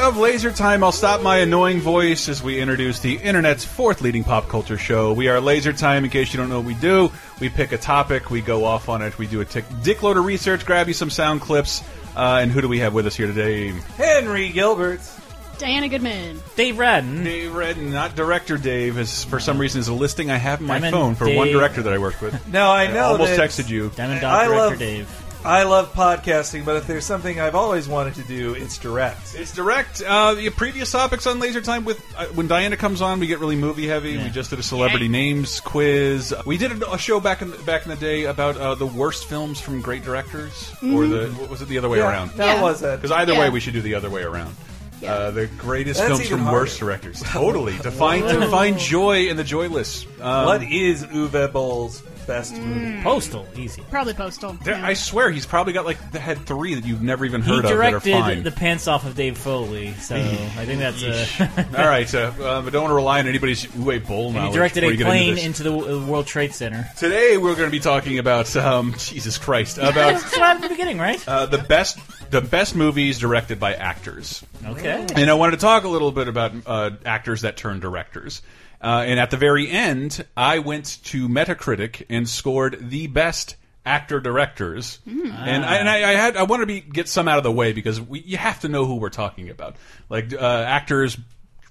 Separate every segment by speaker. Speaker 1: of Laser Time, I'll stop my annoying voice as we introduce the internet's fourth leading pop culture show. We are Laser Time. In case you don't know what we do, we pick a topic, we go off on it, we do a tick dickload of research, grab you some sound clips, uh, and who do we have with us here today?
Speaker 2: Henry Gilbert.
Speaker 3: Diana Goodman.
Speaker 4: Dave Radden.
Speaker 1: Dave Redden, not director Dave, is for some reason is a listing I have in my
Speaker 4: I meant
Speaker 1: phone for one
Speaker 4: Dave.
Speaker 1: director that I work with.
Speaker 2: Now I know
Speaker 1: almost
Speaker 2: that
Speaker 1: texted you.
Speaker 4: Diamond
Speaker 2: I
Speaker 4: Dog Director
Speaker 2: love-
Speaker 4: Dave.
Speaker 2: I love podcasting, but if there's something I've always wanted to do, it's direct.
Speaker 1: It's direct. Uh, your previous topics on Laser Time with uh, when Diana comes on, we get really movie heavy. We just did a celebrity names quiz. We did a, a show back in the, back in the day about uh, the worst films from great directors, or the what was it the other way
Speaker 2: Mm-hmm. yeah,
Speaker 1: around?
Speaker 2: That
Speaker 3: Yeah.
Speaker 2: was it.
Speaker 1: Because either
Speaker 3: Yeah.
Speaker 1: way, we should do the other way around. Uh, the greatest
Speaker 2: That's
Speaker 1: films
Speaker 2: even
Speaker 1: from worst
Speaker 2: harder.
Speaker 1: directors. Totally. to find to find joy in the joyless. Um,
Speaker 2: what is Uwe Boll's best
Speaker 3: Mm.
Speaker 2: movie?
Speaker 4: Postal. Easy.
Speaker 3: Probably Postal.
Speaker 1: there-
Speaker 3: Yeah.
Speaker 1: I swear he's probably got like had three that you've never even
Speaker 4: He
Speaker 1: heard of that are fine.
Speaker 4: directed the pants off of Dave Foley, so I think that's uh, a.
Speaker 1: All right, uh, uh, but don't want to rely on anybody's Uwe Boll
Speaker 4: he
Speaker 1: knowledge.
Speaker 4: directed
Speaker 1: before
Speaker 4: a
Speaker 1: you get into
Speaker 4: plane
Speaker 1: this.
Speaker 4: into the uh, World Trade Center.
Speaker 1: Today we're going to be talking about um, Jesus Christ about
Speaker 4: That's what happened at the beginning, right?
Speaker 1: uh, the best the best movies directed by actors.
Speaker 4: Okay.
Speaker 1: And I wanted to talk a little bit about uh, actors that turn directors. Uh, and at the very end, I went to Metacritic and scored the best actor directors. And, I, and I, I had I wanted to be, get some out of the way because we, you have to know who we're talking about, like uh, actors,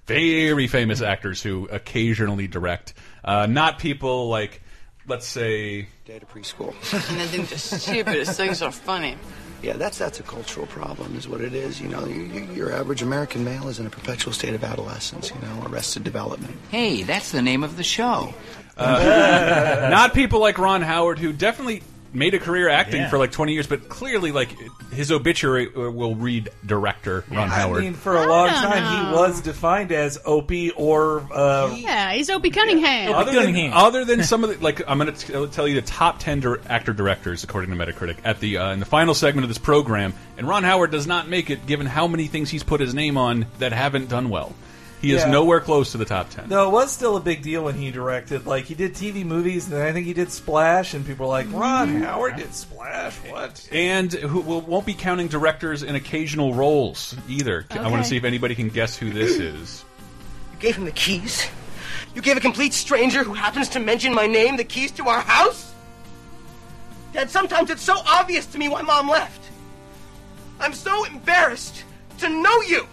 Speaker 1: very famous actors who occasionally direct, uh, not people like let's say
Speaker 5: Data preschool.
Speaker 6: and I think the stupidest things are funny.
Speaker 5: yeah, that's that's a cultural problem, is what it is. You know, you, you, your average American male is in a perpetual state of adolescence. You know, arrested development.
Speaker 6: Hey, that's the name of the show.
Speaker 1: not people like Ron Howard who definitely made a career acting
Speaker 4: Yeah.
Speaker 1: for like 20 years but clearly like his obituary uh, will read director Ron Howard
Speaker 2: I mean, for a long
Speaker 3: I don't
Speaker 2: time, he
Speaker 3: know.
Speaker 2: was defined as Opie or uh,
Speaker 3: yeah, he's Opie Cunningham.
Speaker 4: Opie-
Speaker 1: other than,
Speaker 4: Cunningham.
Speaker 1: other than some of the like I'm going to tell you the top 10 dir actor directors according to Metacritic at the uh, in the final segment of this program and Ron Howard does not make it given how many things he's put his name on that haven't done well he is
Speaker 2: Yeah.
Speaker 1: nowhere close to the top 10
Speaker 2: No, it was still a big deal when he directed. Like he did TV movies, and then I think he did Splash, and people were like,
Speaker 3: Mm-hmm.
Speaker 2: "Ron Howard did Splash? What?"
Speaker 1: and who will, won't be counting directors in occasional roles either I want
Speaker 3: Okay.
Speaker 1: to see if anybody can guess who this is
Speaker 7: You gave him the keys? You gave a complete stranger who happens to mention my name the keys to our house? Dad, sometimes it's so obvious to me why Mom left. I'm so embarrassed to know you.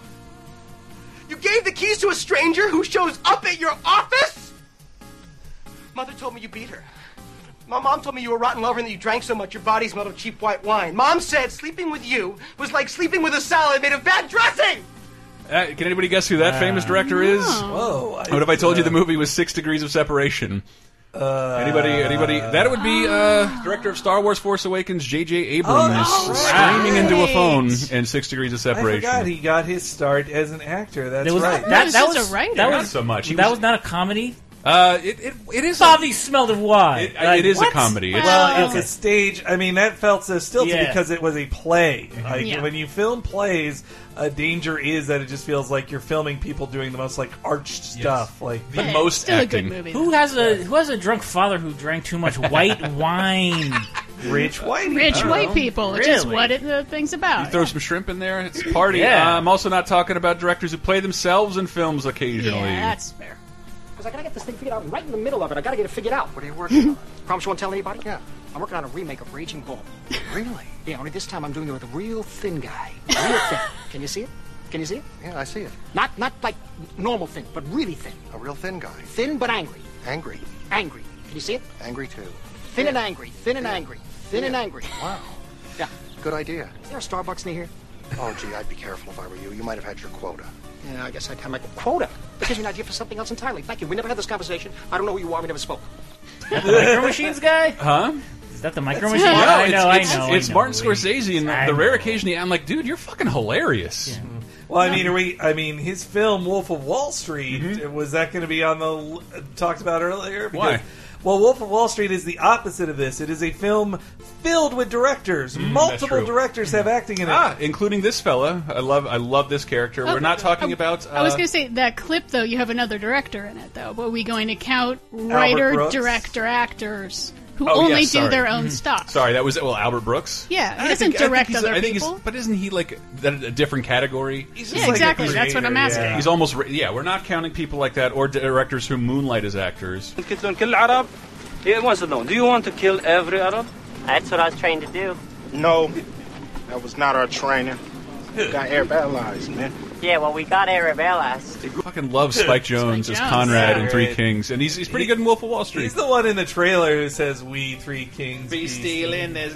Speaker 7: You gave the keys to a stranger who shows up at your office? Mother told me you beat her. My mom told me you were a rotten lover and that you drank so much your body smelled of cheap white wine. Mom said sleeping with you was like sleeping with a salad made of bad dressing!
Speaker 1: Uh, can anybody guess who that famous director is?
Speaker 2: Whoa! Oh, I,
Speaker 1: What if I told you
Speaker 4: Uh,
Speaker 1: the movie was Six Degrees of Separation? Uh, anybody? Anybody? That would be
Speaker 4: Oh.
Speaker 1: uh, director of Star Wars: Force Awakens, J.J. Abrams,
Speaker 2: Oh, that's
Speaker 1: screaming
Speaker 2: right.
Speaker 1: into a phone in Six Degrees of
Speaker 2: I
Speaker 1: Separation.
Speaker 2: forgot he got his start as an actor. That's
Speaker 4: There was-
Speaker 2: right.
Speaker 4: that,
Speaker 3: was
Speaker 4: that
Speaker 3: just
Speaker 4: was
Speaker 3: a writer.
Speaker 4: That
Speaker 1: Not
Speaker 4: was
Speaker 1: so much. He
Speaker 4: That
Speaker 1: was-
Speaker 4: was not a comedy.
Speaker 1: uh, it, it, it is. A,
Speaker 4: Bobby smelled of wine.
Speaker 1: it,
Speaker 4: Like,
Speaker 1: it is
Speaker 4: what?
Speaker 1: a comedy. It's,
Speaker 3: Well,
Speaker 2: It's a stage. I mean, that felt so stilted
Speaker 4: Yeah.
Speaker 2: because it was a play. Like
Speaker 3: Yeah.
Speaker 2: when you film plays, a danger is that it just feels like you're filming people doing the most like arched stuff. Like
Speaker 1: the most
Speaker 3: still
Speaker 1: acting.
Speaker 3: a good movie.
Speaker 4: Who has a who has a drunk father who drank too much white wine?
Speaker 2: rich white,
Speaker 3: Rich white people, which is
Speaker 4: Really?
Speaker 3: what it, the thing's about.
Speaker 1: Throw some shrimp in there. It's a party.
Speaker 4: Yeah.
Speaker 1: Uh, I'm also not talking about directors who play themselves in films occasionally.
Speaker 3: yeah, that's fair.
Speaker 7: Because I gotta get this thing figured out I'm right in the middle of it. I gotta get it figured out. What are you working on? Promise you won't tell anybody? Yeah. I'm working on a remake of Raging Bull.
Speaker 5: Really?
Speaker 7: Yeah, only this time I'm doing it with a real thin guy. Real thin. Can you see it? Can you see it?
Speaker 5: Yeah, I see it.
Speaker 7: Not not like normal thin, but really thin.
Speaker 5: A real thin guy,
Speaker 7: Thin but angry.
Speaker 5: angry,
Speaker 7: Angry. Can you see it?
Speaker 5: angry too.
Speaker 7: Thin and angry. Thin and angry. Thin and angry.
Speaker 5: Wow,
Speaker 7: Yeah.
Speaker 5: good idea.
Speaker 7: Is there a Starbucks near here?
Speaker 5: Oh, gee, I'd be careful if I were you. You might have had your quota.
Speaker 7: Yeah, I guess I'd have my quota. Because you're not here for something else entirely. Thank you. We never had this conversation. I don't know who you are. We never spoke.
Speaker 4: micro machines guy? Huh? Is that the micro machines?
Speaker 1: No,
Speaker 4: guy? I
Speaker 1: it's,
Speaker 4: know,
Speaker 1: it's,
Speaker 4: I know.
Speaker 1: it's
Speaker 4: I know.
Speaker 1: Martin Scorsese, and
Speaker 4: I
Speaker 1: the rare
Speaker 4: know.
Speaker 1: occasion he, I'm like, dude, you're fucking hilarious.
Speaker 2: Well, I mean, are we? I mean, his film Wolf of Wall Street was that going to be on the l- uh, talked about earlier? Because,
Speaker 1: Why?
Speaker 2: Well, Wolf of Wall Street is the opposite of this. It is a film filled with directors. Multiple
Speaker 1: true.
Speaker 2: directors have acting in it.
Speaker 1: Ah, including this fella. I love I love this character. We're
Speaker 3: Okay.
Speaker 1: not talking
Speaker 3: I-
Speaker 1: about. Uh,
Speaker 3: Oh, I was going to say that clip though. You have another director in it though. But are we going to count writer,
Speaker 2: Brooks?
Speaker 3: director, actors? who
Speaker 1: Oh, yeah,
Speaker 3: only do
Speaker 1: sorry.
Speaker 3: their own stuff.
Speaker 1: Sorry, that was well Albert Brooks.
Speaker 3: Yeah, he
Speaker 1: I
Speaker 3: doesn't
Speaker 1: think- I think
Speaker 3: direct
Speaker 1: he's-
Speaker 3: other
Speaker 1: I think he's-
Speaker 3: people.
Speaker 1: but isn't he like that, a different category?
Speaker 2: He's
Speaker 3: Yeah,
Speaker 2: just like a
Speaker 3: exactly. That's what I'm
Speaker 2: creator,
Speaker 3: asking.
Speaker 2: yeah.
Speaker 1: He's almost re- yeah. We're not counting people like that or directors who moonlight as actors.
Speaker 8: قتلون كل العرب He wants to know, do you want to kill every Arab?
Speaker 9: That's what I was trained to do.
Speaker 10: No, that was not our training. We got Arab allies, man.
Speaker 9: Yeah, well, we got Arab allies.
Speaker 1: Fucking love Spike Jones as
Speaker 3: Jones.
Speaker 1: Conrad
Speaker 3: Yeah.
Speaker 1: in Three
Speaker 2: Right.
Speaker 1: Kings, and he's he's pretty good in Wolf of Wall Street.
Speaker 2: He's the one in the trailer who says, "We three kings be stealing."
Speaker 1: this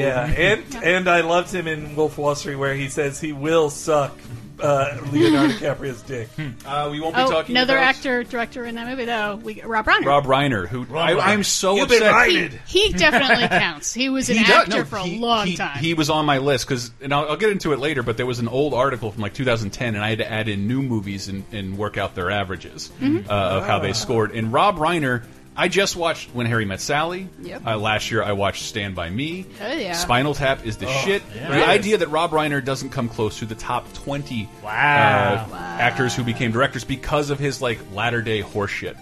Speaker 2: Yeah, and and I loved him in Wolf of Wall Street where he says he will suck uh, Leonardo DiCaprio's dick.
Speaker 1: Uh, we won't be
Speaker 3: Oh,
Speaker 1: talking
Speaker 3: another
Speaker 1: about
Speaker 3: actor director in that movie though. We Rob Reiner.
Speaker 1: Rob Reiner, who I, I'm so upset.
Speaker 3: he, he definitely counts. He was an
Speaker 1: He does-
Speaker 3: actor
Speaker 1: no,
Speaker 3: for a
Speaker 1: he-
Speaker 3: long
Speaker 1: he-
Speaker 3: time.
Speaker 1: He was on my list because, and I'll, I'll get into it later. But there was an old article from like 2010, and I had to add in new movies and, and work out their averages
Speaker 3: Mm-hmm.
Speaker 1: uh, of how they scored. And Rob Reiner, I just watched When Harry Met Sally.
Speaker 3: Yep.
Speaker 1: Uh, last year, I watched Stand by Me.
Speaker 3: Oh, yeah.
Speaker 1: Spinal Tap is the shit. The idea that Rob Reiner doesn't come close to the top 20
Speaker 4: Wow.
Speaker 1: uh, actors who became directors because of his like latter day horseshit.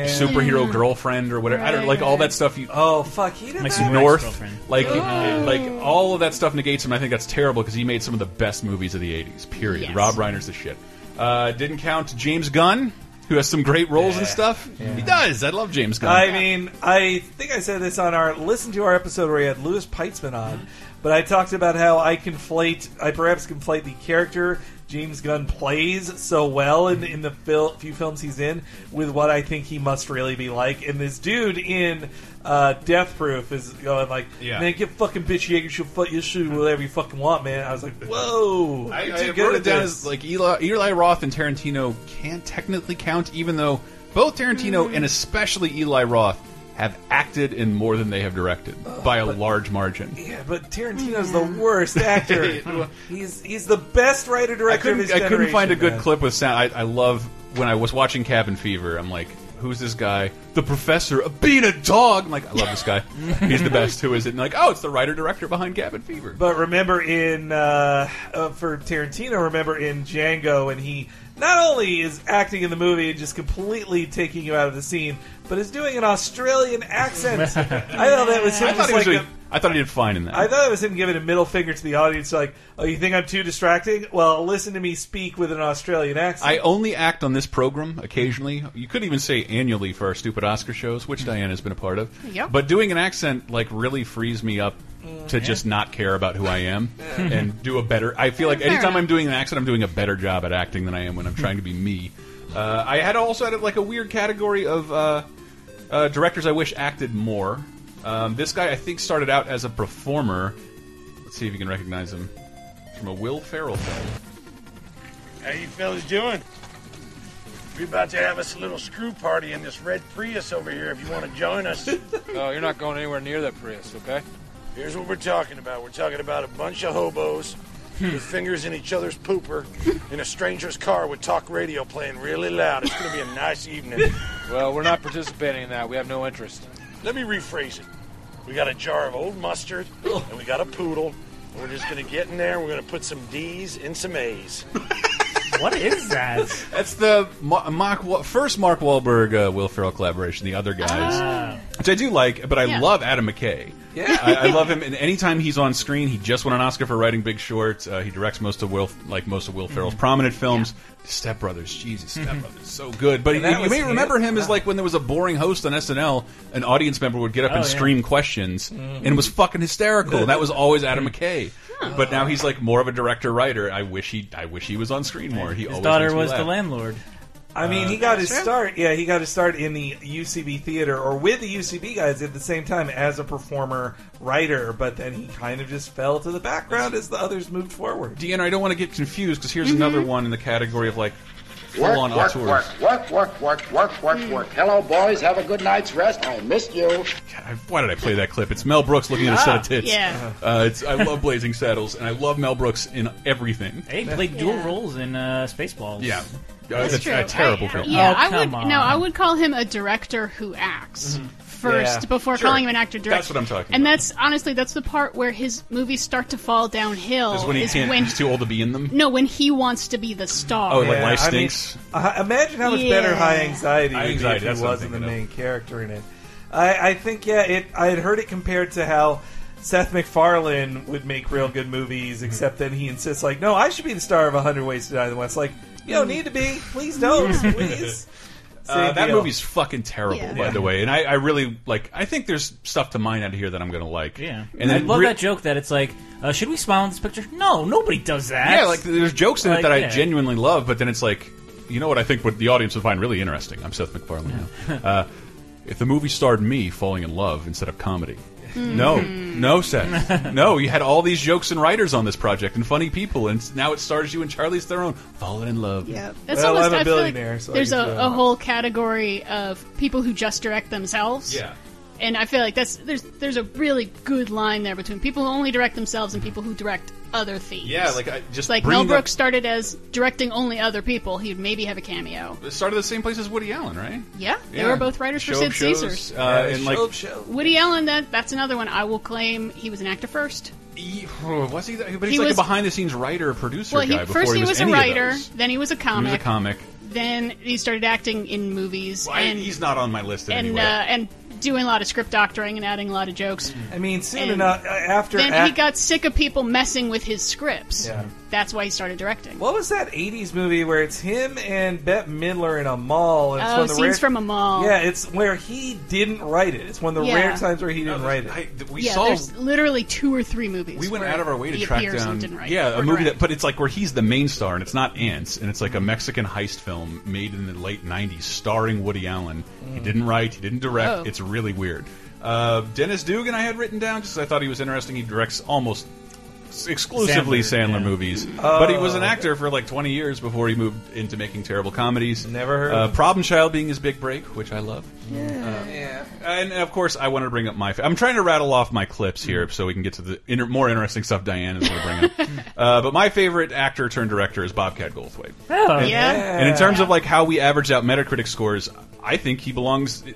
Speaker 1: Superhero girlfriend or whatever. I don't
Speaker 3: Right,
Speaker 1: like all
Speaker 3: right.
Speaker 1: that stuff you
Speaker 2: Oh fuck, he did
Speaker 4: Makes
Speaker 2: that.
Speaker 4: him ex-girlfriend.
Speaker 1: North, like like all of that stuff negates him. I think that's terrible because he made some of the best movies of the '80s. Period.
Speaker 3: Yes.
Speaker 1: Rob Reiner's the shit. Uh, didn't count James Gunn, who has some great roles and stuff. He does. I love James Gunn.
Speaker 2: I mean, I think I said this on our listen to our episode where we had Louis Peitzman on, but I talked about how I conflate, I perhaps conflate the character James Gunn plays so well in in the fil- few films he's in with what I think he must really be like. And this dude in uh, Death Proof is going like,
Speaker 1: Yeah.
Speaker 2: man, get fucking bitch, you should fu- you shoot whatever you fucking want, man. I was like, whoa,
Speaker 1: I,
Speaker 2: you're
Speaker 1: I
Speaker 2: too
Speaker 1: wrote it down
Speaker 2: this."
Speaker 1: as like Eli, Eli Roth and Tarantino can technically count, even though both Tarantino and especially Eli Roth have acted in more than they have directed by a large margin.
Speaker 2: Yeah, but Tarantino's the worst actor. he's he's the best writer
Speaker 1: I
Speaker 2: director of his
Speaker 1: couldn't, I couldn't find a
Speaker 2: generation,
Speaker 1: good
Speaker 2: man.
Speaker 1: clip with sound. I, I love when I was watching Cabin Fever. I'm like, who's this guy? The professor of being a dog. I'm like, I love this guy. He's the best. Who is it? And like, oh, it's the writer director behind Cabin Fever.
Speaker 2: But remember in uh, uh, for Tarantino, remember in Django, and he not only is acting in the movie and just completely taking you out of the scene, but is doing an Australian accent. I thought that was him.
Speaker 1: I thought
Speaker 2: just
Speaker 1: he was.
Speaker 2: like
Speaker 1: doing-
Speaker 2: a-
Speaker 1: I thought he did fine in that.
Speaker 2: I thought it was him giving a middle finger to the audience, like, "Oh, you think I'm too distracting? Well, listen to me speak with an Australian accent."
Speaker 1: I only act on this program occasionally. You could even say annually for our stupid Oscar shows, which Diana's been a part of.
Speaker 3: Mm-hmm. Yep. Mm-hmm.
Speaker 1: But doing an accent like really frees me up to just not care about who I am and do a better. I feel like
Speaker 3: Fair
Speaker 1: anytime
Speaker 3: enough.
Speaker 1: I'm doing an accent, I'm doing a better job at acting than I am when I'm trying to be me. Uh, I had also had like a weird category of uh, uh, directors I wish acted more. Um, this guy I think started out as a performer. Let's see if you can recognize him from a Will Ferrell film.
Speaker 10: How you fellas doing? We about to have us a little screw party in this red Prius over here. If you want to join us,
Speaker 8: No, you're not going anywhere near that Prius, okay?
Speaker 10: here's what we're talking about. We're talking about a bunch of hobos
Speaker 8: Hmm.
Speaker 10: with fingers in each other's pooper in a stranger's car with talk radio playing really loud. It's going to be a nice evening.
Speaker 8: Well, we're not participating in that. We have no interest.
Speaker 10: Let me rephrase it. We got a jar of old mustard and we got a poodle. And we're just going to get in there. and We're going to put some D's in some A's.
Speaker 4: What is that?
Speaker 1: That's the Ma- Mark Wa- first Mark Wahlberg uh, Will Ferrell collaboration. The other guys,
Speaker 4: Ah.
Speaker 1: which I do like, but I
Speaker 3: Yeah.
Speaker 1: love Adam McKay. Yeah, I, I love him. And anytime he's on screen, he just won an Oscar for writing Big Short. Uh, he directs most of Will, like most of Will
Speaker 4: Mm-hmm.
Speaker 1: Ferrell's prominent films. Step Brothers, Jesus, Step Brothers, so good. But you,
Speaker 2: And that
Speaker 1: you
Speaker 2: was
Speaker 1: may
Speaker 2: him.
Speaker 1: remember him as like when there was a boring host on SNL, an audience member would get up and
Speaker 4: Oh, yeah. Mm-hmm.
Speaker 1: scream questions, and it was fucking hysterical. and that was always Adam McKay. But now he's like more of a director writer. I wish he, I wish he was on screen more. He
Speaker 4: His
Speaker 1: always
Speaker 4: daughter
Speaker 1: makes me
Speaker 4: was the
Speaker 1: laugh.
Speaker 4: landlord.
Speaker 2: I mean, he got his start. Yeah, he got his start in the UCB theater or with the UCB guys at the same time as a performer writer, but then he kind of just fell to the background as the others moved forward.
Speaker 1: Deanna, I don't want to get confused because
Speaker 3: Mm-hmm.
Speaker 1: here's another one in the category of like full
Speaker 10: Work,
Speaker 1: on
Speaker 10: work,
Speaker 1: auteurs.
Speaker 10: work, work, work, work, work, work, work. Hello, boys. Have a good night's rest. I missed you.
Speaker 1: God, I- why did I play that clip? It's Mel Brooks looking at a set of tits.
Speaker 3: Ah, Yeah.
Speaker 1: Uh, it's, I love Blazing Saddles and I love Mel Brooks in everything.
Speaker 4: They played dual roles in uh, Spaceballs.
Speaker 1: Yeah.
Speaker 3: That's
Speaker 1: it's
Speaker 3: true.
Speaker 1: a terrible
Speaker 3: I-
Speaker 1: film.
Speaker 3: Yeah,
Speaker 4: Oh,
Speaker 3: I
Speaker 4: come
Speaker 3: would
Speaker 4: on.
Speaker 3: no, I would call him a director who acts first
Speaker 2: Yeah.
Speaker 3: before
Speaker 1: Mm-hmm. Sure.
Speaker 3: calling him an actor director.
Speaker 1: That's what I'm talking
Speaker 3: And
Speaker 1: about.
Speaker 3: that's honestly that's the part where his movies start to fall downhill.
Speaker 1: It's when he can't,
Speaker 3: when-
Speaker 1: he's too old to be in them.
Speaker 3: no, when he wants to be the star.
Speaker 1: Oh, like
Speaker 2: Yeah,
Speaker 1: life
Speaker 2: I mean,
Speaker 1: stinks.
Speaker 2: I- Uh, imagine how much
Speaker 3: Yeah.
Speaker 2: better High Anxiety
Speaker 1: High
Speaker 2: would be
Speaker 1: Anxiety,
Speaker 2: if
Speaker 1: that's
Speaker 2: he
Speaker 1: what I'm
Speaker 2: wasn't the
Speaker 1: thinking of.
Speaker 2: main character in it. I, I think yeah, it. I had heard it compared to how Seth MacFarlane would make real good movies, except then he insists like, no, I should be the star of Hundred Ways to Die in the West. Like, you don't need to be. Please don't. Please.
Speaker 1: Uh,
Speaker 2: Same
Speaker 1: that
Speaker 2: deal.
Speaker 1: movie's fucking terrible,
Speaker 3: Yeah.
Speaker 1: by the way. And I, I really like. I think there's stuff to mine out of here that I'm gonna like.
Speaker 4: Yeah,
Speaker 1: and
Speaker 4: I
Speaker 1: then
Speaker 4: love
Speaker 1: re-
Speaker 4: that joke that it's like, uh, should we smile in this picture? No, nobody does that.
Speaker 1: Yeah, like there's jokes in it
Speaker 4: Like,
Speaker 1: that I
Speaker 4: yeah.
Speaker 1: genuinely love, but then it's like, you know what? I think what the audience would find really interesting. I'm Seth MacFarlane now. uh, if the movie starred me falling in love instead of comedy. No, no, Seth. No, you had all these jokes and writers on this project and funny people, and now it stars you and Charlie's Theron falling in love.
Speaker 3: Yeah, that's
Speaker 2: Well,
Speaker 3: almost.
Speaker 2: I'm a
Speaker 3: I feel like
Speaker 2: billionaire, so I
Speaker 3: there's
Speaker 2: can
Speaker 3: a,
Speaker 2: throw it
Speaker 3: a
Speaker 2: out.
Speaker 3: whole category of people who just direct themselves.
Speaker 1: Yeah.
Speaker 3: and I feel like that's there's there's a really good line there between people who only direct themselves and people who direct other themes.
Speaker 1: Yeah, like I just
Speaker 3: It's like
Speaker 1: bring
Speaker 3: Mel
Speaker 1: the-
Speaker 3: Brooks started as directing only other people. He'd maybe have a cameo.
Speaker 1: started the same place as Woody Allen, right?
Speaker 3: Yeah, they were both writers for
Speaker 1: Show
Speaker 3: Sid
Speaker 1: of shows,
Speaker 3: Caesar's.
Speaker 1: uh, and like
Speaker 2: show, show.
Speaker 3: Woody Allen, that that's another one I will claim he was an actor first.
Speaker 1: He, oh, was he? that- But he's
Speaker 3: He
Speaker 1: like
Speaker 3: was-
Speaker 1: a behind-the-scenes writer, or producer
Speaker 3: Well,
Speaker 1: guy.
Speaker 3: he
Speaker 1: before
Speaker 3: first
Speaker 1: he was,
Speaker 3: a
Speaker 1: any of
Speaker 3: writer,
Speaker 1: those.
Speaker 3: then he was a
Speaker 1: He
Speaker 3: comic,
Speaker 1: was a comic.
Speaker 3: then he started acting in movies
Speaker 1: Why-
Speaker 3: and
Speaker 1: he's not on my list
Speaker 3: and
Speaker 1: anyway. Mm-hmm.
Speaker 3: uh, and doing a lot of script doctoring and adding a lot of jokes.
Speaker 2: I mean, soon
Speaker 3: And
Speaker 2: enough, uh, after
Speaker 3: Then he
Speaker 2: act-
Speaker 3: got sick of people messing with his scripts.
Speaker 2: Yeah.
Speaker 3: That's why he started directing.
Speaker 2: What was that '80s movie where it's him and Bette Midler in a mall? And it's
Speaker 3: Oh,
Speaker 2: one of the
Speaker 3: Scenes
Speaker 2: rare-
Speaker 3: from a Mall.
Speaker 2: Yeah, it's where he didn't write it. It's one of the
Speaker 3: Yeah.
Speaker 2: rare times where he didn't write it.
Speaker 1: I- th- we
Speaker 3: uh, yeah,
Speaker 1: saw
Speaker 3: there's literally two or three movies.
Speaker 1: we went
Speaker 3: where
Speaker 1: out of our way to
Speaker 3: he
Speaker 1: track
Speaker 3: appears
Speaker 1: down
Speaker 3: And didn't write
Speaker 1: yeah
Speaker 3: or
Speaker 1: a movie
Speaker 3: direct.
Speaker 1: that but it's like where he's the main star and it's not ants and it's like a
Speaker 3: Mm-hmm.
Speaker 1: mexican heist film made in the late 90s starring woody allen he didn't write he didn't direct
Speaker 3: Mm. Oh.
Speaker 1: it's really weird uh, dennis dugan i had written down just 'cause i thought he was interesting he directs almost s- exclusively
Speaker 4: Sandler,
Speaker 1: sandler,
Speaker 4: yeah.
Speaker 1: movies but he was an actor for like 20 years before he moved into making terrible comedies
Speaker 2: Never heard
Speaker 1: uh,
Speaker 2: of him.
Speaker 1: problem child being his big break which i love Uh, and of course, I want to bring up my. I'm trying to rattle off my clips here so we can get to the inter more interesting stuff Diane is going to bring up. uh, but my favorite actor turned director is Bobcat Goldthwait.
Speaker 4: Oh,
Speaker 3: Yeah.
Speaker 1: And in terms of like how we average out Metacritic scores, I think he belongs eh,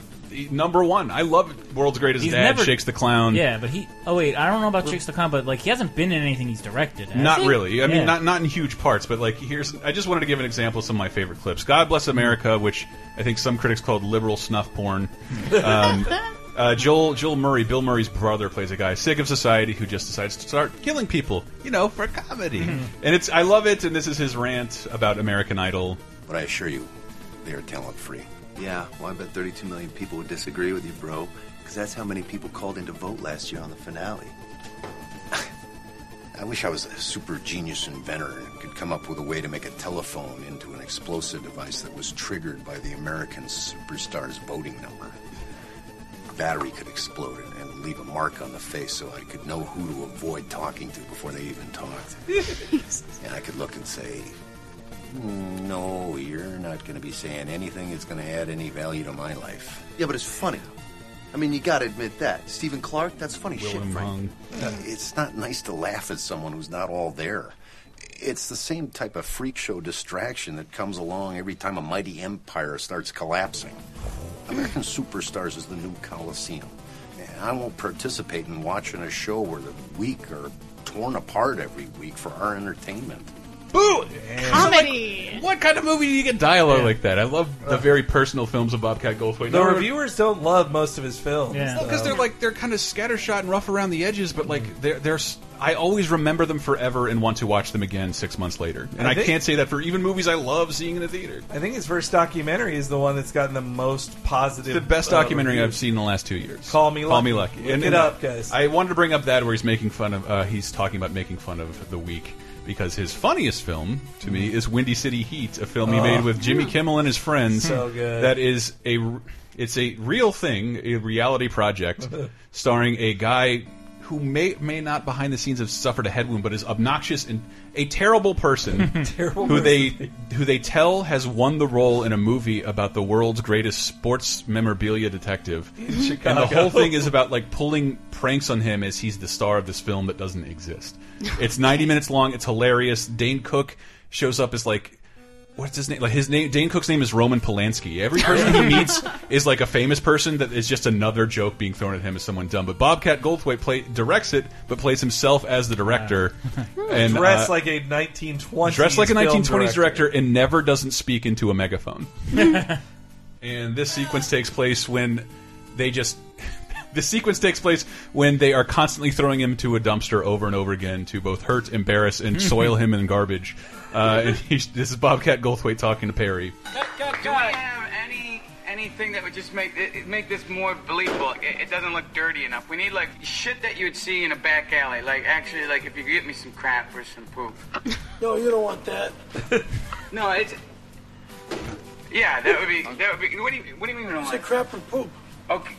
Speaker 1: number one. I love World's Greatest
Speaker 4: He's
Speaker 1: Dad,
Speaker 4: never-
Speaker 1: Shakes the Clown.
Speaker 4: Yeah, but he. Oh wait, I don't know about Chicks to Come, but like he hasn't been in anything he's directed. has
Speaker 1: Not
Speaker 4: he?
Speaker 1: really. I mean,
Speaker 4: Yeah.
Speaker 1: not not in huge parts, but like here's. I just wanted to give an example of some of my favorite clips. "God Bless America," which I think some critics called liberal snuff porn. Um, uh, Joel Joel Murray, Bill Murray's brother, plays a guy sick of society who just decides to start killing people, you know, for comedy. and it's I love it. And this is his rant about American Idol.
Speaker 5: But I assure you, they are talent free. Yeah, well, I bet 32 million people would disagree with you, bro, because that's how many people called in to vote last year on the finale. I wish I was a super genius inventor and could come up with a way to make a telephone into an explosive device that was triggered by the American superstar's voting number. A battery could explode it and leave a mark on the face so I could know who to avoid talking to before they even talked. and I could look and say, no, you're not going to be saying anything that's going to add any value to my life. Yeah, but it's funny. I mean, you got to admit that. Stephen Clark, that's funny
Speaker 1: Willem
Speaker 5: shit, Frank.
Speaker 1: Hung.
Speaker 5: It's not nice to laugh at someone who's not all there. It's the same type of freak show distraction that comes along every time a mighty empire starts collapsing. American Superstars is the new Coliseum. And I won't participate in watching a show where the weak are torn apart every week for our entertainment.
Speaker 1: Boo!
Speaker 3: comedy.
Speaker 1: What kind of movie do you get dialogue like that? I love the very personal films of Bobcat Goldthwait.
Speaker 2: the
Speaker 1: Number-
Speaker 2: reviewers don't love most of his films.
Speaker 4: Yeah.
Speaker 1: Well, because they're like they're kind of scattershot and rough around the edges, but like they're they're. s- I always remember them forever and want to watch them again six months later. And
Speaker 2: I
Speaker 1: I,
Speaker 2: think-
Speaker 1: can't say that for even movies I love seeing in the theater.
Speaker 2: I think his first documentary is the one that's gotten the most positive.
Speaker 1: The best
Speaker 2: uh,
Speaker 1: documentary I've
Speaker 2: reviews.
Speaker 1: seen in the last two years.
Speaker 2: Call Me
Speaker 1: Call
Speaker 2: Lucky.
Speaker 1: Me Lucky.
Speaker 2: Look it up, guys.
Speaker 1: I wanted to bring up that where he's making fun of. Uh, he's talking about making fun of the week because his funniest film to
Speaker 2: Mm.
Speaker 1: me is Windy City Heat, a film he made with Jimmy Kimmel and his friends.
Speaker 2: So good.
Speaker 1: That is a. r- It's a real thing, a reality project, starring a guy who may may not behind the scenes have suffered a head wound, but is obnoxious and a terrible person.
Speaker 2: Terrible
Speaker 1: who
Speaker 2: person.
Speaker 1: they who they tell has won the role in a movie about the world's greatest sports memorabilia detective. And the whole thing is about like pulling pranks on him as he's the star of this film that doesn't exist. It's 90 minutes long. It's hilarious. Dane Cook shows up as like what's his name? Like his name Dane Cook's name is Roman Polanski. Every person he meets is like a famous person that is just another joke being thrown at him as someone dumb. But Bobcat Goldthwait play, directs it, but plays himself as the director and
Speaker 2: dressed
Speaker 1: uh,
Speaker 2: like a 1920s
Speaker 1: dressed like a
Speaker 2: film
Speaker 1: 1920s director. and never doesn't speak into a megaphone. and this sequence takes place when they just the sequence takes place when they are constantly throwing him to a dumpster over and over again to both hurt, embarrass, and soil him in garbage. Uh, and he's, this is Bobcat Goldthwait talking to Perry.
Speaker 11: Do we have any anything that would just make it, it- make this more believable? It, it doesn't look dirty enough. We need like shit that you would see in a back alley. Like actually, like if you could get me some crap or some poop.
Speaker 10: No, you don't want that.
Speaker 11: No, it's yeah, that would be that would be. What do you what do you mean? You don't like
Speaker 10: crap or poop?
Speaker 11: Okay.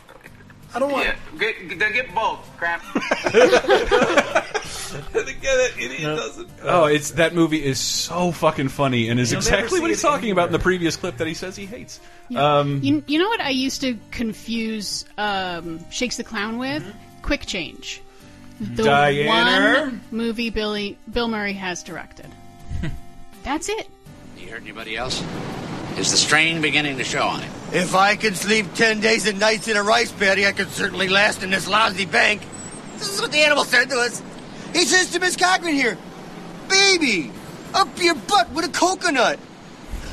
Speaker 10: I don't want.
Speaker 11: Yeah, get, then get both crap.
Speaker 2: idiot doesn't.
Speaker 1: Oh, it's that movie is so fucking funny and is
Speaker 2: You'll never
Speaker 1: exactly
Speaker 2: see
Speaker 1: what he's
Speaker 2: it
Speaker 1: talking about in the previous clip that he says he hates. Um,
Speaker 3: You, you know what I used to confuse um, Shakes the Clown with? Quick Change. The
Speaker 1: Mm-hmm. Diana?
Speaker 3: one movie Billy Bill Murray has directed. That's it.
Speaker 12: You heard anybody else? Is the strain beginning to show on him?
Speaker 7: If I could sleep ten days and nights in a rice paddy, I could certainly last in this lousy bank. This is what the animal said to us. He says to Miss Cochran here, "Baby, up your butt with a coconut."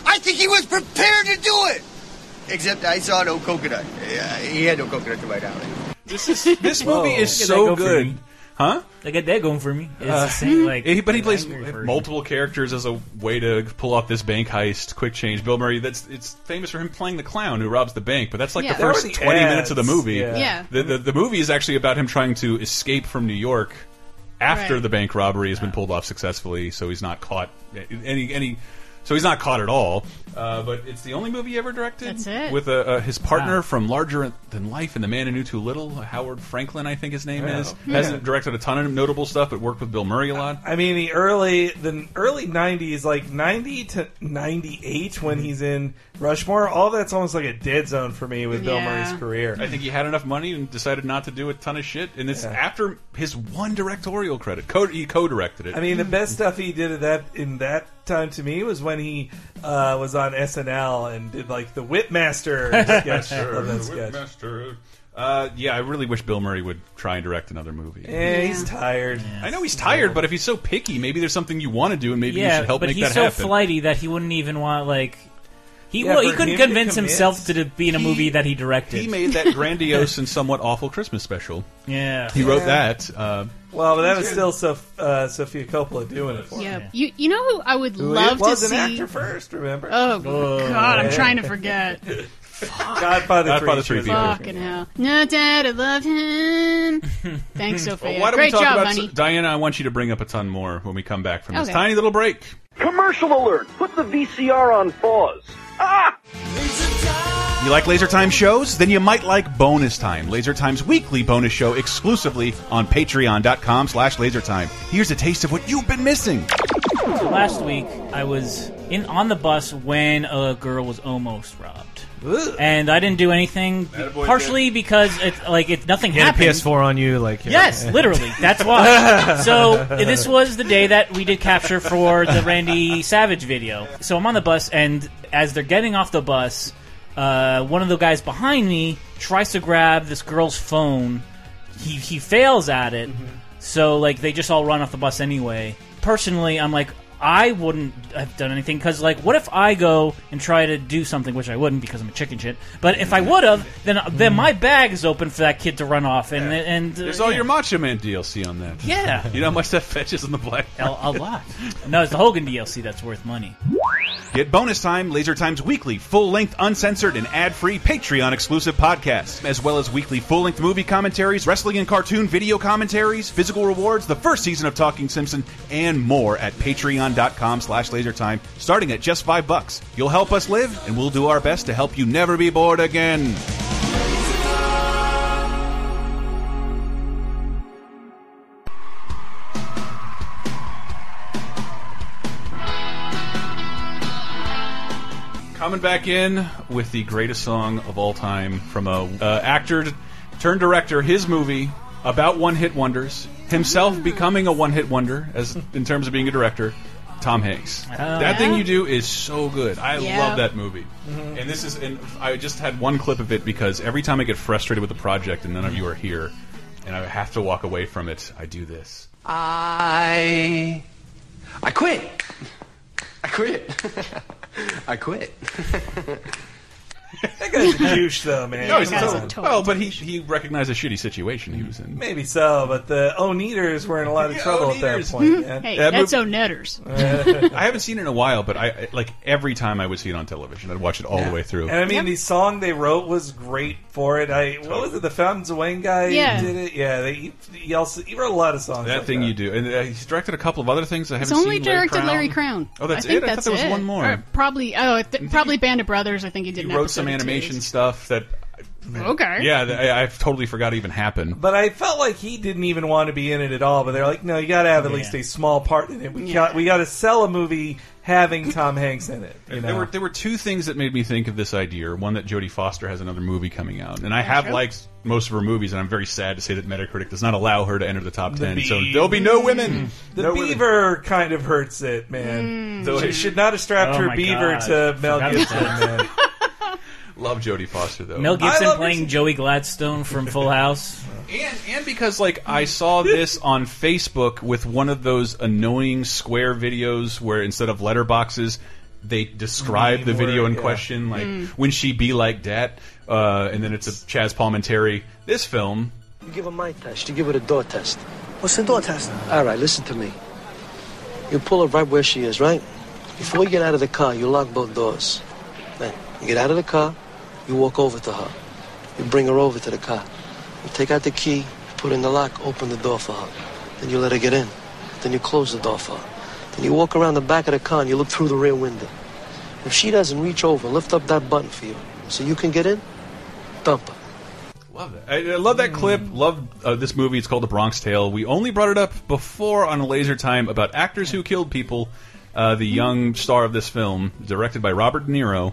Speaker 7: I think he was prepared to do it, except I saw no coconut. Yeah, he had no coconut to my knowledge.
Speaker 1: This is this movie
Speaker 4: Whoa.
Speaker 1: is
Speaker 4: Look at
Speaker 1: so
Speaker 4: that go for
Speaker 1: good.
Speaker 4: me.
Speaker 1: Huh?
Speaker 4: I got that going for me. It's
Speaker 1: Uh,
Speaker 4: the same, like,
Speaker 1: he- but he
Speaker 4: an
Speaker 1: plays
Speaker 4: angry version.
Speaker 1: multiple characters as a way to pull off this bank heist, quick change. Bill Murray, that's it's famous for him playing the clown who robs the bank, but that's like
Speaker 3: Yeah.
Speaker 1: the
Speaker 3: There were
Speaker 1: first
Speaker 3: the
Speaker 1: twenty
Speaker 2: ads,
Speaker 1: minutes of the movie.
Speaker 2: yeah.
Speaker 3: Yeah.
Speaker 1: The, the the movie is actually about him trying to escape from New York after
Speaker 3: Right.
Speaker 1: the bank robbery has been pulled off successfully, so he's not caught. Any any. So he's not caught at all, uh, but it's the only movie he ever directed
Speaker 3: That's it.
Speaker 1: with a, uh, his partner from Larger Than Life and The Man Who Knew Too Little, Howard Franklin, I think his name
Speaker 2: Wow.
Speaker 1: is.
Speaker 2: Hmm.
Speaker 1: Hasn't directed a ton of notable stuff, but worked with Bill Murray a lot.
Speaker 2: I mean, the early the early '90s, like '90 to '98, when
Speaker 3: Mm-hmm.
Speaker 2: he's in Rushmore, all that's almost like a dead zone for me with Bill
Speaker 3: Yeah.
Speaker 2: Murray's career.
Speaker 1: I think he had enough money and decided not to do a ton of shit. And it's after his one directorial credit. Co he co-directed it.
Speaker 2: I
Speaker 3: Mm-hmm.
Speaker 2: mean, the best stuff he did at that in that time to me was when he uh, was on SNL and did like the Whipmaster sketch.
Speaker 4: oh,
Speaker 2: Love that sketch.
Speaker 1: Uh, yeah, I really wish Bill Murray would try and direct another movie.
Speaker 2: Eh, he's tired.
Speaker 1: I know he's tired, but if he's so picky, maybe there's something you want to do, and maybe you
Speaker 4: yeah,
Speaker 1: should help
Speaker 4: but
Speaker 1: make
Speaker 4: he's
Speaker 1: that
Speaker 4: so
Speaker 1: happen.
Speaker 4: flighty that he wouldn't even want like he
Speaker 2: Yeah,
Speaker 4: well, he
Speaker 2: for
Speaker 4: couldn't
Speaker 2: him to
Speaker 4: convince
Speaker 2: commit,
Speaker 4: himself to be in a
Speaker 1: he-
Speaker 4: movie that he directed.
Speaker 1: He made that grandiose and somewhat awful Christmas special.
Speaker 4: yeah,
Speaker 1: He wrote that. Uh,
Speaker 2: Well, but that was still Sof- uh, Sophia Coppola doing it for him.
Speaker 3: Yeah. You you know who I would
Speaker 2: Who
Speaker 3: love
Speaker 2: was
Speaker 3: to
Speaker 2: an
Speaker 3: see?
Speaker 2: actor first, remember?
Speaker 3: Oh, God, I'm
Speaker 2: yeah.
Speaker 3: trying to forget.
Speaker 2: Godfather,
Speaker 1: Godfather
Speaker 2: Three.
Speaker 1: Three
Speaker 2: she was-
Speaker 3: Fucking hell. No doubt I love him. Thanks, Sophia.
Speaker 1: well, why don't
Speaker 3: Great
Speaker 1: we talk
Speaker 3: job,
Speaker 1: about
Speaker 3: honey.
Speaker 1: Diana? I want you to bring up a ton more when we come back from this
Speaker 3: Okay.
Speaker 1: tiny little break.
Speaker 13: Commercial alert! Put the VCR on pause. Ah!
Speaker 1: You like Laser Time shows? Then you might like Bonus Time, Laser Time's weekly bonus show exclusively on patreon.com slash lasertime. Here's a taste of what you've been missing.
Speaker 4: So last week I was in on the bus when a girl was almost robbed, and I didn't do anything.
Speaker 14: boy,
Speaker 4: partially because it's like it nothing
Speaker 14: You had a
Speaker 4: happened.
Speaker 14: PS4 on you, like
Speaker 4: Yes, literally. That's why. so this was the day that we did capture for the Randy Savage video. So I'm on the bus, and as they're getting off the bus, uh, one of the guys behind me tries to grab this girl's phone. He he fails at it. So like they just all run off the bus anyway. Personally, I'm like. I wouldn't have done anything because, like, what if I go and try to do something, which I wouldn't because I'm a chicken shit. But if I would have, then uh, then my bag is open for that kid to run off, and and uh,
Speaker 1: There's all
Speaker 4: yeah.
Speaker 1: your Macho Man DLC on that.
Speaker 4: Yeah.
Speaker 1: You know how much that fetches on the black
Speaker 4: A, a lot. No, it's the Hogan DLC that's worth money.
Speaker 1: Get Bonus Time, Laser Time's weekly, full length, uncensored, and ad free Patreon exclusive podcast, as well as weekly full length movie commentaries, wrestling and cartoon video commentaries, physical rewards, the first season of Talking Simpson, and more at patreon.com slash lasertime, starting at just five bucks. You'll help us live, and we'll do our best to help you never be bored again. Coming back in with the greatest song of all time from a uh, actor turned director, his movie about one hit wonders, himself becoming a one hit wonder as in terms of being a director, Tom Hanks. that thing you do is so good. I
Speaker 15: Yeah.
Speaker 1: love that movie. And this is, and I just had one clip of it because every time I get frustrated with a project and none of you are here, and I have to walk away from it, I do this.
Speaker 13: I. I quit. I quit. I quit.
Speaker 2: That guy's a douche, though, man.
Speaker 1: No, he's
Speaker 2: Come
Speaker 1: not.
Speaker 2: on.
Speaker 1: well, but he he recognized a shitty situation he was in.
Speaker 2: Maybe so, but the Oneaters were in a lot of trouble at that
Speaker 1: Hmm.
Speaker 2: point. man.
Speaker 3: hey,
Speaker 1: That
Speaker 3: that's
Speaker 1: mov-
Speaker 3: O'Netters.
Speaker 1: I haven't seen it in a while, but I- I like every time I would see it on television, I'd watch it all the way through.
Speaker 2: And I mean, the song they wrote was great for it. I what was it? The Fountains of Wayne guy
Speaker 3: Yeah.
Speaker 2: did it. Yeah, they, he, he also he wrote a lot of songs.
Speaker 1: that
Speaker 2: like
Speaker 1: thing you do, and uh, he's directed a couple of other things I
Speaker 3: It's
Speaker 1: haven't
Speaker 3: only
Speaker 1: seen.
Speaker 3: directed
Speaker 1: Crown.
Speaker 3: Larry Crown.
Speaker 1: Oh, that's
Speaker 3: I think
Speaker 1: it. I
Speaker 3: that's
Speaker 1: thought there was
Speaker 3: it.
Speaker 1: one more.
Speaker 3: Or probably. Oh, th- probably Band of Brothers. I think he did.
Speaker 1: he
Speaker 3: an
Speaker 1: wrote
Speaker 3: episode
Speaker 1: some
Speaker 3: or two.
Speaker 1: animation stuff that.
Speaker 3: Okay.
Speaker 1: Yeah, that I, I've totally forgot even happened.
Speaker 2: But I felt like he didn't even want to be in it at all. But they're like, no, you got to have at
Speaker 1: Yeah.
Speaker 2: least a small part in it. We
Speaker 1: Yeah.
Speaker 2: got we got to sell a movie having Tom Hanks in it. You know?
Speaker 1: There were there were two things that made me think of this idea. One that Jodie Foster has another movie coming out, and I have
Speaker 2: Sure.
Speaker 1: liked most of her movies, and I'm very sad to say that Metacritic does not allow her to enter the top ten. so
Speaker 2: bee-
Speaker 1: there'll be no women.
Speaker 2: The
Speaker 1: No women.
Speaker 2: beaver kind of hurts it, man.
Speaker 1: Mm.
Speaker 2: She should not have strapped
Speaker 1: Oh
Speaker 2: her
Speaker 1: my
Speaker 2: beaver
Speaker 1: God.
Speaker 2: to Mel
Speaker 1: Forgot
Speaker 2: Gibson.
Speaker 1: about
Speaker 2: Man.
Speaker 1: Love Jodie Foster though.
Speaker 4: Mel Gibson
Speaker 1: I love her
Speaker 4: playing Joey Gladstone from Full House.
Speaker 1: And and because like I saw this on Facebook with one of those annoying square videos where instead of letterboxes they describe
Speaker 2: Name
Speaker 1: the video
Speaker 2: word,
Speaker 1: in
Speaker 2: yeah.
Speaker 1: question like
Speaker 2: Mm.
Speaker 1: when she be like that uh, and then it's a Chaz Palminteri this film
Speaker 14: You give her my test. You give her the door test. What's the door test? All right, listen to me. You pull her right where she is, right? Before you get out of the car, you lock both doors. Then you get out of the car, you walk over to her. You bring her over to the car. You take out the key, put in the lock, open the door for her. Then you let her get in. Then you close the door for her. Then you walk around the back of the car and you look through the rear window. If she doesn't reach over, lift up that button for you so you can get in, dump her.
Speaker 1: Love that. I, I love that clip.
Speaker 4: Hmm.
Speaker 1: Love uh, this movie. It's called The Bronx Tale. We only brought it up before on Laser Time about actors who killed people. Uh, the young star of this film, directed by Robert De Niro. Uh,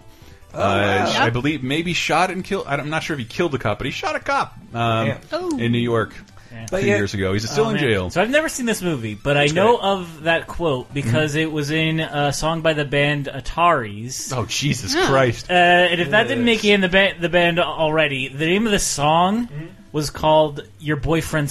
Speaker 4: Oh,
Speaker 2: wow.
Speaker 1: I believe maybe shot and killed. I'm not sure if he killed a cop, but he shot a cop um,
Speaker 4: Yeah. Oh.
Speaker 1: in New York a
Speaker 4: But
Speaker 1: few
Speaker 4: yet-
Speaker 1: years ago. He's still
Speaker 4: Oh,
Speaker 1: in
Speaker 4: man.
Speaker 1: jail.
Speaker 4: So I've never seen this movie, but I
Speaker 1: That's
Speaker 4: know
Speaker 1: great. Mm-hmm.
Speaker 4: of that quote because it was in a song by the band Ataris.
Speaker 1: Oh Jesus Yeah. Christ.
Speaker 4: Uh, and if that didn't make you in the band, the band already, the name of the song
Speaker 1: Mm-hmm.
Speaker 4: was called "Your Boyfriend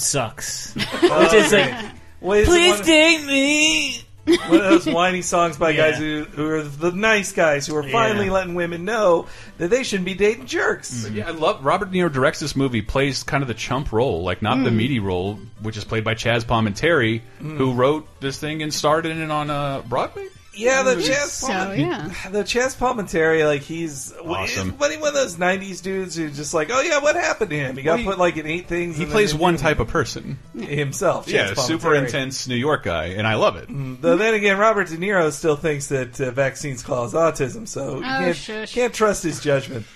Speaker 4: Sucks," which is like,
Speaker 2: What is it,
Speaker 4: please
Speaker 2: one-
Speaker 4: take me.
Speaker 2: one of those whiny songs by
Speaker 4: Yeah.
Speaker 2: guys who, who are the nice guys who are finally
Speaker 1: Yeah.
Speaker 2: letting women know that they shouldn't be dating jerks.
Speaker 1: But yeah, I love Robert De Niro directs this movie, plays kind of the chump role, like not the
Speaker 2: Mm.
Speaker 1: meaty role, which is played by Chaz Palminteri, who wrote this thing and starred in it on uh, Broadway.
Speaker 2: Yeah, the
Speaker 1: Mm.
Speaker 2: Chaz
Speaker 1: So,
Speaker 2: Palmin-
Speaker 1: yeah.
Speaker 2: the Chaz Palminteri, like he's
Speaker 1: Mm. Awesome.
Speaker 2: What one of those '90s dudes who just like, oh yeah, what happened to him? He
Speaker 1: Well,
Speaker 2: got
Speaker 1: he-
Speaker 2: put like in eight things.
Speaker 1: He
Speaker 2: and
Speaker 1: plays
Speaker 2: then
Speaker 1: one type of person.
Speaker 2: himself. Chaz
Speaker 1: yeah, super
Speaker 2: Palminteri.
Speaker 1: intense New York guy, and I love it.
Speaker 2: Though then again, Robert De Niro still thinks that uh, vaccines cause autism, so you
Speaker 3: Oh,
Speaker 2: can't,
Speaker 3: shush.
Speaker 2: can't trust his judgment.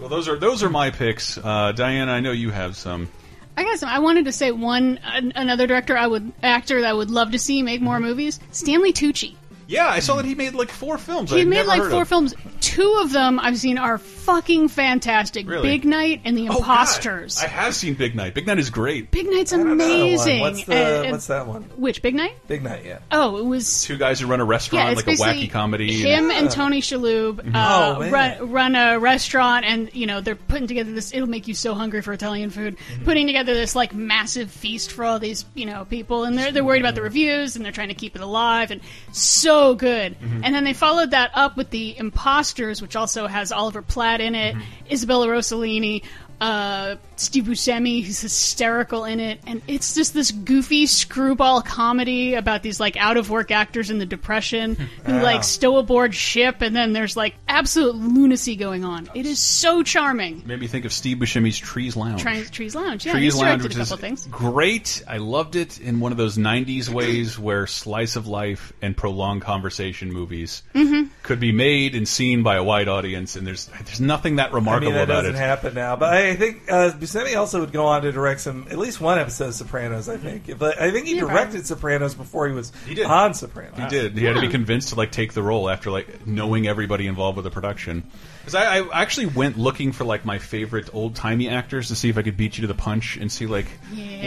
Speaker 1: Well, those are those are my picks. Uh, Diana, I know you have some.
Speaker 3: I got some. I wanted to say one an, another director I would actor that I would love to see make
Speaker 1: Mm-hmm.
Speaker 3: more movies. Stanley Tucci.
Speaker 1: Yeah, I saw that he made like four films.
Speaker 3: He
Speaker 1: I'd
Speaker 3: made
Speaker 1: never
Speaker 3: like
Speaker 1: heard
Speaker 3: four
Speaker 1: of.
Speaker 3: films. Two of them I've seen are fucking fantastic.
Speaker 1: Really?
Speaker 3: Big Night and The
Speaker 1: Oh, God.
Speaker 3: Imposters.
Speaker 1: I have seen Big Night. Big Night is great.
Speaker 3: Big Night's
Speaker 2: Amazing.
Speaker 3: amazing.
Speaker 2: What's, the,
Speaker 3: And- and-
Speaker 2: what's that one?
Speaker 3: Which Big Night?
Speaker 2: Big Night, yeah.
Speaker 3: Oh, it was
Speaker 1: Two guys who run a restaurant,
Speaker 3: yeah, it's
Speaker 1: like a
Speaker 3: basically
Speaker 1: wacky comedy.
Speaker 3: Him and Tony Shalhoub uh,
Speaker 1: Oh, man.
Speaker 3: run run a restaurant, and you know they're putting together this. It'll make you so hungry for Italian food.
Speaker 1: Mm-hmm.
Speaker 3: Putting together this like massive feast for all these you know people, and they're they're worried about the
Speaker 1: Mm-hmm.
Speaker 3: reviews, and they're trying to keep it alive, and so good.
Speaker 1: Mm-hmm.
Speaker 15: Mhm.
Speaker 3: And then they followed that up with the Imposters, which also has Oliver Platt in it,
Speaker 1: Mm-hmm.
Speaker 3: Isabella Rossellini. Uh, Steve Buscemi, who's hysterical in it, and it's just this goofy screwball comedy about these like out of work actors in the depression who
Speaker 15: Wow.
Speaker 3: like stow aboard ship, and then there's like absolute lunacy going on. It is so charming.
Speaker 1: Made me think of Steve Buscemi's Trees Lounge.
Speaker 3: Trying Trees Lounge, yeah,
Speaker 1: Trees
Speaker 3: he's
Speaker 1: Lounge,
Speaker 3: directed
Speaker 1: which
Speaker 3: a couple
Speaker 1: is
Speaker 3: things.
Speaker 1: great. I loved it in one of those '90s ways where slice of life and prolonged conversation movies
Speaker 3: Mm-hmm.
Speaker 2: Mhm.
Speaker 1: could be made and seen by a wide audience, and there's there's nothing that remarkable
Speaker 2: I mean, that
Speaker 1: about
Speaker 2: doesn't
Speaker 1: it.
Speaker 2: happen now. But I think uh, Buscemi also would go on to direct some, at least one episode of Sopranos. I
Speaker 3: Mm-hmm.
Speaker 2: think, but I think he
Speaker 1: Yeah,
Speaker 2: directed Sopranos before he was
Speaker 1: did.
Speaker 2: on Sopranos.
Speaker 1: He did. He had to be convinced to like take the role after like knowing everybody involved with the production. Because I, I actually went looking for like my favorite old timey actors to see if I could beat you to the punch and see like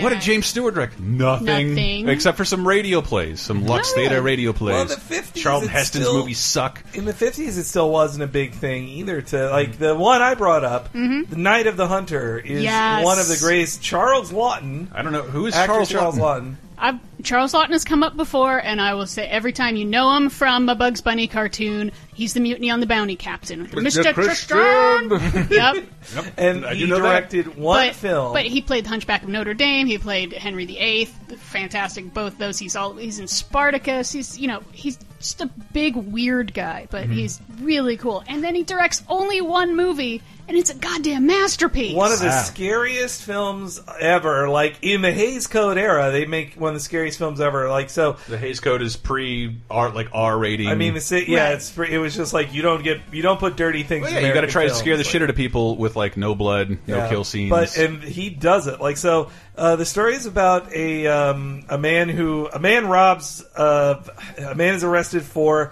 Speaker 1: what did James Stewart direct? Nothing,
Speaker 2: Nothing.
Speaker 1: except for some radio plays, some Lux
Speaker 2: really?
Speaker 1: Theater radio plays.
Speaker 2: Well, the 50s
Speaker 1: Charlton
Speaker 2: it's
Speaker 1: Heston's
Speaker 2: still-
Speaker 1: movies suck.
Speaker 2: In the fifties, it still wasn't a big thing either. To like
Speaker 1: Mm-hmm.
Speaker 2: the one I brought up, the Night of the Hunter
Speaker 3: Mm-hmm.
Speaker 2: is
Speaker 3: Yes.
Speaker 2: one of the greatest. Charles Lawton.
Speaker 1: I don't know who is
Speaker 2: actor
Speaker 1: Charles
Speaker 2: Charles
Speaker 1: Lawton?
Speaker 2: Lawton.
Speaker 3: I've, Charles Lawton has come up before, and I will say every time you know him from a Bugs Bunny cartoon, he's the Mutiny on the Bounty Captain, Mr. Tristram. yep.
Speaker 2: And
Speaker 1: I do
Speaker 2: he
Speaker 1: know that.
Speaker 2: directed one
Speaker 3: but,
Speaker 2: film.
Speaker 3: But he played Hunchback of Notre Dame. He played Henry VIII. Fantastic, both those. He's all he's in Spartacus. He's you know he's just a big weird guy, but
Speaker 2: Mhm.
Speaker 3: he's really cool. And then he directs only one movie, and it's a goddamn masterpiece.
Speaker 2: One of the
Speaker 1: Ah.
Speaker 2: scariest films ever. Like in the Hayes Code era, they make one of the scariest films ever. Like so,
Speaker 1: The Hays Code is pre R, like R rating.
Speaker 2: I mean, the si- yeah, it's pre- it was just like you don't get you don't put dirty things.
Speaker 1: Well,
Speaker 2: in
Speaker 1: Oh, yeah, you got to
Speaker 2: American
Speaker 1: try to
Speaker 2: films.
Speaker 1: scare the shit out of people with like no blood, no
Speaker 2: Yeah.
Speaker 1: kill scenes.
Speaker 2: But and he does it like so. Uh, the story is about a um, a man who a man robs uh, a man is arrested for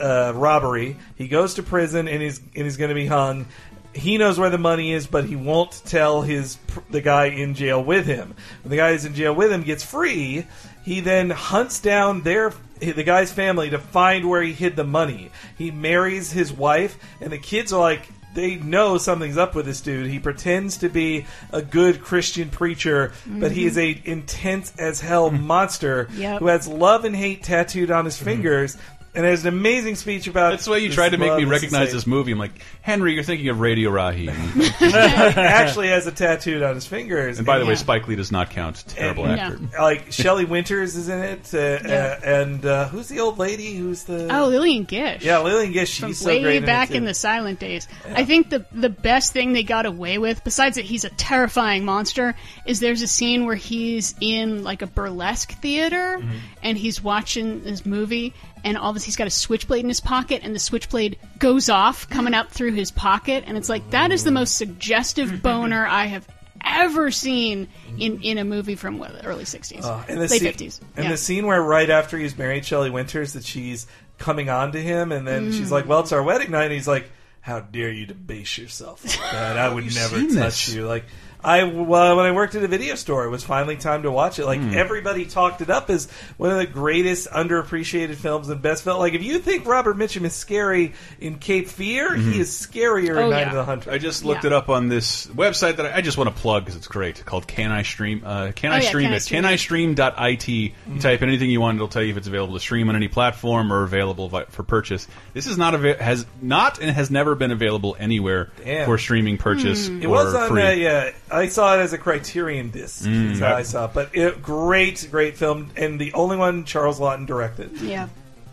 Speaker 2: uh, robbery. He goes to prison and he's and he's going to be hung. He knows where the money is, but he won't tell his pr- the guy in jail with him. When the guy who's in jail with him gets free, he then hunts down their the guy's family to find where he hid the money. He marries his wife, and the kids are like, they know something's up with this dude. He pretends to be a good Christian preacher, but he is
Speaker 3: Mm-hmm.
Speaker 2: a intense as hell
Speaker 3: Mm.
Speaker 2: monster
Speaker 1: Yep.
Speaker 2: who has love and hate tattooed on his
Speaker 3: Mm-hmm.
Speaker 2: fingers. And has an amazing speech about.
Speaker 1: that's why you tried to make me recognize this movie. I'm like, Henry, you're thinking of Radio Raheem.
Speaker 2: actually has a tattooed on his fingers.
Speaker 1: and by the way, Spike Lee does not count. Terrible
Speaker 2: And-
Speaker 1: actor.
Speaker 2: Like Shelley Winters is in it, uh,
Speaker 3: Yeah.
Speaker 2: uh, and uh, who's the old lady? Who's the
Speaker 3: Oh, Lillian Gish.
Speaker 2: Yeah, Lillian Gish. She's
Speaker 3: From
Speaker 2: so
Speaker 3: way
Speaker 2: great
Speaker 3: back
Speaker 2: in, it,
Speaker 3: in
Speaker 2: too.
Speaker 3: the silent days. I think the the best thing they got away with, besides that he's a terrifying monster, is there's a scene where he's in like a burlesque theater
Speaker 2: Mm-hmm.
Speaker 3: and he's watching this movie and all of a sudden he's got a switchblade in his pocket and the switchblade goes off coming out through his pocket and it's like that is the most
Speaker 2: Mm-hmm.
Speaker 3: suggestive boner I have ever seen in, in a movie from what, the early 60s
Speaker 2: Uh, and the
Speaker 3: late
Speaker 2: scene-
Speaker 3: 50s
Speaker 2: And
Speaker 3: yeah.
Speaker 2: the scene where right after he's married Shelley Winters that she's coming on to him, and then she's
Speaker 3: Mm.
Speaker 2: like, "Well, it's our wedding night," and he's like, "How dare you debase yourself like that? I would
Speaker 1: You've
Speaker 2: never
Speaker 1: seen
Speaker 2: touch
Speaker 1: this.
Speaker 2: you." Like. I well, when I worked at a video store, it was finally time to watch it. Like
Speaker 1: Mm.
Speaker 2: everybody talked it up as one of the greatest underappreciated films and best felt. Like if you think Robert Mitchum is scary in Cape Fear, he
Speaker 1: Mhm.
Speaker 2: is scarier in Night of the Hunter.
Speaker 1: I just looked it up on this website that I, I just want to plug because it's great. Called Can I Stream? Uh, can
Speaker 2: Oh,
Speaker 1: I
Speaker 2: yeah,
Speaker 1: stream
Speaker 2: Can I
Speaker 1: it?
Speaker 2: Stream
Speaker 1: Can I stream.it. You type in anything you want; it'll tell you if it's available to stream on any platform or available vi- for purchase. This is not ava- has not and has never been available anywhere
Speaker 2: Damn.
Speaker 1: for streaming purchase or
Speaker 2: It was on
Speaker 1: free.
Speaker 2: uh, yeah. I saw it as a Criterion disc.
Speaker 1: Mm.
Speaker 2: That's how I saw it. But it, great, great film, and the only one Charles Lawton directed.
Speaker 3: Yeah.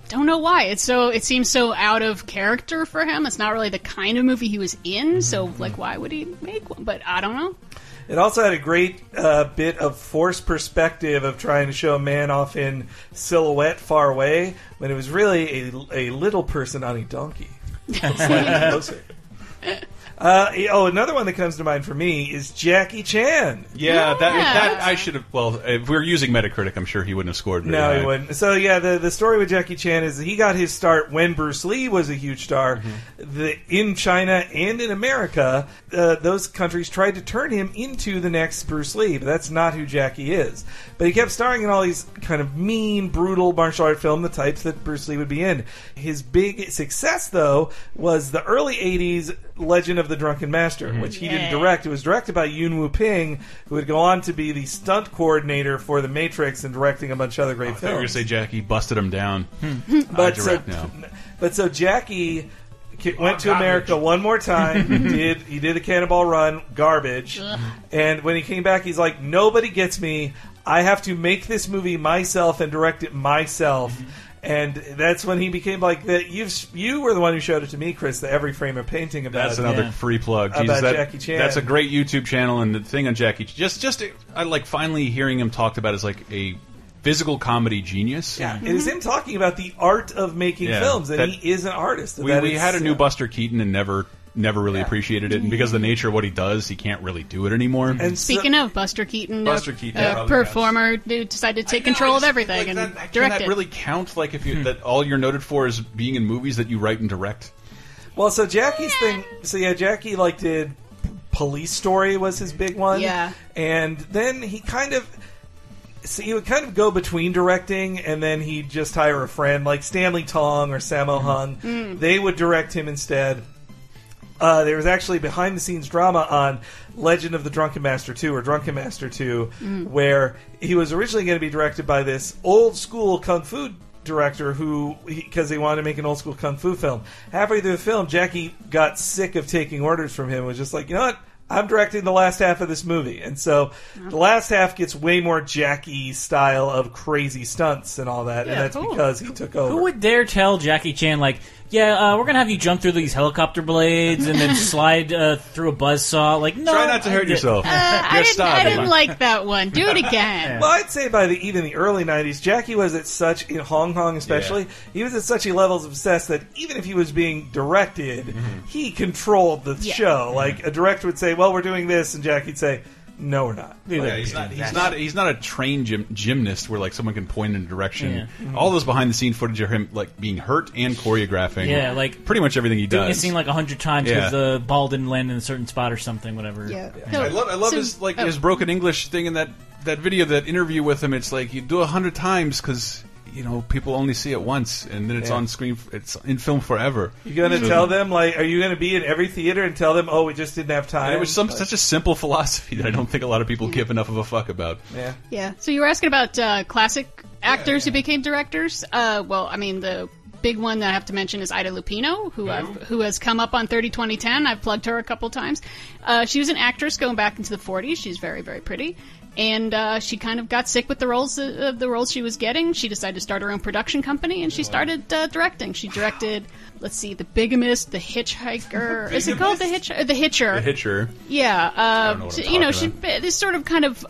Speaker 3: Don't know why. It's so it seems so out of character for him. It's not really the kind of movie he was
Speaker 1: Mm-hmm.
Speaker 3: in, so like why would he make one? But I don't know.
Speaker 2: It also had a great uh, bit of forced perspective of trying to show a man off in silhouette far away when it was really a, a little person on a donkey. Slightly closer. Uh, oh, another one that comes to mind for me is Jackie Chan.
Speaker 1: Yeah, that that I should have. Well, if we were using Metacritic, I'm sure he wouldn't have scored. very
Speaker 2: No,
Speaker 1: high.
Speaker 2: he wouldn't. So yeah, the the story with Jackie Chan is that he got his start when Bruce Lee was a huge star. The, in China and in America, uh, those countries tried to turn him into the next Bruce Lee, but that's not who Jackie is. But he kept starring in all these kind of mean, brutal martial art film, the types that Bruce Lee would be in. His big success though was the early '80s Legend of the Drunken Master,
Speaker 1: Mhm.
Speaker 2: which he
Speaker 1: Yeah.
Speaker 2: didn't direct direct. It was directed by Yuen Wu Ping, who would go on to be the stunt coordinator for The Matrix and directing a bunch of other great
Speaker 1: I thought you were going
Speaker 2: films.
Speaker 1: to say Jackie busted him down. I
Speaker 2: But
Speaker 1: direct
Speaker 2: so-
Speaker 1: now.
Speaker 2: But so Jackie ki-
Speaker 1: Oh,
Speaker 2: went to America one more time. did he did a Cannonball Run garbage?
Speaker 1: Ugh.
Speaker 2: and when he came back, he's like, nobody gets me. I have to make this movie myself and direct it myself.
Speaker 1: Mm-hmm.
Speaker 2: And that's when he became like that. You you were the one who showed it to me, Chris. The every frame of painting about
Speaker 1: That's another free plug.
Speaker 2: about
Speaker 1: Jesus, that-
Speaker 2: Jackie Chan.
Speaker 1: That's a great YouTube channel, and the thing on Jackie, just just I like finally hearing him talked about as like a physical comedy genius.
Speaker 2: Yeah, it is him talking about the art of making
Speaker 1: Yeah,
Speaker 2: films, and
Speaker 1: that-
Speaker 2: he is an artist. and
Speaker 1: We,
Speaker 2: that
Speaker 1: we
Speaker 2: is- uh,
Speaker 1: had a new Buster Keaton and never never really appreciated it, and because of the nature of what he does, he can't really do it anymore.
Speaker 2: And
Speaker 3: Speaking of Buster Keaton,
Speaker 1: Buster
Speaker 3: a,
Speaker 1: Keaton
Speaker 3: a
Speaker 1: probably
Speaker 3: performer who decided to take control of everything and
Speaker 1: can
Speaker 3: direct
Speaker 1: that
Speaker 3: it.
Speaker 1: really count? Like if you that all you're noted for is being in movies that you write and direct.
Speaker 2: Well, so Jackie's thing. So yeah, Jackie like did Police Story was his big one.
Speaker 3: Yeah.
Speaker 2: and then he kind of. So he would kind of go between directing, and then he'd just hire a friend like Stanley Tong or Sammo Hung.
Speaker 3: Mm.
Speaker 2: They would direct him instead. uh, there was actually behind the scenes drama on Legend of the Drunken Master 2 or Drunken Master 2,
Speaker 15: Mm.
Speaker 2: where he was originally going to be directed by this old school kung fu director who, because he wanted to make an old school kung fu film. Halfway through the film, Jackie got sick of taking orders from him and was just like, you know what? I'm directing the last half of this movie. And so the last half gets way more Jackie style of crazy stunts and all that.
Speaker 4: Yeah,
Speaker 2: and that's
Speaker 4: cool.
Speaker 2: because he took over.
Speaker 4: Who would dare tell Jackie Chan, like, yeah, uh, we're going to have you jump through these helicopter blades and then slide uh, through a buzzsaw? Like, no.
Speaker 1: Try not to hurt yourself.
Speaker 3: Uh, I, didn't, I didn't like that one. Do it again.
Speaker 2: Well, I'd say by the even the early '90s, Jackie was at such in Hong Kong, especially he was at such a levels of obsessed that even if he was being directed, he controlled the
Speaker 1: Mm-hmm. Yeah.
Speaker 2: show. Like a director would say, "Well, we're doing this," and Jackie'd say, "No, we're not."
Speaker 1: Oh, Yeah, he's not. He's not. He's not a trained gym, gymnast where like someone can point in a direction.
Speaker 4: Yeah.
Speaker 1: All those behind the scene footage of him like being hurt and choreographing.
Speaker 4: Yeah, like,
Speaker 1: pretty much everything he
Speaker 4: Doing a
Speaker 1: does.
Speaker 4: scene like a hundred times
Speaker 1: Yeah.
Speaker 4: because the ball didn't land in a certain spot or something, whatever.
Speaker 3: Yeah.
Speaker 1: I love. I love
Speaker 3: So-
Speaker 1: his like
Speaker 3: oh.
Speaker 1: his broken English thing in that that video, that interview with him. It's like you do a hundred times because you know people only see it once, and then it's
Speaker 2: Yeah.
Speaker 1: on screen. f- It's in film forever.
Speaker 2: You gonna
Speaker 1: So-
Speaker 2: tell them like, are you gonna be in every theater and tell them, "Oh, we just didn't have time"?
Speaker 1: And it was some
Speaker 2: Like,
Speaker 1: such a simple philosophy that I don't think a lot of people give enough of a fuck about.
Speaker 2: Yeah.
Speaker 3: Yeah. So you were asking about uh, classic actors who became directors. Uh, well, I mean the big one that I have to mention is Ida Lupino, who I've, who has come up on 30 2010. I've plugged her a couple times. Uh, she was an actress going back into the 40s. She's very very pretty. And uh, she kind of got sick with the roles uh, of the roles she was getting. She decided to start her own production company, and she started uh, directing. She directed, let's see, The Bigamist, The Hitchhiker. is it called The Hitcher? The Hitcher.
Speaker 1: The hitcher.
Speaker 3: Yeah, uh,
Speaker 1: know what
Speaker 3: so,
Speaker 1: I'm
Speaker 3: you know, she,
Speaker 1: talking
Speaker 3: this sort of kind of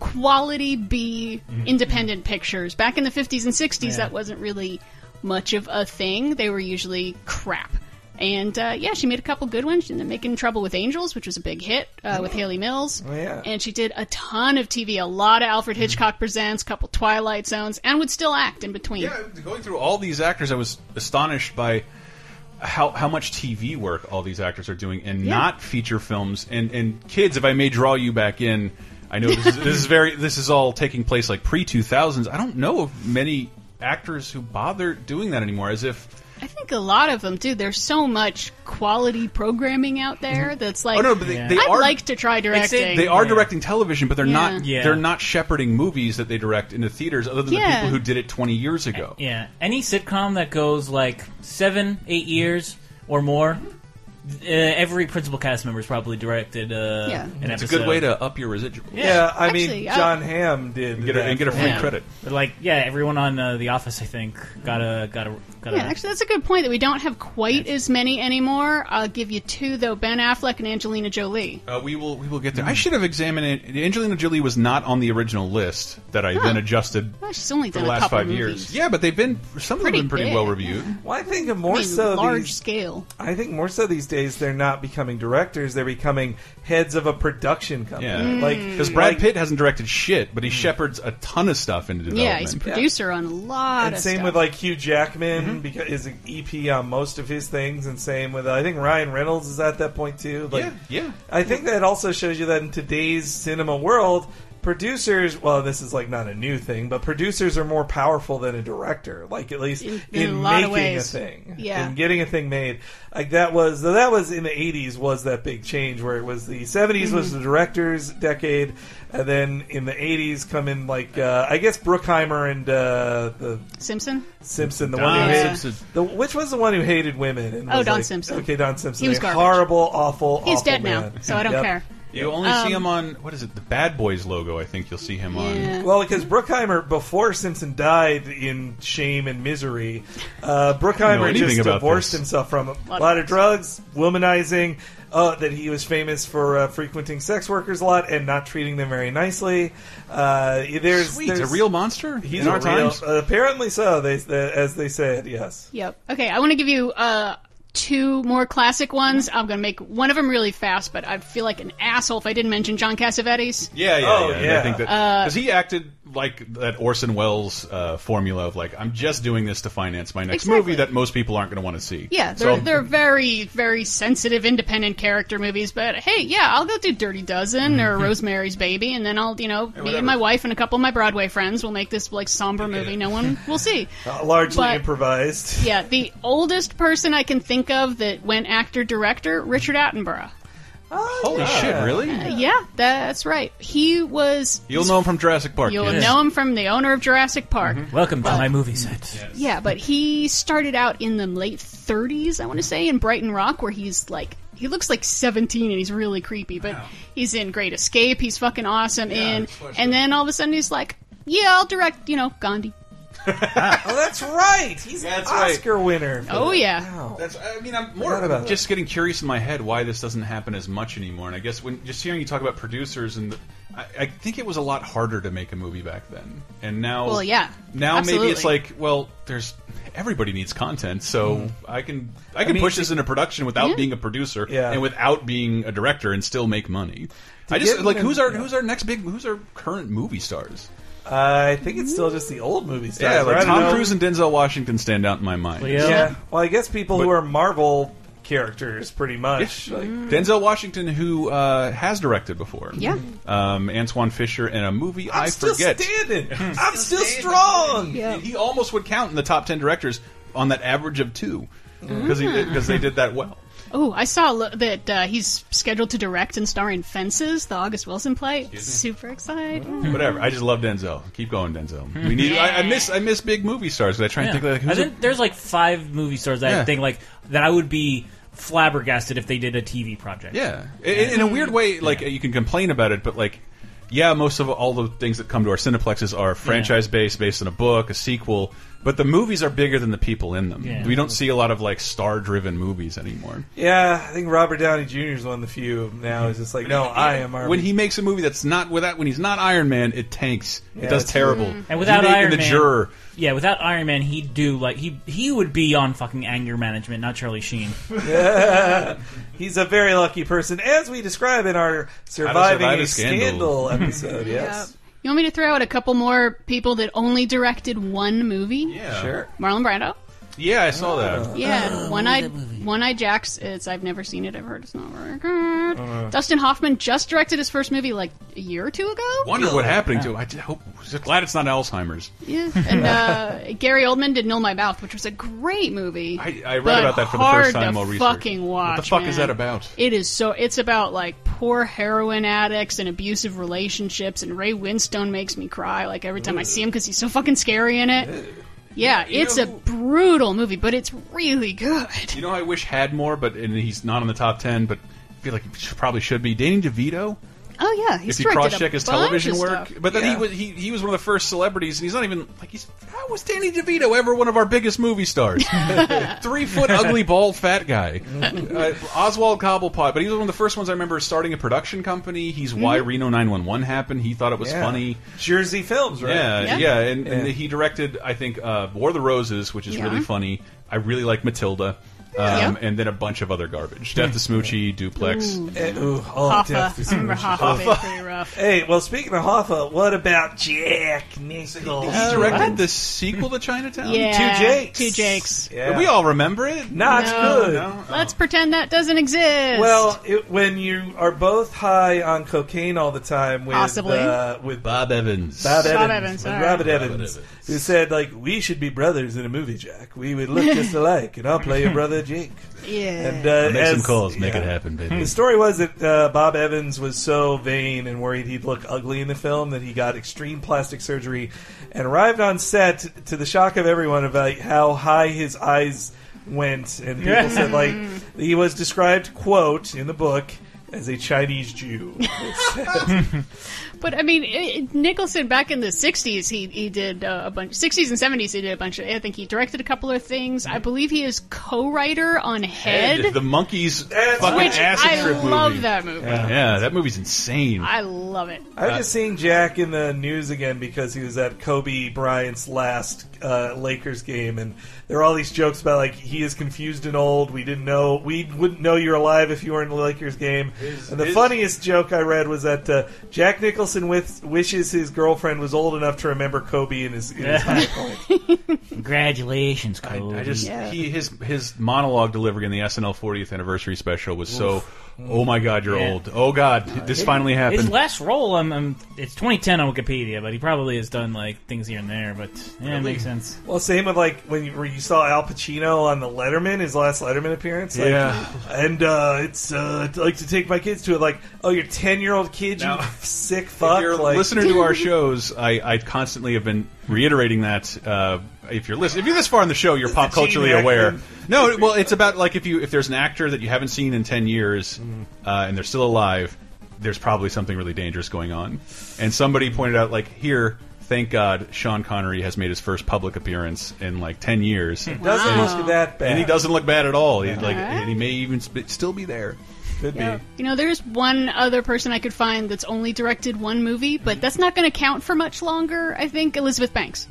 Speaker 3: quality B
Speaker 1: Mm-hmm.
Speaker 3: independent pictures. Back in the 50s and 60s,
Speaker 9: Yeah.
Speaker 3: that wasn't really much of a thing. They were usually crap. And uh, yeah, she made a couple good ones. She ended up making Trouble with Angels, which was a big hit uh,
Speaker 1: Mm-hmm.
Speaker 3: with Haley Mills.
Speaker 9: Oh, yeah.
Speaker 3: And she did a ton of TV, a lot of
Speaker 1: Mm-hmm.
Speaker 3: Alfred Hitchcock Presents, couple Twilight Zones, and would still act in between.
Speaker 1: going through all these actors, I was astonished by how how much TV work all these actors are doing, and
Speaker 3: Yeah.
Speaker 1: not feature films. And and kids, if I may draw you back in, I know this is, this is very this is all taking place like pre two thousands. I don't know of many actors who bother doing that anymore. As if
Speaker 3: I think a lot of them do. There's so much quality programming out there that's like,
Speaker 1: Oh, no, but they- they
Speaker 3: I'd
Speaker 1: are-
Speaker 3: like to try directing.
Speaker 1: they are directing television, but they're
Speaker 3: Yeah.
Speaker 1: not
Speaker 4: Yeah.
Speaker 1: they're not shepherding movies that they direct into theaters, other than the
Speaker 3: Yeah.
Speaker 1: people who did it twenty years ago.
Speaker 4: Yeah, any sitcom that goes like seven, eight years or more, uh, every principal cast member has probably directed uh,
Speaker 3: Yeah.
Speaker 4: an
Speaker 1: it's
Speaker 4: episode.
Speaker 1: a good way to up your residuals.
Speaker 4: Yeah.
Speaker 2: yeah, I
Speaker 3: Actually,
Speaker 2: mean,
Speaker 3: I-
Speaker 2: John Hamm did
Speaker 1: Get a-
Speaker 2: that
Speaker 1: and get a
Speaker 2: for-
Speaker 1: free credit.
Speaker 4: But like, yeah, everyone on uh, The Office, I think, got a got a got
Speaker 3: Yeah,
Speaker 4: a.
Speaker 3: actually, that's a good point that we don't have quite as many anymore. I'll give you two though: Ben Affleck and Angelina Jolie.
Speaker 1: Uh, we will we will get there.
Speaker 2: Hmm.
Speaker 1: I should have examined it. Angelina Jolie was not on the original list that I then adjusted
Speaker 3: Well, she's only
Speaker 1: for
Speaker 3: done
Speaker 1: the
Speaker 3: a
Speaker 1: last
Speaker 3: couple
Speaker 1: five
Speaker 3: movies.
Speaker 1: years. Yeah, but they've been some of them have
Speaker 3: Pretty
Speaker 1: been pretty
Speaker 3: big,
Speaker 1: well reviewed.
Speaker 2: Well, I think
Speaker 3: I
Speaker 2: more
Speaker 3: mean,
Speaker 2: so
Speaker 3: large
Speaker 2: these-
Speaker 3: scale.
Speaker 2: I think more so these days they're not becoming directors; they're becoming heads of a production company.
Speaker 1: Yeah,
Speaker 2: Like
Speaker 3: Mm.
Speaker 1: because Brad Pitt hasn't directed shit, but he shepherds a ton of stuff into development.
Speaker 3: Hmm. Yeah, he's a producer on a lot
Speaker 2: and
Speaker 3: of
Speaker 2: same
Speaker 3: stuff.
Speaker 2: with like Hugh Jackman because is an EP on most of his things, and same with uh, I think Ryan Reynolds is at that point too. Like,
Speaker 1: yeah, yeah.
Speaker 2: I think that also shows you that in today's cinema world, producers well, this is like not a new thing, but producers are more powerful than a director. Like at least in,
Speaker 3: in a lot of
Speaker 2: making a
Speaker 3: ways.
Speaker 2: thing,
Speaker 3: Yeah.
Speaker 2: in getting a thing made. Like that was that was in the '80s was that big change where it was the '70s was
Speaker 15: Mhm.
Speaker 3: Mm-hmm.
Speaker 2: the directors decade, and then in the '80s come in like uh, I guess Bruckheimer and uh, the
Speaker 3: Simpson.
Speaker 2: Simpson, the
Speaker 3: Don
Speaker 2: one who hated,
Speaker 3: Simpson.
Speaker 2: The, which was the one who hated women? And
Speaker 3: Oh,
Speaker 2: was
Speaker 3: Don
Speaker 2: like-
Speaker 3: Simpson.
Speaker 2: Okay, Don Simpson.
Speaker 3: He was
Speaker 2: A
Speaker 3: garbage.
Speaker 2: horrible, awful.
Speaker 3: He's
Speaker 2: awful
Speaker 3: dead
Speaker 2: man.
Speaker 3: now, so I don't
Speaker 2: Yep.
Speaker 3: care.
Speaker 1: You only
Speaker 3: Um,
Speaker 1: see him on what is it? The Bad Boys logo. I think you'll see him on.
Speaker 2: Well, because Bruckheimer, before Simpson died in shame and misery, uh,
Speaker 1: know
Speaker 2: Bruckheimer
Speaker 1: anything
Speaker 2: just
Speaker 1: about
Speaker 2: divorced
Speaker 1: this.
Speaker 2: himself from a
Speaker 1: Lot
Speaker 2: lot,
Speaker 1: of
Speaker 2: of drugs, womanizing. Uh, that he was famous for uh, frequenting sex workers a lot and not treating them very nicely. Uh, there's,
Speaker 1: Sweet,
Speaker 2: there's
Speaker 1: a real monster.
Speaker 2: He's
Speaker 1: in
Speaker 2: a
Speaker 1: our
Speaker 2: real, uh,
Speaker 1: times.
Speaker 2: apparently so. They, they, as they said, yes.
Speaker 3: Yep. Okay, I want to give you uh, two more classic ones. I'm going to make one of them really fast, but I feel like an asshole if I didn't mention John Cassavetes.
Speaker 1: Yeah, yeah,
Speaker 2: Oh,
Speaker 1: yeah.
Speaker 2: yeah.
Speaker 1: I think that
Speaker 3: Uh,
Speaker 1: because he acted like that Orson Welles uh, formula of like I'm just doing this to finance my next
Speaker 3: Exactly.
Speaker 1: movie that most people aren't going to want to see.
Speaker 3: Yeah, they're,
Speaker 1: So-
Speaker 3: they're very, very sensitive, independent character movies, but hey, yeah, I'll go do Dirty Dozen or Rosemary's Baby, and then I'll, you know, me
Speaker 2: whatever.
Speaker 3: and my wife and a couple of my Broadway friends will make this, like, somber movie no one will see.
Speaker 2: Uh, largely
Speaker 3: But-
Speaker 2: improvised.
Speaker 3: Yeah, the oldest person I can think of that went actor director, Richard Attenborough.
Speaker 1: Holy shit, really?
Speaker 3: Uh, yeah, that's right. He was.
Speaker 1: You'll know him from Jurassic Park.
Speaker 3: You'll
Speaker 1: kids.
Speaker 3: know him from the owner of Jurassic Park.
Speaker 4: Welcome to my movie set.
Speaker 3: Yeah, but he started out in the late 30s, I want to say, in Brighton Rock, where he's like, he looks like 17 and he's really creepy, but he's in Great Escape. He's fucking awesome in. And then all of a sudden he's like, yeah, I'll direct, you know, Gandhi.
Speaker 2: oh, that's right. He's
Speaker 1: That's
Speaker 2: an
Speaker 1: right.
Speaker 2: Oscar winner. for
Speaker 3: Oh,
Speaker 2: that.
Speaker 3: yeah.
Speaker 1: That's. I mean, I'm
Speaker 2: Forgot about
Speaker 1: just getting curious in my head why this doesn't happen as much anymore. And I guess when just hearing you talk about producers and the, I, I think it was a lot harder to make a movie back then. And now,
Speaker 3: Well, yeah.
Speaker 1: now maybe it's
Speaker 3: Absolutely.
Speaker 1: like, well, there's everybody needs content, so I can
Speaker 2: Hmm.
Speaker 1: I
Speaker 2: I
Speaker 1: can
Speaker 2: mean,
Speaker 1: push
Speaker 2: to-
Speaker 1: this into production without
Speaker 2: Yeah.
Speaker 1: being a producer
Speaker 2: Yeah.
Speaker 1: and without being a director and still make money.
Speaker 2: To
Speaker 1: I just
Speaker 2: get
Speaker 1: like
Speaker 2: them-
Speaker 1: who's our who's our next big who's our current movie stars?
Speaker 2: I think it's still just the old movie stars.
Speaker 1: yeah,
Speaker 2: right?
Speaker 1: like
Speaker 2: I don't
Speaker 1: Tom
Speaker 2: know.
Speaker 1: Cruise and Denzel Washington stand out in my mind.
Speaker 2: Yeah. Well, I guess people who
Speaker 1: But-
Speaker 2: are Marvel characters, pretty much. Like,
Speaker 1: Denzel Washington, who uh, has directed before.
Speaker 2: Yeah.
Speaker 1: Um, Antoine Fisher in a movie
Speaker 2: I'm
Speaker 1: I
Speaker 2: still
Speaker 1: forget.
Speaker 2: standing. I'm still strong.
Speaker 1: And He almost would count in the top 10 directors on that average of two because
Speaker 3: Mm.
Speaker 1: they did that well.
Speaker 3: Oh, I saw lo- that uh, he's scheduled to direct and star in Fences, the August Wilson play. Super excited.
Speaker 1: Whatever. I just love Denzel. Keep going, Denzel. We need. I, I miss. I miss big movie stars. 'cause I try and think like
Speaker 4: I
Speaker 1: who's. a-
Speaker 4: think there's like five movie stars that
Speaker 1: Yeah.
Speaker 4: I think like that I would be flabbergasted if they did a TV project.
Speaker 1: yeah. In, in a weird way, like you can complain about it, but like. Yeah, most of all the things that come to our cineplexes are franchise based, based on a book, a sequel. But the movies are bigger than the people in them.
Speaker 2: Yeah.
Speaker 1: We don't see a lot of like star driven movies anymore.
Speaker 2: Yeah, I think Robert Downey Jr. is one of the few now. Is just like, no, I am. Our
Speaker 1: When he makes a movie that's not without when he's not Iron Man, it tanks.
Speaker 2: Yeah,
Speaker 1: it does
Speaker 2: that's
Speaker 1: terrible.
Speaker 2: true.
Speaker 4: Mm-hmm. And without
Speaker 1: He made-
Speaker 4: Iron
Speaker 1: the
Speaker 4: Man,
Speaker 1: Juror,
Speaker 4: yeah, without Iron Man, he'd do like he he would be on fucking anger management, not Charlie Sheen.
Speaker 2: Yeah. He's a very lucky person, as we describe in our surviving
Speaker 4: Survive
Speaker 2: a
Speaker 4: a
Speaker 2: scandal,
Speaker 4: Scandal.
Speaker 2: episode. Yes,
Speaker 3: You want me to throw out a couple more people that only directed one movie?
Speaker 1: Yeah. Sure.
Speaker 3: Marlon Brando.
Speaker 1: yeah, I saw
Speaker 4: Oh.
Speaker 1: that.
Speaker 3: Yeah, One Eyed One Eyed Jacks. It's I've never seen it. I've heard it's not very good.
Speaker 1: Uh.
Speaker 3: Dustin Hoffman just directed his first movie like a year or two ago.
Speaker 1: Wonder what happening to. him. I just hope. Just glad it's not Alzheimer's.
Speaker 3: Yeah, and uh, Gary Oldman did Null My Mouth, which was a great movie. I,
Speaker 1: I read about that for the first time while researching.
Speaker 3: fucking watch.
Speaker 1: What the fuck
Speaker 3: man.
Speaker 1: is that about?
Speaker 3: It is so. It's about like poor heroin addicts and abusive relationships, and Ray Winstone makes me cry like every time I see him because he's so fucking scary in it. Yeah,
Speaker 1: You
Speaker 3: it's
Speaker 1: know
Speaker 3: a brutal movie, but it's really good.
Speaker 1: You know, I wish had more, but and he's not in the top ten. But I feel like he sh- probably should be. Danny DeVito.
Speaker 3: Oh yeah, he's
Speaker 1: if you
Speaker 3: directed a
Speaker 1: cross-check his
Speaker 3: bunch of
Speaker 1: television work,
Speaker 3: stuff.
Speaker 1: but then
Speaker 3: Yeah.
Speaker 1: he was he, he was one of the first celebrities, and he's not even like he's how was Danny DeVito ever one of our biggest movie stars? Three foot ugly bald fat guy, uh, Oswald Cobblepot. But he was one of the first ones I remember starting a production company. He's why
Speaker 3: Mm-hmm.
Speaker 2: Mhm.
Speaker 1: Reno 911 happened. He thought it was
Speaker 2: Yeah.
Speaker 1: funny.
Speaker 2: Jersey Films, right?
Speaker 1: Yeah, yeah, And, and
Speaker 2: Yeah.
Speaker 1: he directed, I think, uh, War of the Roses, which is
Speaker 2: Yeah.
Speaker 1: really funny. I really like Matilda, um,
Speaker 2: Yeah.
Speaker 1: and then a bunch of other garbage: Death to Smoochie, Duplex.
Speaker 2: Ooh. Eh, ooh, all
Speaker 3: Hoffa.
Speaker 2: death is
Speaker 3: I remember
Speaker 2: much-
Speaker 3: Hoffa being pretty rough.
Speaker 2: Hey, well, speaking of Hoffa, what about Jack Nicholson?
Speaker 1: He directed the sequel to Chinatown.
Speaker 3: Yeah,
Speaker 2: Two Jakes.
Speaker 3: Two Jakes.
Speaker 1: We all remember it.
Speaker 2: Not
Speaker 3: No.
Speaker 2: good.
Speaker 3: Let's pretend that doesn't exist.
Speaker 2: Well, it, when you are both high on cocaine all the time, with
Speaker 3: Possibly.
Speaker 2: uh, with
Speaker 1: Bob Evans,
Speaker 2: Bob Evans,
Speaker 3: Bob Evans,
Speaker 2: with
Speaker 3: all
Speaker 2: Robert
Speaker 3: right.
Speaker 2: Evans, who said like we should be brothers in a movie, Jack. We would look just alike, and I'll play your brother Jake.
Speaker 3: yeah.
Speaker 2: And uh,
Speaker 1: Make some
Speaker 2: as-
Speaker 1: calls, make
Speaker 2: yeah.
Speaker 1: it happen, baby.
Speaker 2: The story was that uh, Bob Evans was so vain and worried he'd look ugly in the film that he got extreme plastic surgery and arrived on set to the shock of everyone about how high his eyes went. And people said, like, he was described, quote, in the book, as a Chinese Jew.
Speaker 3: But I mean, it, Nicholson back in the '60s, he he did uh, a bunch. '60s and '70s, he did a bunch of. I think he directed a couple of things. I believe he is co-writer on Head,
Speaker 1: the monkeys fucking
Speaker 3: which
Speaker 1: acid
Speaker 3: I
Speaker 1: trip
Speaker 3: love
Speaker 1: movie.
Speaker 3: that movie.
Speaker 1: Yeah. that movie's insane.
Speaker 3: I love it.
Speaker 2: I was just seeing Jack in the news again because he was at Kobe Bryant's last uh, Lakers game, and there were all these jokes about like he is confused and old. We didn't know we wouldn't know you're alive if you were in the Lakers game. And the funniest joke I read was that uh, Jack Nicholson with, wishes his girlfriend was old enough to remember Kobe in his, in his high point.
Speaker 4: Congratulations, Cody.
Speaker 1: I just he his his monologue delivery in the SNL 40th anniversary special was so. Oh my God, you're
Speaker 4: Yeah.
Speaker 1: old. Oh God, this finally happened.
Speaker 4: His last role, I'm, I'm, it's 2010 on Wikipedia, but he probably has done like things here and there. But yeah, it
Speaker 2: Really?
Speaker 4: makes sense.
Speaker 2: Well, same with like when you, where you saw Al Pacino on the Letterman, his last Letterman appearance. Like,
Speaker 1: Yeah.
Speaker 2: and uh, it's uh, I'd like to take my kids to it. Like, oh, your ten year old kid, you sick fuck. like,
Speaker 1: listener to our shows, I, I constantly have been reiterating that. Uh, if you're listening, if you're this far in the show, you're pop
Speaker 2: the gene
Speaker 1: culturally
Speaker 2: acting.
Speaker 1: aware. No, well, it's about like if you if there's an actor that you haven't seen in ten years
Speaker 3: Mm-hmm.
Speaker 1: uh, and they're still alive, there's probably something really dangerous going on. And somebody pointed out like here. Thank God, Sean Connery has made his first public appearance in like ten years.
Speaker 2: It doesn't
Speaker 1: And he's-
Speaker 2: look that bad.
Speaker 1: and he doesn't look bad at all. He, like,
Speaker 3: Alright.
Speaker 1: and he may even sp still be there.
Speaker 2: Could
Speaker 3: Uh-huh. Yeah. You know, there's one other person I could find that's only directed one movie,
Speaker 1: Mm-hmm.
Speaker 3: but that's not going to count for much longer. I think Elizabeth Banks.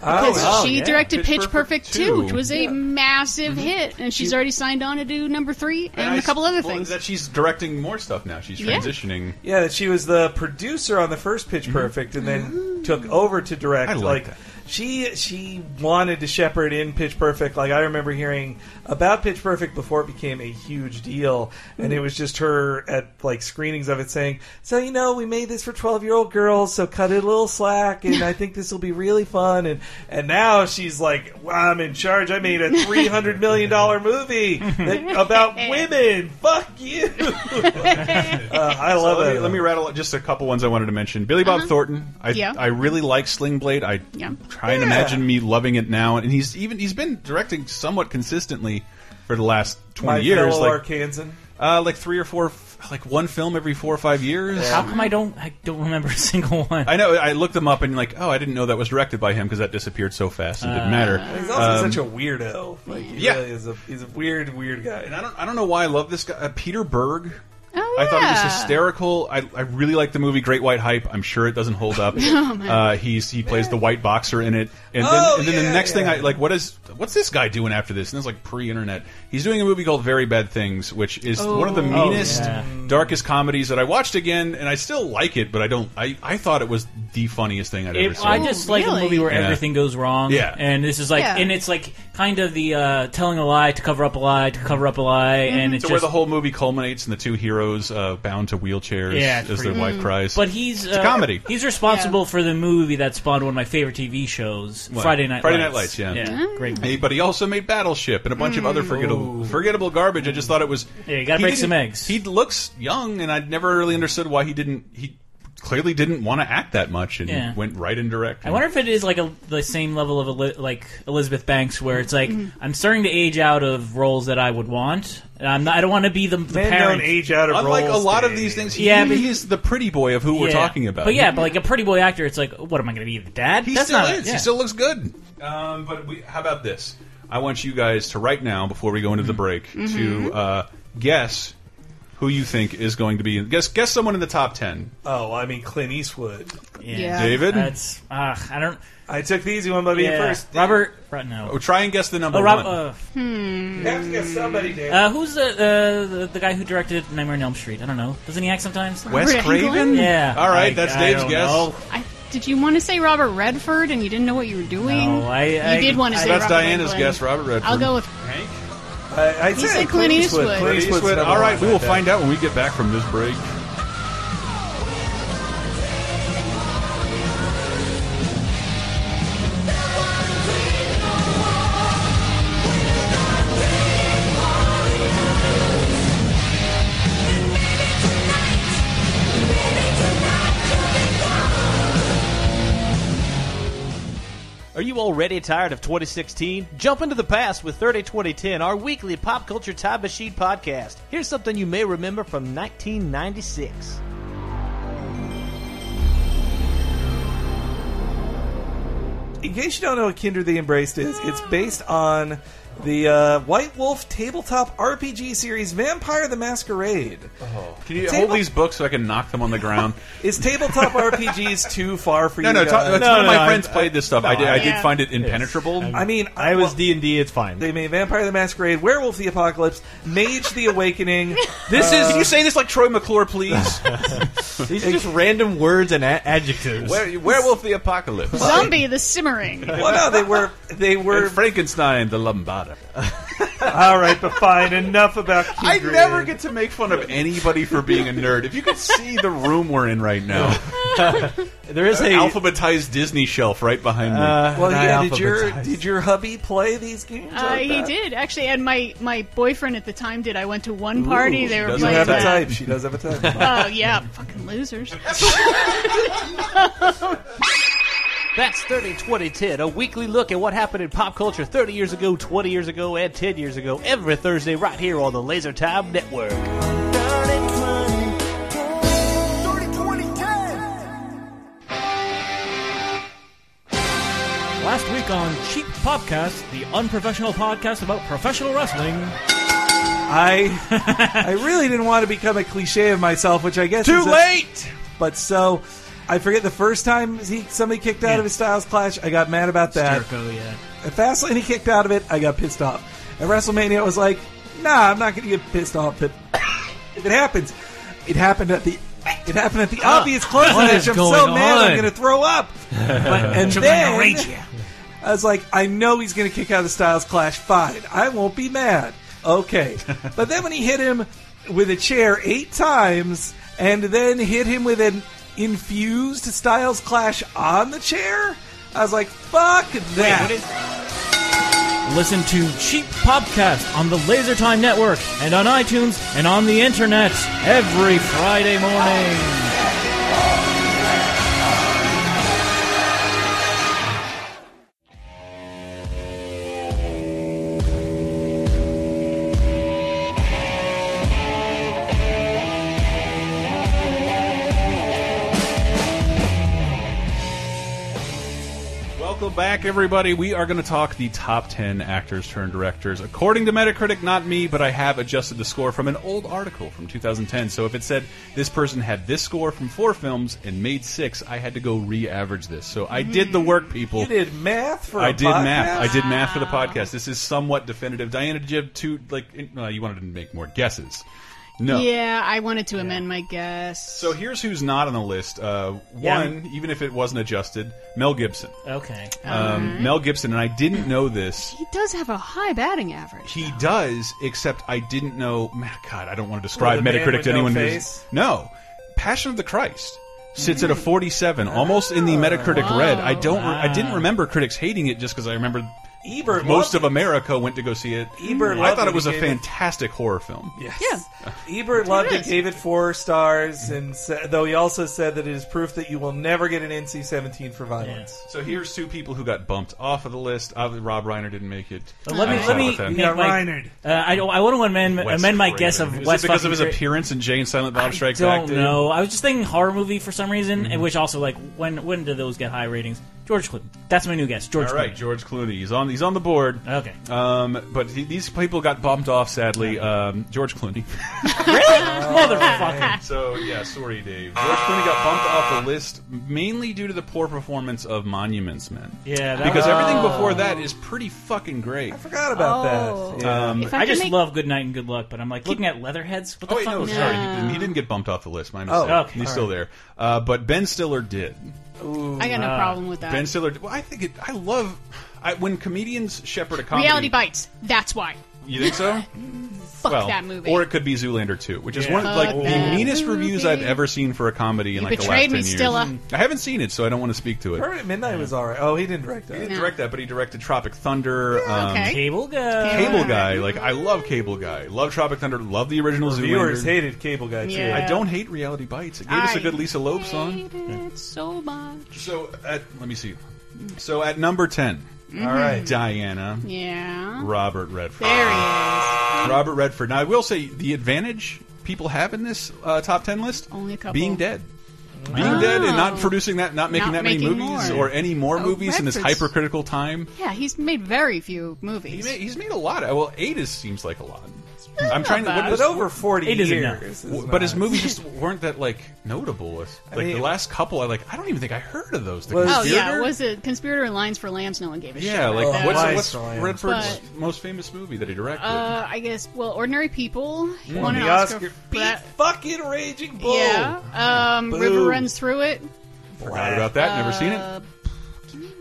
Speaker 1: Oh,
Speaker 3: Because she directed Pitch, Perfect, 2, which was a massive hit, and she's already signed on to do number three and,
Speaker 1: Mm-hmm. I
Speaker 3: a couple
Speaker 1: s-
Speaker 3: other
Speaker 1: well,
Speaker 3: things.
Speaker 1: That she's directing more stuff now. She's
Speaker 3: Yeah.
Speaker 1: transitioning.
Speaker 2: Yeah, that she was the producer on the first Pitch Perfect, and then took over to direct.
Speaker 1: Mm-hmm. I like that.
Speaker 2: she she wanted to shepherd in Pitch Perfect. Like I remember hearing about Pitch Perfect before it became a huge deal, and it was just her at like screenings of it saying, "So you know, we made this for twelve year old girls, so cut it a little slack, and I think this will be really fun." And and now she's like, well, "I'm in charge. I made a three hundred million dollar movie that, about women. Fuck you." Uh, I
Speaker 1: So
Speaker 2: love
Speaker 1: let Me,
Speaker 2: it.
Speaker 1: let me rattle just a couple ones I wanted to mention. Billy Bob Thornton. I
Speaker 3: Uh-huh. Yeah.
Speaker 1: I really like Sling Blade. I
Speaker 3: Yeah.
Speaker 1: try and
Speaker 2: Yeah.
Speaker 1: imagine me loving it now. And he's even he's been directing somewhat consistently for the last twenty
Speaker 2: My
Speaker 1: years.
Speaker 2: fellow
Speaker 1: Like
Speaker 2: Arkansan.
Speaker 1: uh, like three or four, f- like one film every four or five years.
Speaker 4: How come I don't? I don't remember a single one.
Speaker 1: I know. I looked them up and like, oh, I didn't know that was directed by him because that disappeared so fast and didn't matter.
Speaker 2: He's also
Speaker 1: Um,
Speaker 2: such a weirdo. Like, he
Speaker 1: Yeah.
Speaker 2: really is a he's a weird, weird guy.
Speaker 1: And I don't, I don't know why I love this guy, uh, Peter Berg.
Speaker 3: Oh,
Speaker 1: I thought he was
Speaker 3: yeah.
Speaker 1: hysterical. I, I really like the movie Great White Hype. I'm sure it doesn't hold up.
Speaker 3: No, man.
Speaker 1: uh, he's he plays the white boxer in it, and then,
Speaker 3: Oh,
Speaker 1: and then
Speaker 3: yeah,
Speaker 1: the next thing
Speaker 3: yeah.
Speaker 1: I like, what is what's this guy doing after this? And it's like pre-internet. He's doing a movie called Very Bad Things, which is one of the
Speaker 4: Oh.
Speaker 1: meanest,
Speaker 4: Oh, yeah.
Speaker 1: darkest comedies that I watched again, and I still like it, but I don't. I, I thought it was the funniest thing I'd ever
Speaker 4: It,
Speaker 1: seen.
Speaker 4: I just like a movie where
Speaker 1: Yeah.
Speaker 4: everything goes wrong.
Speaker 1: Yeah.
Speaker 4: and this is like,
Speaker 1: Yeah.
Speaker 4: and it's like kind of the uh, telling a lie to cover up a lie to cover up a lie, and it's
Speaker 1: so where
Speaker 4: just
Speaker 1: the whole movie culminates in the two heroes uh, bound to wheelchairs
Speaker 4: Yeah, it's
Speaker 1: as their
Speaker 4: pretty-
Speaker 1: wife cries.
Speaker 4: But he's
Speaker 1: It's a
Speaker 4: uh,
Speaker 1: comedy.
Speaker 4: He's responsible for the movie that spawned one of my favorite TV shows,
Speaker 1: What?
Speaker 4: Friday Night
Speaker 1: Friday
Speaker 4: Lights.
Speaker 1: Night Lights, yeah.
Speaker 4: great. movie.
Speaker 1: Hey, but he also made Battleship and a bunch of
Speaker 4: Mm.
Speaker 1: other forgettable, forgettable garbage. I just thought it was.
Speaker 4: Yeah, you gotta
Speaker 1: he
Speaker 4: break some
Speaker 1: didn't-
Speaker 4: eggs.
Speaker 1: He looks young, and I'd never really understood why he didn't. He clearly didn't want to act that much, and
Speaker 4: Yeah.
Speaker 1: went right in direct.
Speaker 4: I wonder if it is like a, the same level of Eli- like Elizabeth Banks, where it's like I'm starting to age out of roles that I would want. And I'm not, I don't want to be the, the
Speaker 2: Men
Speaker 4: parent.
Speaker 2: don't age out of
Speaker 1: Unlike
Speaker 2: roles,
Speaker 1: a lot of
Speaker 2: Dave.
Speaker 1: these things, he,
Speaker 4: Yeah, but-
Speaker 1: he is the pretty boy of who we're
Speaker 4: Yeah.
Speaker 1: talking about.
Speaker 4: But yeah, but like a pretty boy actor, it's like, what am I going to be, the dad?
Speaker 1: He
Speaker 4: That's
Speaker 1: still
Speaker 4: not,
Speaker 1: is.
Speaker 4: yeah.
Speaker 1: He still looks good. Um, but we, how about this? I want you guys to right now, before we go into the
Speaker 4: Mm-hmm.
Speaker 1: break, to
Speaker 2: Mhm.
Speaker 1: uh, guess who you think is going to be. Guess guess someone in the top ten.
Speaker 2: Oh, I mean Clint Eastwood.
Speaker 1: Yeah. David?
Speaker 4: That's uh, I don't.
Speaker 2: I took the easy one by being
Speaker 4: Yeah.
Speaker 2: first.
Speaker 4: Robert. Right, no.
Speaker 1: Oh, try and guess the number
Speaker 4: Oh,
Speaker 1: one.
Speaker 4: Rob- uh,
Speaker 2: You have to get somebody, Dave.
Speaker 4: Uh, who's the, uh, the the guy who directed Nightmare on Elm Street? I don't know. Doesn't he act sometimes?
Speaker 1: Wes Robert Craven? Englund?
Speaker 4: Yeah.
Speaker 1: All right,
Speaker 4: I-
Speaker 1: that's
Speaker 4: I
Speaker 1: Dave's
Speaker 4: don't
Speaker 1: guess.
Speaker 4: know.
Speaker 3: I, did you want to say Robert Redford and you didn't know what you were doing?
Speaker 4: No, I-
Speaker 3: you
Speaker 4: I-
Speaker 3: did want to
Speaker 4: I-
Speaker 3: say
Speaker 1: That's
Speaker 3: Robert
Speaker 1: Diana's
Speaker 3: Englund.
Speaker 1: guess, Robert Redford.
Speaker 3: I'll go with
Speaker 2: I, I
Speaker 3: He said Clint Eastwood.
Speaker 1: Clint
Speaker 2: Clint Eastwood's
Speaker 1: Eastwood.
Speaker 2: number
Speaker 1: All right,
Speaker 2: one,
Speaker 1: we
Speaker 2: I
Speaker 1: will
Speaker 2: bet.
Speaker 1: find out when we get back from this break.
Speaker 15: Are you already tired of 2016? Jump into the past with 30 2010, our weekly pop culture time machine podcast. Here's something you may remember from 1996.
Speaker 2: in case you don't know what Kinder the Embraced is, it's based on The uh, White Wolf tabletop RPG series, Vampire the Masquerade.
Speaker 1: Can you
Speaker 2: Table-
Speaker 1: hold these books so I can knock them on the ground?
Speaker 2: Is tabletop RPGs too far for
Speaker 1: No,
Speaker 2: you?
Speaker 1: no, talk-
Speaker 2: guys?
Speaker 1: that's- No, none of no, my uh, no, friends I- played this stuff. I did- I did Yeah. find it impenetrable.
Speaker 2: I mean, I was D and D. It's fine. They made Vampire the Masquerade, Werewolf the Apocalypse, Mage the Awakening.
Speaker 1: This is- can you say
Speaker 2: this like Troy McClure, please?
Speaker 15: These are just random words and a- adjectives.
Speaker 1: Were- Werewolf the Apocalypse.
Speaker 3: Zombie the Simmering.
Speaker 2: well, no, they were they were
Speaker 1: Frankenstein the Lombada.
Speaker 2: All right, but fine. Enough about.
Speaker 1: I never get to make fun of anybody for being a nerd. If you could see the room we're in right now,
Speaker 15: there is
Speaker 1: an
Speaker 15: a-
Speaker 1: alphabetized Disney shelf right behind me.
Speaker 2: well, yeah. Did your did your hubby play these games?
Speaker 3: Uh,
Speaker 2: like
Speaker 3: he
Speaker 2: that?
Speaker 3: did actually, and my my boyfriend at the time did. I went to one party.
Speaker 2: Ooh,
Speaker 3: they
Speaker 2: she
Speaker 3: were
Speaker 2: doesn't
Speaker 3: playing
Speaker 2: have
Speaker 3: that.
Speaker 2: a type. She does have a type.
Speaker 3: Oh yeah, fucking losers.
Speaker 15: That's 30 20 10, a weekly look at what happened in pop culture 30 years ago, 20 years ago, and 10 years ago, every Thursday right here on the Laser Time Network.
Speaker 4: Last week on Cheap Podcast, the unprofessional podcast about professional wrestling.
Speaker 2: I I really didn't want to become a cliche of myself, which I guess
Speaker 4: Too
Speaker 2: is a-
Speaker 4: late!
Speaker 2: but so I forget the first time he, somebody kicked out of his Styles Clash, I got mad about that.
Speaker 4: Jericho, yeah.
Speaker 2: At Fastlane, he kicked out of it. I got pissed off. At WrestleMania, I was like, Nah, I'm not going to get pissed off. But if it happens, it happened at the it happened at the
Speaker 13: Huh.
Speaker 2: obvious close
Speaker 13: What
Speaker 2: match.
Speaker 13: is
Speaker 2: I'm so
Speaker 13: going
Speaker 2: mad, I'm
Speaker 13: on?
Speaker 2: going to throw up. and
Speaker 13: Chewing
Speaker 2: then
Speaker 13: the rage, yeah.
Speaker 2: I was like, I know he's going to kick out of Styles Clash. Fine, I won't be mad. Okay, but then when he hit him with a chair eight times, and then hit him with an infused Styles Clash on the chair, I was like, fuck that.
Speaker 4: Listen to Cheap Podcast on the Lasertime Network and on iTunes and on the internet every Friday morning.
Speaker 1: Welcome back, everybody. We are going to talk the top 10 actors turned directors. According to Metacritic, not me, but I have adjusted the score from an old article from 2010. So if it said this person had this score from four films and made six, I had to go re average this. So I did the work, people.
Speaker 2: You did math for
Speaker 1: I
Speaker 2: a
Speaker 1: did
Speaker 2: podcast?
Speaker 1: math. I did math for the podcast. This is somewhat definitive. Diana, did you have two, like, in- no, you wanted to make more guesses? No.
Speaker 3: Yeah, I wanted to amend my guess.
Speaker 1: So here's who's not on the list. Uh,
Speaker 3: Yeah.
Speaker 1: one, even if it wasn't adjusted, Mel Gibson.
Speaker 4: Okay.
Speaker 1: Um, Mel Gibson, and I didn't know this.
Speaker 3: He does have a high batting average.
Speaker 1: He does, except I didn't know. man, God, I don't want to describe
Speaker 2: Well, the man
Speaker 1: Metacritic
Speaker 2: with
Speaker 1: to
Speaker 2: no
Speaker 1: anyone
Speaker 2: face? Mm.
Speaker 1: who's no. Passion of the Christ sits at a 47, almost in the Metacritic red. I don't. re- I didn't remember critics hating it just because I remembered
Speaker 2: Ebert
Speaker 1: most
Speaker 2: loved
Speaker 1: of America went to go see it.
Speaker 2: Ebert
Speaker 1: I
Speaker 2: loved
Speaker 1: thought
Speaker 2: it.
Speaker 1: it was a
Speaker 2: He gave it-
Speaker 1: fantastic horror film.
Speaker 2: Yes. Ebert loved it, gave it four stars, and sa- though he also said that it is proof that you will never get an NC-17 for violence.
Speaker 1: So here's two people who got bumped off of the list. Obviously, Rob Reiner didn't make it.
Speaker 4: Uh, let
Speaker 1: I'm
Speaker 4: me let
Speaker 1: sorry
Speaker 4: me
Speaker 1: about that.
Speaker 4: make my- Uh, I don't- I want to amend
Speaker 1: Wes
Speaker 4: amend my
Speaker 1: Craven.
Speaker 4: guess of
Speaker 1: Is it
Speaker 4: Wes
Speaker 1: because of his
Speaker 4: fucking Cra-
Speaker 1: appearance in Jane Silent Bob Strikes
Speaker 4: don't
Speaker 1: Back. dude?
Speaker 4: know. I was just thinking horror movie for some reason,
Speaker 1: Mhm.
Speaker 4: and which also like when when do those get high ratings? George Clooney. That's my new guess. George
Speaker 1: All right,
Speaker 4: Clooney.
Speaker 1: George Clooney. He's on. He's on the board.
Speaker 4: Okay.
Speaker 1: Um, but he, these people got bumped off. Sadly, um, George Clooney.
Speaker 4: Motherfucker.
Speaker 1: So yeah, sorry, Dave. George Clooney got bumped off the list mainly due to the poor performance of Monuments Men.
Speaker 4: Yeah, that
Speaker 1: because
Speaker 4: was-
Speaker 1: everything before that is pretty fucking great. I
Speaker 2: forgot
Speaker 4: about that.
Speaker 1: Yeah. Um,
Speaker 4: Um,
Speaker 1: If I
Speaker 4: I,
Speaker 1: could
Speaker 4: just
Speaker 1: make-
Speaker 4: love Good Night and Good Luck, but I'm like looking at Leatherheads. What the
Speaker 1: Oh, wait,
Speaker 4: fuck?
Speaker 1: no,
Speaker 4: was
Speaker 1: sorry,
Speaker 4: that?
Speaker 1: he didn't, he didn't get bumped off the list. My
Speaker 4: Oh,
Speaker 1: mistake.
Speaker 4: okay.
Speaker 1: He's still there. Uh, but Ben Stiller did.
Speaker 3: I got no Ah. problem with that.
Speaker 1: uh, Ben Stiller. Well, I think it. I love I, when comedians shepherd a comedy.
Speaker 3: Reality bites. That's why.
Speaker 1: You think so?
Speaker 3: Fuck that movie.
Speaker 1: Or it could be Zoolander 2, which is
Speaker 3: Yeah.
Speaker 1: one of like
Speaker 3: Fuck
Speaker 1: the
Speaker 3: that
Speaker 1: meanest reviews I've
Speaker 3: movie.
Speaker 1: ever seen for a comedy in
Speaker 3: You
Speaker 1: like the last
Speaker 3: betrayed
Speaker 1: 10
Speaker 3: me,
Speaker 1: years.
Speaker 3: Stilla.
Speaker 1: I haven't seen it, so I don't want to speak to it.
Speaker 2: Permanent Midnight was all right. Oh, he didn't direct that.
Speaker 1: He didn't direct that, but he directed Tropic Thunder. um,
Speaker 2: okay.
Speaker 4: Cable Guy.
Speaker 1: Cable Guy. Like, I love Cable Guy. Love Tropic Thunder. Love the original
Speaker 2: Reviewers
Speaker 1: Zoolander.
Speaker 2: hated Cable Guy, too. Yeah.
Speaker 1: I don't hate Reality Bites. It gave us a
Speaker 3: I
Speaker 1: good Lisa Loeb song.
Speaker 3: so much.
Speaker 1: So, at, let me see. So, at number 10.
Speaker 3: Mhm. All right.
Speaker 1: Diana.
Speaker 3: Yeah.
Speaker 1: Robert Redford.
Speaker 3: There he
Speaker 1: is. Robert Redford. Now, I will say the advantage people have in this uh, top 10 list
Speaker 3: Only a couple.
Speaker 1: being dead. Being
Speaker 3: Wow.
Speaker 1: dead and not producing that, not making
Speaker 3: Not
Speaker 1: that
Speaker 3: making
Speaker 1: many movies
Speaker 3: more.
Speaker 1: or any more
Speaker 3: Oh,
Speaker 1: movies in this
Speaker 3: records.
Speaker 1: hypercritical time.
Speaker 3: Yeah, he's made very few movies. He
Speaker 1: he's made a lot. Well, eight is, seems like a lot.
Speaker 3: not
Speaker 1: I'm trying to.
Speaker 3: bad.
Speaker 1: What is,
Speaker 3: But over
Speaker 2: 40 Eight is enough. years is
Speaker 1: W-
Speaker 2: not-
Speaker 1: but his movies just weren't that like notable. Like
Speaker 2: I mean-
Speaker 1: the last couple, I like. I don't even think I heard of those. The
Speaker 3: oh yeah,
Speaker 1: Conspirator?
Speaker 3: was it Conspirator and Lines for Lambs? No one gave a shit.
Speaker 1: Yeah, like
Speaker 3: about that.
Speaker 1: what's, what's Redford's most famous movie that he directed?
Speaker 3: Uh, I guess. Well, Ordinary People he
Speaker 1: Mm.
Speaker 3: won an
Speaker 1: The
Speaker 3: Oscar.
Speaker 1: Oscar
Speaker 3: for that.
Speaker 2: Fucking Raging Bull.
Speaker 3: Yeah. Um,
Speaker 2: Boo.
Speaker 3: River runs through it.
Speaker 1: Forgot about that. Never seen
Speaker 3: Uh,
Speaker 1: it.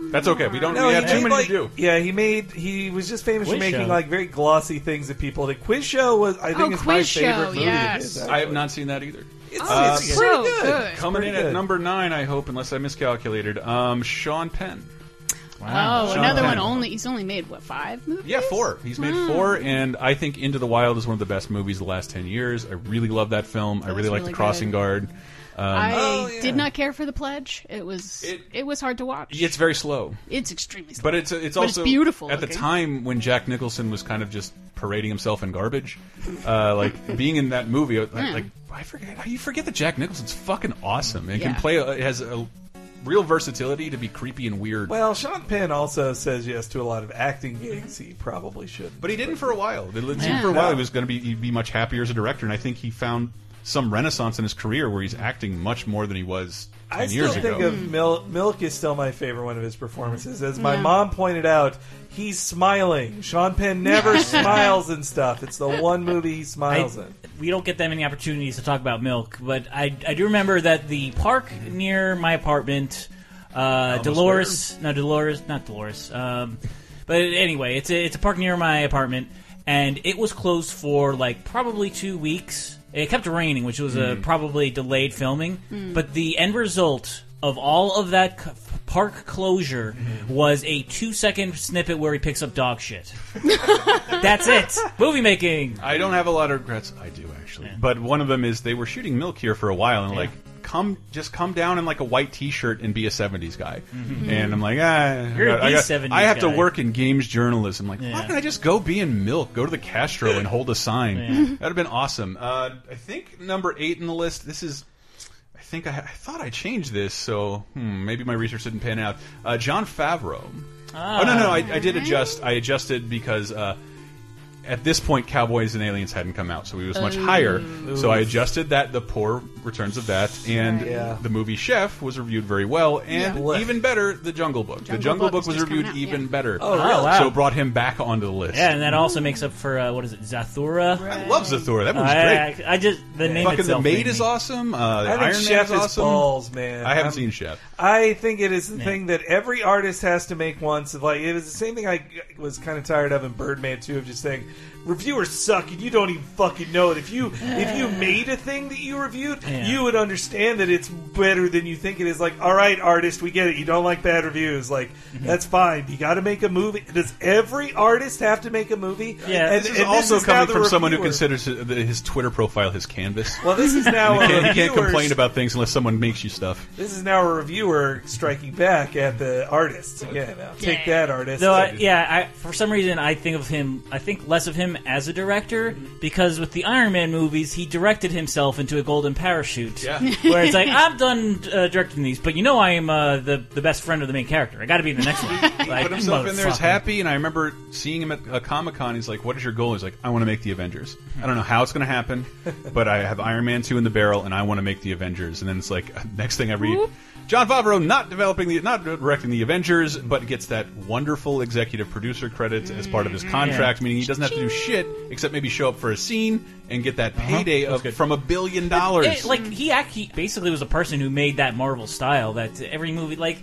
Speaker 1: That's okay. We don't.
Speaker 2: No,
Speaker 1: we
Speaker 2: he
Speaker 1: have too
Speaker 2: made,
Speaker 1: many
Speaker 2: like-
Speaker 1: to do.
Speaker 2: Yeah, he made. He was just famous
Speaker 1: Quiz
Speaker 2: for making
Speaker 1: Show.
Speaker 2: like very glossy things that people did. Quiz Show was, I think,
Speaker 1: Oh,
Speaker 2: is my
Speaker 1: Quiz Show,
Speaker 2: favorite movie.
Speaker 1: yes. I have not seen that either. Uh,
Speaker 2: it's pretty good. It's
Speaker 1: Coming
Speaker 2: pretty
Speaker 1: in
Speaker 2: good.
Speaker 1: at number nine, I hope, unless I miscalculated. Um, Sean Penn.
Speaker 3: Oh,
Speaker 1: Sean
Speaker 3: another one.
Speaker 1: Penn.
Speaker 3: Only he's only made what five movies?
Speaker 1: Yeah, four. He's made
Speaker 3: Wow.
Speaker 1: four, and I think Into the Wild is one of the best movies of the last ten years. I really love that film. I
Speaker 3: That
Speaker 1: really
Speaker 3: was
Speaker 1: like
Speaker 3: really
Speaker 1: The Crossing
Speaker 3: good.
Speaker 1: Guard. Um,
Speaker 3: I did not care for the pledge. It was it, was hard to watch.
Speaker 1: It's very slow.
Speaker 3: It's extremely slow.
Speaker 1: But it's it's
Speaker 3: But
Speaker 1: also
Speaker 3: beautiful
Speaker 1: at the
Speaker 3: looking.
Speaker 1: time when Jack Nicholson was kind of just parading himself in garbage, uh, like being in that movie, I was like,
Speaker 3: Yeah.
Speaker 1: like, I forget you forget that Jack Nicholson's fucking awesome and
Speaker 2: Yeah.
Speaker 1: can play a, has a real versatility to be creepy and weird.
Speaker 2: Well, Sean Penn also says yes to a lot of acting gigs he probably should.
Speaker 1: But he didn't for a while. It seemed
Speaker 2: Yeah.
Speaker 1: for a while
Speaker 2: No.
Speaker 1: he was going to be he'd be much happier as a director, and I think he found some renaissance in his career where he's acting much more than he was ten
Speaker 2: I
Speaker 1: years
Speaker 2: still think
Speaker 1: ago.
Speaker 2: of Mil- Milk is still my favorite one of his performances. As my
Speaker 1: Yeah.
Speaker 2: mom pointed out, he's smiling. Sean Penn never smiles in stuff. It's the one movie he smiles
Speaker 4: I-
Speaker 2: in.
Speaker 4: we don't get that many opportunities to talk about milk, but I, I do remember that the park near my apartment, uh, Dolores, no Dolores, not Dolores, um, but anyway, it's a, it's a park near my apartment, and it was closed for like probably two weeks. It kept raining, which was a
Speaker 16: Mm.
Speaker 4: probably delayed filming,
Speaker 16: Mm.
Speaker 4: but the end result of all of that c- park closure was a two second snippet where he picks up dog shit. That's it. Movie making.
Speaker 1: I don't have a lot of regrets. I do actually, but one of them is they were shooting Milk here for a while, and
Speaker 4: Yeah.
Speaker 1: like come just come down in like a white T-shirt and be a '70s guy.
Speaker 4: Mhm.
Speaker 1: And I'm like, ah,
Speaker 4: You're
Speaker 1: I,
Speaker 4: the
Speaker 1: I, got-
Speaker 4: 70s
Speaker 1: I have to
Speaker 4: guy.
Speaker 1: work in games journalism. Like, why
Speaker 4: Yeah.
Speaker 1: don't I just go be in Milk, go to the Castro and hold a sign?
Speaker 4: Yeah.
Speaker 1: That'd have been awesome. Uh, I think number eight in the list. This is. I think I, I thought I changed this, so hmm, maybe my research didn't pan out. Uh, John Favreau.
Speaker 4: Ah.
Speaker 1: oh no, no, I, I did adjust. I adjusted because uh, at this point, Cowboys and Aliens hadn't come out, so he was much
Speaker 4: Oh.
Speaker 1: higher. So I
Speaker 4: Oof.
Speaker 1: adjusted that. The poor returns of that, and
Speaker 4: Right. Yeah.
Speaker 1: the movie Chef was reviewed very well, and
Speaker 4: Yeah.
Speaker 1: even better, The Jungle Book. the
Speaker 4: Jungle
Speaker 1: Jungle
Speaker 4: Book
Speaker 1: Book
Speaker 4: is
Speaker 1: was
Speaker 4: just
Speaker 1: reviewed
Speaker 4: coming out,
Speaker 1: even
Speaker 4: yeah.
Speaker 1: better.
Speaker 4: Oh, really? Oh, wow.
Speaker 1: So brought him back onto the list.
Speaker 4: Yeah, and that also makes up for uh, what is it, Zathura? I
Speaker 1: love Zathura. That movie's
Speaker 4: I,
Speaker 1: great.
Speaker 4: I, I just the name
Speaker 1: Fucking the
Speaker 4: itself
Speaker 1: maid
Speaker 4: made
Speaker 1: is
Speaker 4: me-
Speaker 1: awesome. Uh,
Speaker 2: I think
Speaker 1: Iron
Speaker 2: Chef
Speaker 1: Man is
Speaker 2: is
Speaker 1: awesome.
Speaker 2: balls, man.
Speaker 1: I
Speaker 4: Um,
Speaker 1: haven't
Speaker 2: I'm-
Speaker 1: seen Chef.
Speaker 2: I think it is the
Speaker 1: Yeah.
Speaker 2: thing that every artist has to make once. Of like it was the same thing I was kind of tired of in Birdman too, of just saying reviewers suck and you don't even fucking know it. If you if you made a thing that you reviewed,
Speaker 4: Yeah.
Speaker 2: you would understand that it's better than you think it is. Like, all right, artist, we get it. You don't like bad reviews, like
Speaker 1: Mm-hmm.
Speaker 2: that's fine. You got to make a movie. Does every artist have to make a movie?
Speaker 1: Yeah,
Speaker 2: and,
Speaker 1: this is
Speaker 2: and
Speaker 1: also
Speaker 2: is now
Speaker 1: coming
Speaker 2: the
Speaker 1: from someone who
Speaker 2: reviewer.
Speaker 1: considers his, the- his Twitter profile his canvas.
Speaker 2: Well, this is now
Speaker 1: you
Speaker 2: a
Speaker 1: can't, you can't
Speaker 2: reviewer's-
Speaker 1: complain about things unless someone makes you stuff.
Speaker 2: This is now a reviewer striking back at the artists again. I'll take that artist.
Speaker 4: Though, I, yeah, I, for some reason, I think of him. I think less of him as a director
Speaker 1: Mm-hmm.
Speaker 4: because with the Iron Man movies, he directed himself into a golden parachute.
Speaker 1: Yeah.
Speaker 4: where it's like I'm done uh, directing these, but you know I am uh, the the best friend of the main character. I got to be in the next one. Like,
Speaker 1: put himself in there as
Speaker 4: motherfucker.
Speaker 1: happy, and I remember seeing him at a Comic Con. He's like, "What is your goal?" He's like, "I want to make the Avengers. I don't know how it's going to happen, but I have Iron Man two in the barrel, and I want to make the Avengers." And then it's like, next thing I read, John Favreau not developing the, not directing the Avengers, but gets that wonderful executive producer credit as part of his contract,
Speaker 4: Mm, Yeah.
Speaker 1: meaning he doesn't have to do shit except maybe show up for a scene and get that payday of from a billion dollars.
Speaker 4: Uh-huh. It- like he, act, he basically was a person who made that Marvel style. That every movie, like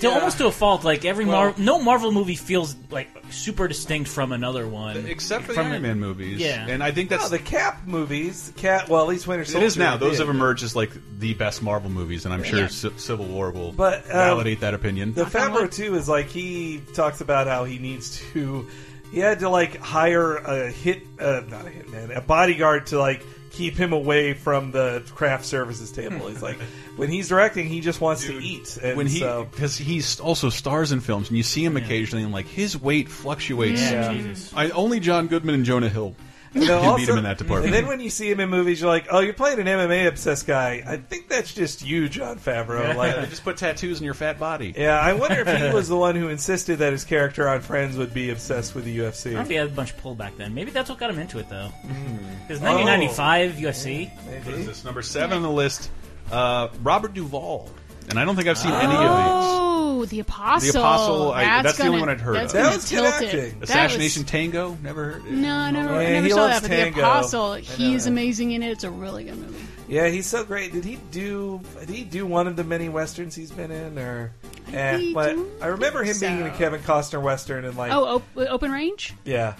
Speaker 4: to almost to a fault, like every Mar- no Marvel movie feels like super distinct from another one,
Speaker 1: Except for the
Speaker 4: From
Speaker 1: Iron Man movies,
Speaker 4: Yeah.
Speaker 1: and I think that's
Speaker 2: No, Oh, the Cap movies. Cap. Well, at least Winter
Speaker 1: It
Speaker 2: Soldier.
Speaker 1: is now. Those
Speaker 2: did.
Speaker 1: have emerged as like the best Marvel movies, and I'm sure
Speaker 2: Yeah.
Speaker 1: Ci- Civil War will
Speaker 2: But, um,
Speaker 1: validate that opinion.
Speaker 2: The Favreau too is like he talks about how he needs to. He had to like hire a hit, uh, not a hitman, a bodyguard to like keep him away from the craft services table. He's like, when he's directing, he just wants to eat. And
Speaker 1: when he
Speaker 2: so,
Speaker 1: because he also stars in films, and you see him occasionally, and like his weight fluctuates.
Speaker 2: Yeah. Yeah. Jesus.
Speaker 1: I only John Goodman and Jonah Hill
Speaker 2: And
Speaker 1: You
Speaker 2: then
Speaker 1: beat him in that department.
Speaker 2: And then when you see him in movies, you're like, oh, you're playing an MMA obsessed guy. I think that's just you, John Favreau.
Speaker 1: They
Speaker 2: Like,
Speaker 1: just put tattoos in your fat body.
Speaker 2: yeah, I wonder if he was the one who insisted that his character on Friends would be obsessed with the UFC.
Speaker 4: I don't know if he had a bunch of pullback then. Maybe that's what got him into it, though. Because
Speaker 2: Oh.
Speaker 4: 1995 UFC.
Speaker 1: Hmm. What is this? Number seven on the list, uh, Robert Duvall. And I don't think I've seen any of these.
Speaker 3: Oh, the apostle.
Speaker 1: The Apostle, I, that's, the only
Speaker 3: gonna-
Speaker 1: one I'd heard
Speaker 3: that's
Speaker 1: of.
Speaker 3: gonna tilt it. That was-
Speaker 1: Assassination Tango? Never heard it.
Speaker 3: No, I never, I
Speaker 2: Yeah,
Speaker 3: never
Speaker 2: he
Speaker 3: saw
Speaker 2: loves
Speaker 3: that. But
Speaker 2: Tango.
Speaker 3: the apostle,
Speaker 2: I
Speaker 3: he
Speaker 2: know.
Speaker 3: is amazing in it. It's a really good movie.
Speaker 2: Yeah, he's so great. Did he do? Did he do one of the many westerns he's been in? Or, eh,
Speaker 3: he
Speaker 2: but I remember him being in a
Speaker 3: so.
Speaker 2: Kevin Costner western and like,
Speaker 3: oh, op- Open Range.
Speaker 2: yeah,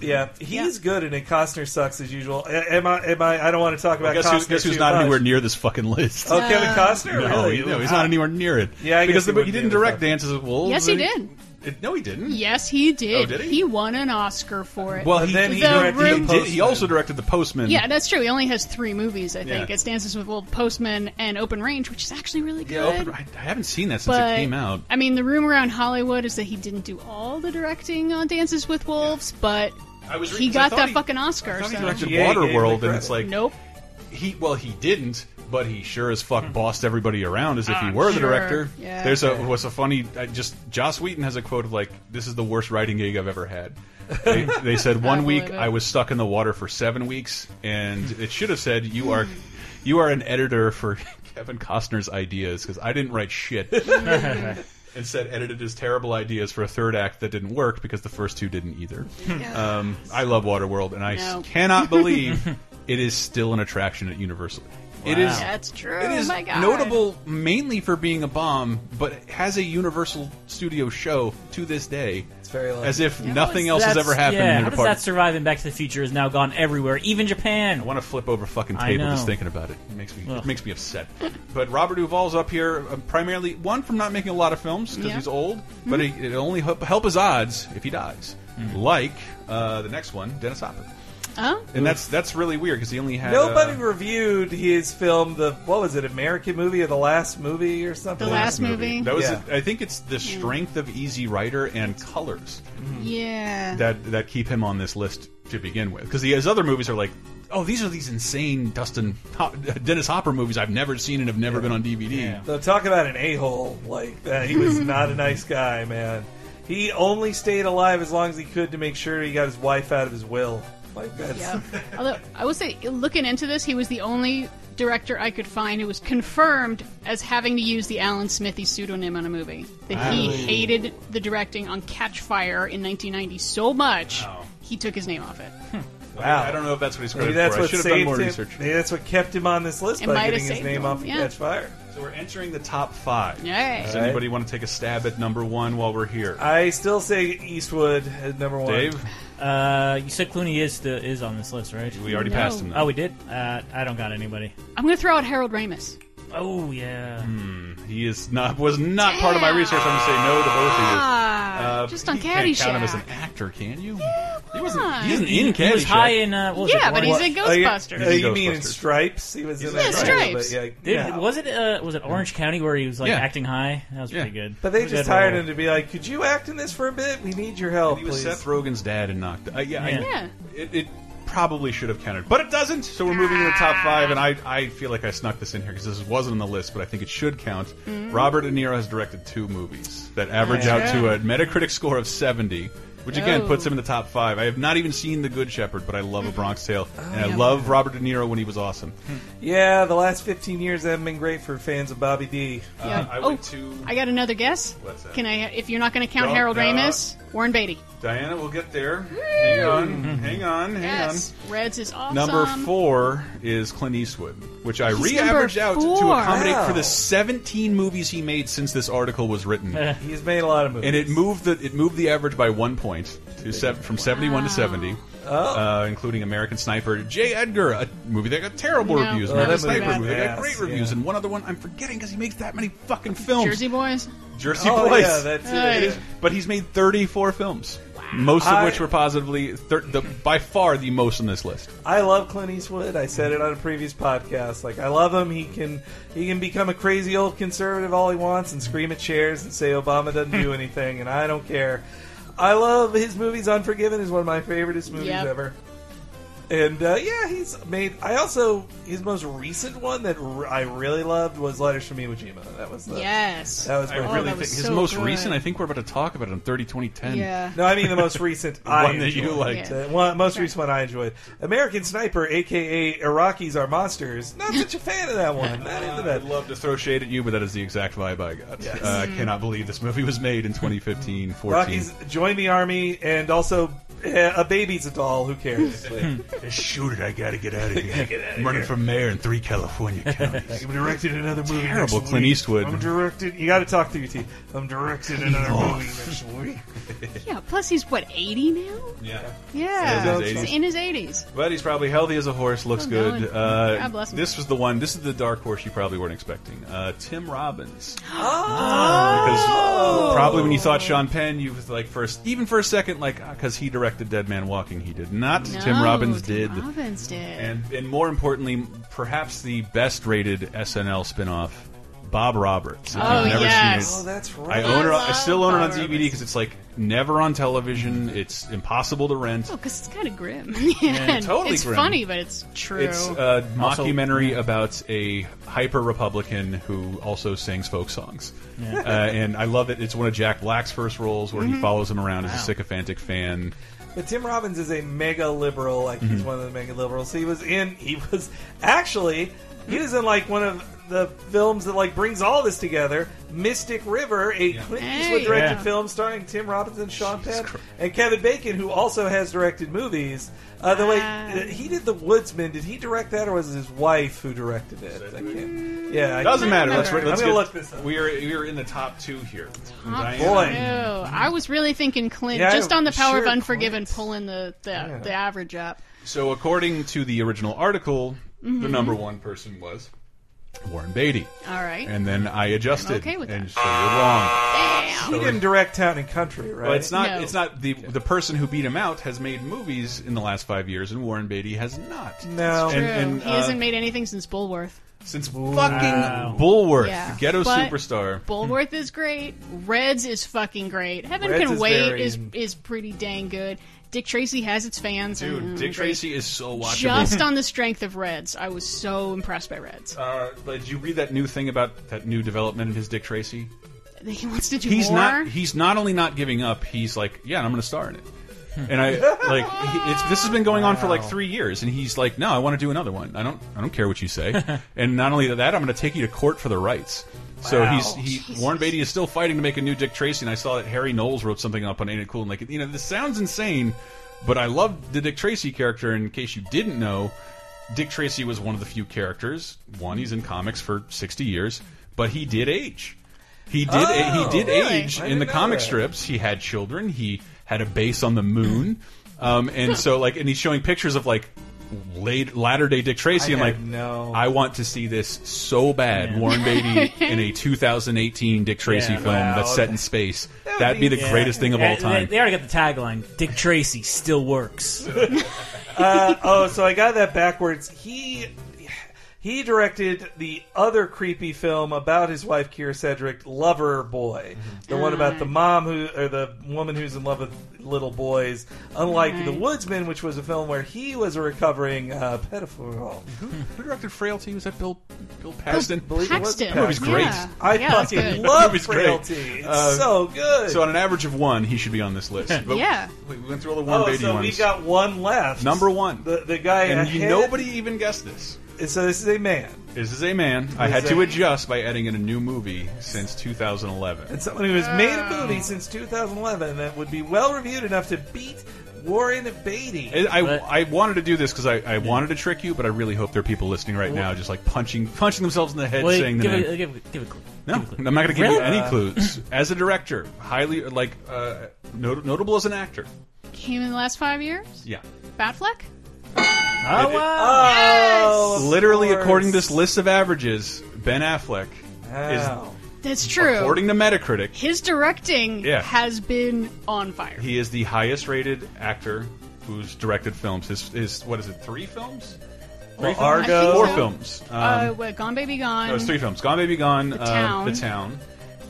Speaker 2: yeah, he's good in it. Costner sucks as usual. A- Am I? Am I? I don't want to talk
Speaker 1: Well,
Speaker 2: about.
Speaker 1: guess,
Speaker 2: Costner
Speaker 1: who, guess who's
Speaker 2: too
Speaker 1: not
Speaker 2: much.
Speaker 1: anywhere near this fucking list?
Speaker 2: Oh, Kevin
Speaker 3: Uh,
Speaker 2: Costner?
Speaker 1: No,
Speaker 2: Really? Ah.
Speaker 1: he- no, he's not anywhere near it.
Speaker 2: Yeah, I guess
Speaker 1: because
Speaker 2: he
Speaker 1: the, he,
Speaker 2: wouldn't
Speaker 1: didn't
Speaker 2: be in
Speaker 1: direct Dances with Wolves.
Speaker 3: Yes, he
Speaker 1: and-
Speaker 3: did.
Speaker 1: it- no, he didn't.
Speaker 3: Yes, he did.
Speaker 1: Oh, did he?
Speaker 3: won an Oscar for it.
Speaker 1: Well, he,
Speaker 3: The
Speaker 1: he directed
Speaker 3: room-
Speaker 1: the did- He also directed the Postman.
Speaker 3: Yeah, that's true. He only has three movies, I think.
Speaker 1: Yeah.
Speaker 3: It's Dances with Wolves, Postman, and Open Range, which is actually really good.
Speaker 1: Yeah, open, I, I haven't seen that since
Speaker 3: but
Speaker 1: it came out.
Speaker 3: I mean, the rumor around Hollywood is that he didn't do all the directing on Dances with Wolves, but
Speaker 1: I was
Speaker 3: he
Speaker 1: reading- 'cause I
Speaker 3: got
Speaker 1: thought
Speaker 3: that
Speaker 1: he-
Speaker 3: fucking Oscar.
Speaker 1: He
Speaker 3: so-
Speaker 1: directed
Speaker 2: Yeah, he gave him
Speaker 1: Waterworld,
Speaker 2: the
Speaker 1: and it's like
Speaker 3: nope.
Speaker 1: he well he didn't, but he sure as fuck bossed everybody around as if he were
Speaker 3: Hmm.
Speaker 1: the
Speaker 3: Ah, sure.
Speaker 1: director.
Speaker 3: Yeah.
Speaker 1: There's a what's a funny I just Joss Wheaton has a quote of like this is the worst writing gig I've ever had. They, they said one week
Speaker 3: believe it.
Speaker 1: I was stuck in the water for seven weeks, and it should have said you are you are an editor for Kevin Costner's ideas because I didn't write shit. Instead, edited his terrible ideas for a third act that didn't work because the first two didn't either. Um, I love Waterworld, and I s-
Speaker 3: No.
Speaker 1: cannot believe it is still an attraction at Universal. It is
Speaker 3: That's true.
Speaker 1: it is
Speaker 3: oh my God.
Speaker 1: notable mainly for being a bomb, but it has a Universal Studio show to this day. It's
Speaker 2: very
Speaker 1: as if nothing else has
Speaker 4: That's-
Speaker 1: ever happened
Speaker 4: Yeah,
Speaker 1: in
Speaker 4: how
Speaker 1: the
Speaker 4: does that
Speaker 1: department.
Speaker 4: survive? And Back to the Future has now gone everywhere, even Japan.
Speaker 1: I want to flip over fucking
Speaker 4: I
Speaker 1: table just
Speaker 4: know.
Speaker 1: thinking about it. It makes me
Speaker 4: Ugh.
Speaker 1: it makes me upset. But Robert Duvall's up here uh, primarily one from not making a lot of films because
Speaker 3: Yeah.
Speaker 1: he's old,
Speaker 4: Mm-hmm.
Speaker 1: but it it only help, help his odds if he dies.
Speaker 4: Mm.
Speaker 1: Like uh, the next one, Dennis Hopper,
Speaker 3: Oh,
Speaker 1: and that's that's really weird because he only had
Speaker 2: Nobody
Speaker 1: uh,
Speaker 2: reviewed his film. The what was it? American movie or the last movie or something?
Speaker 3: The Last Movie. Hmm.
Speaker 1: That was,
Speaker 2: Yeah.
Speaker 1: I think, it's the strength of Easy Rider and colors
Speaker 2: Hmm.
Speaker 3: yeah.
Speaker 1: that that keep him on this list to begin with. Because his other movies are like, oh, these are these insane Dustin Ho Dennis Hopper movies I've never seen and have never been on DVD.
Speaker 2: So talk about an a hole like that. He was not a nice guy, man. He only stayed alive as long as he could to make sure he got his wife out of his will. Like that's
Speaker 3: Yeah. Although I will say, looking into this, he was the only director I could find who was confirmed as having to use the Alan Smithy pseudonym on a movie. That he
Speaker 1: Oh.
Speaker 3: hated the directing on Catch Fire in 1990 so much, he took his name off it.
Speaker 1: I, I don't know if that's what he's
Speaker 2: maybe
Speaker 1: credited
Speaker 2: that's
Speaker 1: for. I
Speaker 2: what
Speaker 1: should
Speaker 2: saved
Speaker 1: have done more
Speaker 2: him.
Speaker 1: research.
Speaker 2: Maybe that's what kept him on this list
Speaker 3: It might
Speaker 2: by
Speaker 3: have
Speaker 2: getting his
Speaker 3: saved
Speaker 2: name
Speaker 3: him,
Speaker 2: off of
Speaker 3: yeah.
Speaker 2: Catch Fire.
Speaker 1: So we're entering the top five.
Speaker 3: Yay.
Speaker 1: Does
Speaker 2: All right.
Speaker 1: anybody want to take a stab at number one while we're here?
Speaker 2: I still say Eastwood at number one.
Speaker 1: Dave,
Speaker 4: Uh, you said Clooney is the, is on this list, right?
Speaker 1: we already
Speaker 3: No.
Speaker 1: passed him.
Speaker 4: Oh,
Speaker 1: Though.
Speaker 4: we did. Uh, I don't got anybody.
Speaker 3: I'm going to throw out Harold Ramis.
Speaker 4: Oh yeah.
Speaker 1: Hmm. he is not was not part of my research. I'm gonna say no to both of you.
Speaker 3: Ah,
Speaker 1: Uh,
Speaker 3: just on
Speaker 1: you can't count him as an
Speaker 3: Caddyshack.
Speaker 1: actor, can you?
Speaker 3: He wasn't.
Speaker 1: He isn't in Caddyshack.
Speaker 4: He was high in. Uh, what was
Speaker 3: Yeah,
Speaker 4: it,
Speaker 3: but
Speaker 4: Orange-
Speaker 3: he's a
Speaker 2: Oh, you-
Speaker 3: Ghostbuster.
Speaker 2: oh, you
Speaker 1: He's
Speaker 2: mean in
Speaker 1: Ghostbusters.
Speaker 2: Stripes? He was in
Speaker 1: in
Speaker 2: that
Speaker 3: Stripes.
Speaker 2: a little bit,
Speaker 4: Did,
Speaker 2: yeah.
Speaker 4: Was it uh, was it Orange County where he was like
Speaker 1: Yeah.
Speaker 4: acting high? That was
Speaker 1: Yeah.
Speaker 4: pretty good.
Speaker 2: But they
Speaker 4: Good
Speaker 2: just hired
Speaker 4: role.
Speaker 2: him to be like, could you act in this for a bit? We need your help,
Speaker 1: He was
Speaker 2: Oh, please.
Speaker 1: Seth Rogen's dad in Knocked. Uh, yeah, I-
Speaker 4: Yeah.
Speaker 3: Yeah.
Speaker 1: It, it probably should have counted, but it doesn't. So we're moving to the top five, and I I feel like I snuck this in here because this wasn't on the list, but I think it should count.
Speaker 3: Mm-hmm.
Speaker 1: Robert De Niro has directed two movies that average out to a Metacritic score of seventy. Which again
Speaker 3: Oh. Mm-hmm.
Speaker 1: puts him in the top five. I have not even seen The Good Shepherd, but I love A Bronx Tale,
Speaker 3: Oh,
Speaker 1: and I love Robert De Niro when he was awesome.
Speaker 2: Yeah, the last 15 years haven't been great for fans of Bobby D.
Speaker 3: Yeah.
Speaker 1: Uh, I
Speaker 3: oh,
Speaker 1: went to-
Speaker 3: I got another guess.
Speaker 1: What's that?
Speaker 3: Can I? If you're not going to count
Speaker 1: Don't-
Speaker 3: Harold
Speaker 1: no.
Speaker 3: Ramis, Warren Beatty.
Speaker 1: Diana, we'll get there. Hang on, hang on, hang on.
Speaker 3: Yes, Reds is awesome.
Speaker 1: Number four is Clint Eastwood, which I re-averaged
Speaker 3: number
Speaker 1: out to
Speaker 3: four.
Speaker 1: accommodate
Speaker 2: Wow.
Speaker 1: for the 17 movies he made since this article was written, and
Speaker 2: He's made a lot of movies.
Speaker 1: it moved the it moved the average by one point to se from 71 to 70,
Speaker 2: Oh.
Speaker 1: uh, including American Sniper, J. Edgar, a movie that got terrible
Speaker 3: No, Oh,
Speaker 1: reviews,
Speaker 3: that
Speaker 1: American
Speaker 3: was
Speaker 1: Sniper
Speaker 3: bad.
Speaker 1: movie that got
Speaker 2: Yes,
Speaker 1: great reviews,
Speaker 2: yeah.
Speaker 1: and one other one I'm forgetting because he makes that many fucking films.
Speaker 3: Jersey Boys.
Speaker 1: Jersey
Speaker 2: Oh,
Speaker 1: Boys.
Speaker 2: yeah, that's it.
Speaker 3: Hey.
Speaker 1: It is- But he's made 34 films, most of
Speaker 2: I-
Speaker 1: which were positively thir the, by far the most on this list.
Speaker 2: I love Clint Eastwood. I said it on a previous podcast. Like I love him. He can he can become a crazy old conservative all he wants and scream at chairs and say Obama doesn't do anything and I don't care. I love his movies. Unforgiven is one of my favorite movies
Speaker 3: Yep.
Speaker 2: ever. And uh, yeah, he's made. I also his most recent one that r- I really loved was Letters from Iwo Jima. That was the,
Speaker 3: Yes.
Speaker 2: Oh, That was
Speaker 3: I
Speaker 2: my
Speaker 3: really
Speaker 2: favorite.
Speaker 3: think-
Speaker 1: His most recent, I think we're about to talk about it on 30 2010.
Speaker 3: Yeah.
Speaker 2: No, I mean the most recent
Speaker 1: The
Speaker 2: I
Speaker 1: one that you
Speaker 2: enjoyed.
Speaker 1: liked.
Speaker 2: The one, most recent one I enjoyed. American Sniper, aka Iraqis Are Monsters. Not such a fan of that one. Not into that.
Speaker 1: I'd love to throw shade at you, but that is the exact vibe I got.
Speaker 2: Yes.
Speaker 1: Uh,
Speaker 2: Mm.
Speaker 1: cannot believe this movie was made in 2015 14.
Speaker 2: Rockies join the army, and also eh, a baby's a doll. Who cares?
Speaker 1: Shoot it! I gotta get out of
Speaker 2: here.
Speaker 1: I'm running for mayor in three California counties.
Speaker 2: I'm directed another movie.
Speaker 1: Terrible
Speaker 2: next
Speaker 1: Clint
Speaker 2: week.
Speaker 1: Eastwood.
Speaker 2: I'm directed. You got to talk through your teeth. I'm directed another
Speaker 1: Evil.
Speaker 2: movie next week.
Speaker 3: Yeah. Plus, he's what eighty now?
Speaker 1: Yeah.
Speaker 3: Yeah.
Speaker 1: He's in
Speaker 3: He's
Speaker 1: his 80s.
Speaker 3: in his eighties.
Speaker 1: But he's probably healthy as a horse. Looks
Speaker 3: Oh,
Speaker 1: good.
Speaker 3: God.
Speaker 1: Uh,
Speaker 3: God bless him.
Speaker 1: This was the one. This is the dark horse you probably weren't expecting. Uh, Tim Robbins. Ah,
Speaker 3: Oh.
Speaker 1: Because probably when you thought Sean Penn, you was like first, even for a second, like because he directed Dead Man Walking, he did not. Tim
Speaker 3: No,
Speaker 1: Robbins
Speaker 3: Tim
Speaker 1: did.
Speaker 3: Robbins did.
Speaker 1: And and more importantly, perhaps the best rated SNL spinoff, Bob Roberts. If
Speaker 3: Oh,
Speaker 1: you've never
Speaker 3: yes.
Speaker 1: seen it,
Speaker 3: Oh, that's
Speaker 1: I
Speaker 3: right.
Speaker 1: own it.
Speaker 3: I
Speaker 1: I still
Speaker 3: love
Speaker 1: own it on
Speaker 3: Bob
Speaker 1: DVD because it's like never on television. It's impossible to rent.
Speaker 3: Oh, because it's kind of grim.
Speaker 1: Yeah,
Speaker 3: And
Speaker 1: totally
Speaker 3: It's
Speaker 1: grim.
Speaker 3: funny, but it's true.
Speaker 1: It's uh, a
Speaker 4: Also-
Speaker 1: mockumentary about a hyper Republican who also sings folk songs,
Speaker 4: Yeah.
Speaker 1: uh, and I love it. It's one of Jack Black's first roles where
Speaker 2: Mhm.
Speaker 3: Mm-hmm.
Speaker 1: he follows him around as a
Speaker 2: Wow.
Speaker 1: sycophantic fan.
Speaker 2: But Tim Robbins is a mega liberal. Like he's
Speaker 1: Mhm.
Speaker 2: one of the mega liberals. He was in. He was actually. He was in like one of the films that like brings all this together. Mystic River, a Clint
Speaker 3: Hey.
Speaker 2: Eastwood directed
Speaker 3: Yeah.
Speaker 2: film starring Tim Robbins and Sean Penn and Kevin Bacon, who also has directed movies. Uh, the way
Speaker 3: Ah.
Speaker 2: uh, he did The Woodsman, did he direct that, or was it his wife who directed it? I can't. Yeah, I can't
Speaker 1: doesn't matter. Let's,
Speaker 2: remember.
Speaker 1: let's
Speaker 2: I'm gonna
Speaker 1: get-
Speaker 2: look this up.
Speaker 1: We are we are in the top two here.
Speaker 3: Top
Speaker 1: Diana-
Speaker 2: boy.
Speaker 3: two. I was really thinking Clint,
Speaker 1: Yeah,
Speaker 3: just on the power
Speaker 1: sure,
Speaker 3: of Unforgiven, pulling the the,
Speaker 1: Yeah.
Speaker 3: the average up.
Speaker 1: So according to the original article, the
Speaker 3: Mhm.
Speaker 1: number one person was Warren Beatty.
Speaker 3: All right.
Speaker 1: and then I adjusted.
Speaker 3: okay with
Speaker 1: and so you're wrong.
Speaker 2: He
Speaker 1: So-
Speaker 2: didn't direct Town and Country, right?
Speaker 1: Well, it's not. It's not the the person who beat him out has made movies in the last five years, and Warren Beatty has not.
Speaker 2: No.
Speaker 1: and, and
Speaker 3: he
Speaker 1: uh,
Speaker 3: hasn't made anything since Bullworth.
Speaker 1: since fucking Bullworth,
Speaker 3: Yeah.
Speaker 1: ghetto
Speaker 3: But
Speaker 1: superstar.
Speaker 3: Bullworth is great. Reds is fucking great. Heaven
Speaker 1: Reds
Speaker 3: Can
Speaker 1: is
Speaker 3: Wait
Speaker 1: very-
Speaker 3: is is pretty dang good. Dick Tracy has its fans.
Speaker 1: Dude,
Speaker 3: and
Speaker 1: Dick
Speaker 3: they-
Speaker 1: Tracy is so watchable.
Speaker 3: Mm. Just on the strength of Reds, I was so impressed by Reds.
Speaker 1: Uh, but did you read that new thing about that new development in his Dick Tracy?
Speaker 3: He wants to do
Speaker 1: he's
Speaker 3: more.
Speaker 1: not. He's not only not giving up. He's like, yeah, and I'm going to star in it. And I like he, it's, this has been going on for like
Speaker 2: Wow.
Speaker 1: three years, and he's like, no, I want to do another one. I don't. I don't care what you say. and not only that, I'm going to take you to court for the rights. So
Speaker 2: Wow.
Speaker 1: he's he Warren Beatty is still fighting to make a new Dick Tracy, and I saw that Harry Knowles wrote something up on Ain't It Cool, and like you know this sounds insane, but I love the Dick Tracy character. And in case you didn't know, Dick Tracy was one of the few characters. One, he's in comics for sixty years, but he did age. He did.
Speaker 2: Oh,
Speaker 1: he did
Speaker 2: really?
Speaker 1: age
Speaker 2: I
Speaker 1: in the
Speaker 2: didn't know
Speaker 1: comic
Speaker 2: that.
Speaker 1: strips. He had children. He had a base on the moon, um, and so like, and he's showing pictures of like late latter day Dick Tracy.
Speaker 2: I
Speaker 1: and like,
Speaker 2: had no-
Speaker 1: I want to see this so bad. Warren Beatty in a 2018 Dick Tracy
Speaker 4: Yeah.
Speaker 1: film
Speaker 4: Wow.
Speaker 1: that's set in space. That'd be the
Speaker 4: Yeah.
Speaker 1: greatest thing of
Speaker 4: Yeah,
Speaker 1: all time.
Speaker 4: They, they already got the tagline: "Dick Tracy still works."
Speaker 2: uh, oh, so I got that backwards. He he directed the other creepy film about his wife Kira Cedric, Lover Boy, the one about the mom who or the woman who's in love with little boys. Unlike The Woodsman, which was a film where he was a recovering uh, pedophile.
Speaker 1: Who directed Frailty? Was that Bill Bill Paxton?
Speaker 3: Oh,
Speaker 2: believe it was
Speaker 1: That movie's great.
Speaker 2: Paxton. I
Speaker 1: Yeah,
Speaker 2: fucking
Speaker 1: That
Speaker 2: love
Speaker 1: movie's great. Uh,
Speaker 2: Frailty. It's so good.
Speaker 1: So on an average of one, he should be on this list. But
Speaker 2: yeah.
Speaker 1: We went through all the Warren
Speaker 2: oh,
Speaker 1: Beatty
Speaker 2: so
Speaker 1: ones.
Speaker 2: we've got one left.
Speaker 1: Number one.
Speaker 2: The, the guy
Speaker 1: And you-
Speaker 2: ahead-
Speaker 1: nobody even guessed this.
Speaker 2: So this is a man.
Speaker 1: This is a man. I had
Speaker 2: Is
Speaker 1: to
Speaker 2: it-
Speaker 1: adjust by adding in a new movie since 2011.
Speaker 2: and someone who has made a movie
Speaker 3: Ah.
Speaker 2: since 2011 that would be well reviewed enough to beat Warren Beatty.
Speaker 1: I, I, I wanted to do this because I, I wanted to trick you, but I really hope there are people listening right now just like punching punching themselves in the head
Speaker 4: Wait,
Speaker 1: saying the
Speaker 4: give,
Speaker 1: name.
Speaker 4: a, give, a- give a clue.
Speaker 1: No,
Speaker 4: give a clue.
Speaker 1: I'm not going to give you
Speaker 4: Really? Uh.
Speaker 1: any clues. As a director, highly like uh, not notable as an actor.
Speaker 3: Came in the last five years.
Speaker 1: Yeah.
Speaker 3: Batfleck.
Speaker 4: Oh,
Speaker 1: It- it- Oh. Literally, according to this list of averages, Ben Affleck
Speaker 2: Wow.
Speaker 3: That's
Speaker 1: is,
Speaker 3: true.
Speaker 1: according to Metacritic,
Speaker 3: His directing
Speaker 1: Yeah.
Speaker 3: has been on fire.
Speaker 1: he is the highest rated actor who's directed films. His, his what is it? Three films? Three
Speaker 2: Well, Argo-
Speaker 1: Four
Speaker 2: I
Speaker 1: films. Um,
Speaker 3: uh, what, Gone Baby Gone.
Speaker 1: no, it's three films. Gone Baby Gone,
Speaker 3: The
Speaker 1: uh,
Speaker 3: Town.
Speaker 1: The Town,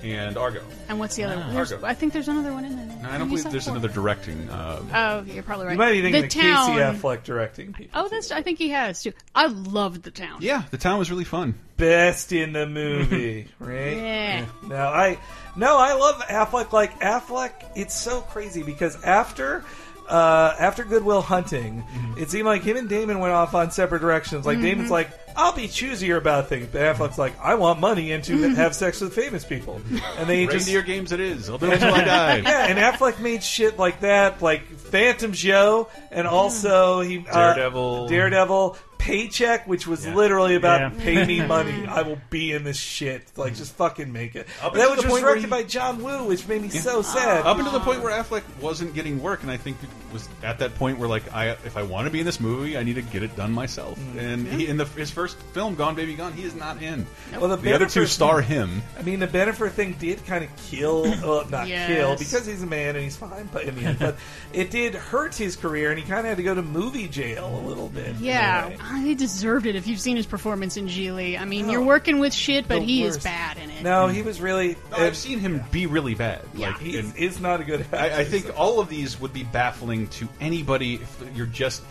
Speaker 1: and Argo.
Speaker 3: And what's the other one? There's-
Speaker 1: Argo.
Speaker 3: I think there's another one in there.
Speaker 1: No, I don't
Speaker 3: You
Speaker 1: believe
Speaker 3: saw
Speaker 1: there's
Speaker 3: four.
Speaker 1: another directing. Uh,
Speaker 3: Oh, you're probably right.
Speaker 2: You might be thinking
Speaker 3: the
Speaker 2: of
Speaker 3: town.
Speaker 2: Casey Affleck directing. people.
Speaker 3: Oh, that's. I think he has too. I loved the town.
Speaker 1: Yeah, the town was really fun.
Speaker 2: Best in the movie, right?
Speaker 3: Yeah.
Speaker 2: No, I no, I love Affleck. Like Affleck, it's so crazy because after. Uh, after Goodwill Hunting, it seemed like him and Damon went off on separate directions. Like Damon's
Speaker 15: Mhm.
Speaker 2: like, "I'll be choosier about things," but Affleck's like, "I want money and to have sex with famous people." And they just
Speaker 1: Reindeer games it is. I'll do it till I die.
Speaker 2: yeah, and Affleck made shit like that, like Phantom Joe, and also he uh,
Speaker 1: Daredevil.
Speaker 2: Daredevil, Paycheck, which was literally about
Speaker 1: Yeah.
Speaker 2: pay me money, I will be in this shit, like just fucking make it.
Speaker 1: Up
Speaker 2: that
Speaker 1: until
Speaker 2: was
Speaker 1: the
Speaker 2: just
Speaker 1: point where
Speaker 2: directed by
Speaker 1: he-
Speaker 2: John Woo, which made me
Speaker 1: Yeah.
Speaker 2: so sad.
Speaker 1: Up until the point where Affleck wasn't getting work, and I think it was at that point where like I, if I want to be in this movie, I need to get it done myself. And he, in the his first film, Gone Baby Gone, he is not in.
Speaker 2: Well, the
Speaker 1: the, other two
Speaker 2: Bennifer-
Speaker 1: star him.
Speaker 2: I mean, the Benifer thing did kind of kill, well, not
Speaker 1: Yes.
Speaker 2: kill, because he's a man and he's fine, but in the end, but it did hurt his career, and he kind of had to go to movie jail a little bit. in a
Speaker 3: Yeah, Ah,
Speaker 2: way.
Speaker 3: he deserved it. If you've seen his performance in Geely, I mean, you're working with shit, but
Speaker 2: The
Speaker 3: he is
Speaker 2: worst.
Speaker 3: bad in it.
Speaker 2: No, he was really.
Speaker 1: I've seen him be really bad. Like
Speaker 2: He is not a good.
Speaker 1: I, I think all of these would be baffling to anybody if you're just.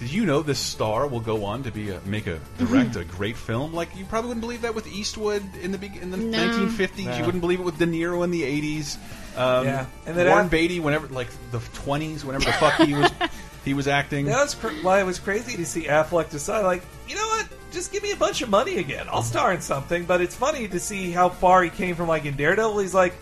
Speaker 1: Did you know this star will go on to be a, make a direct a great film? Like you probably wouldn't believe that with Eastwood in the beg- in the
Speaker 2: No.
Speaker 1: 1950s. You
Speaker 2: No.
Speaker 1: wouldn't believe it with De Niro in the 80s. Um,
Speaker 2: Yeah. And then
Speaker 1: and then Warren
Speaker 2: af-
Speaker 1: Beatty whenever like the 20s, whenever the fuck he was he was acting.
Speaker 2: That was cr- why it was crazy to see Affleck decide, like, you know what? Just give me a bunch of money again. I'll star in something. But it's funny to see how far he came from, like, in Daredevil. He's like,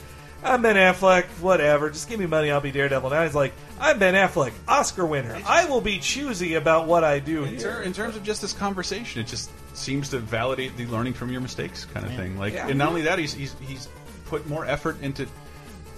Speaker 2: I'm Ben Affleck, whatever. Just give me money, I'll be Daredevil. Now he's like, I'm Ben Affleck, Oscar winner. I will be choosy about what I do
Speaker 1: In, ter-
Speaker 2: here.
Speaker 1: in terms of just this conversation, it just seems to validate the learning from your mistakes kind of
Speaker 2: Yeah.
Speaker 1: thing. Like,
Speaker 2: Yeah.
Speaker 1: and not only that, he's, he's he's put more effort into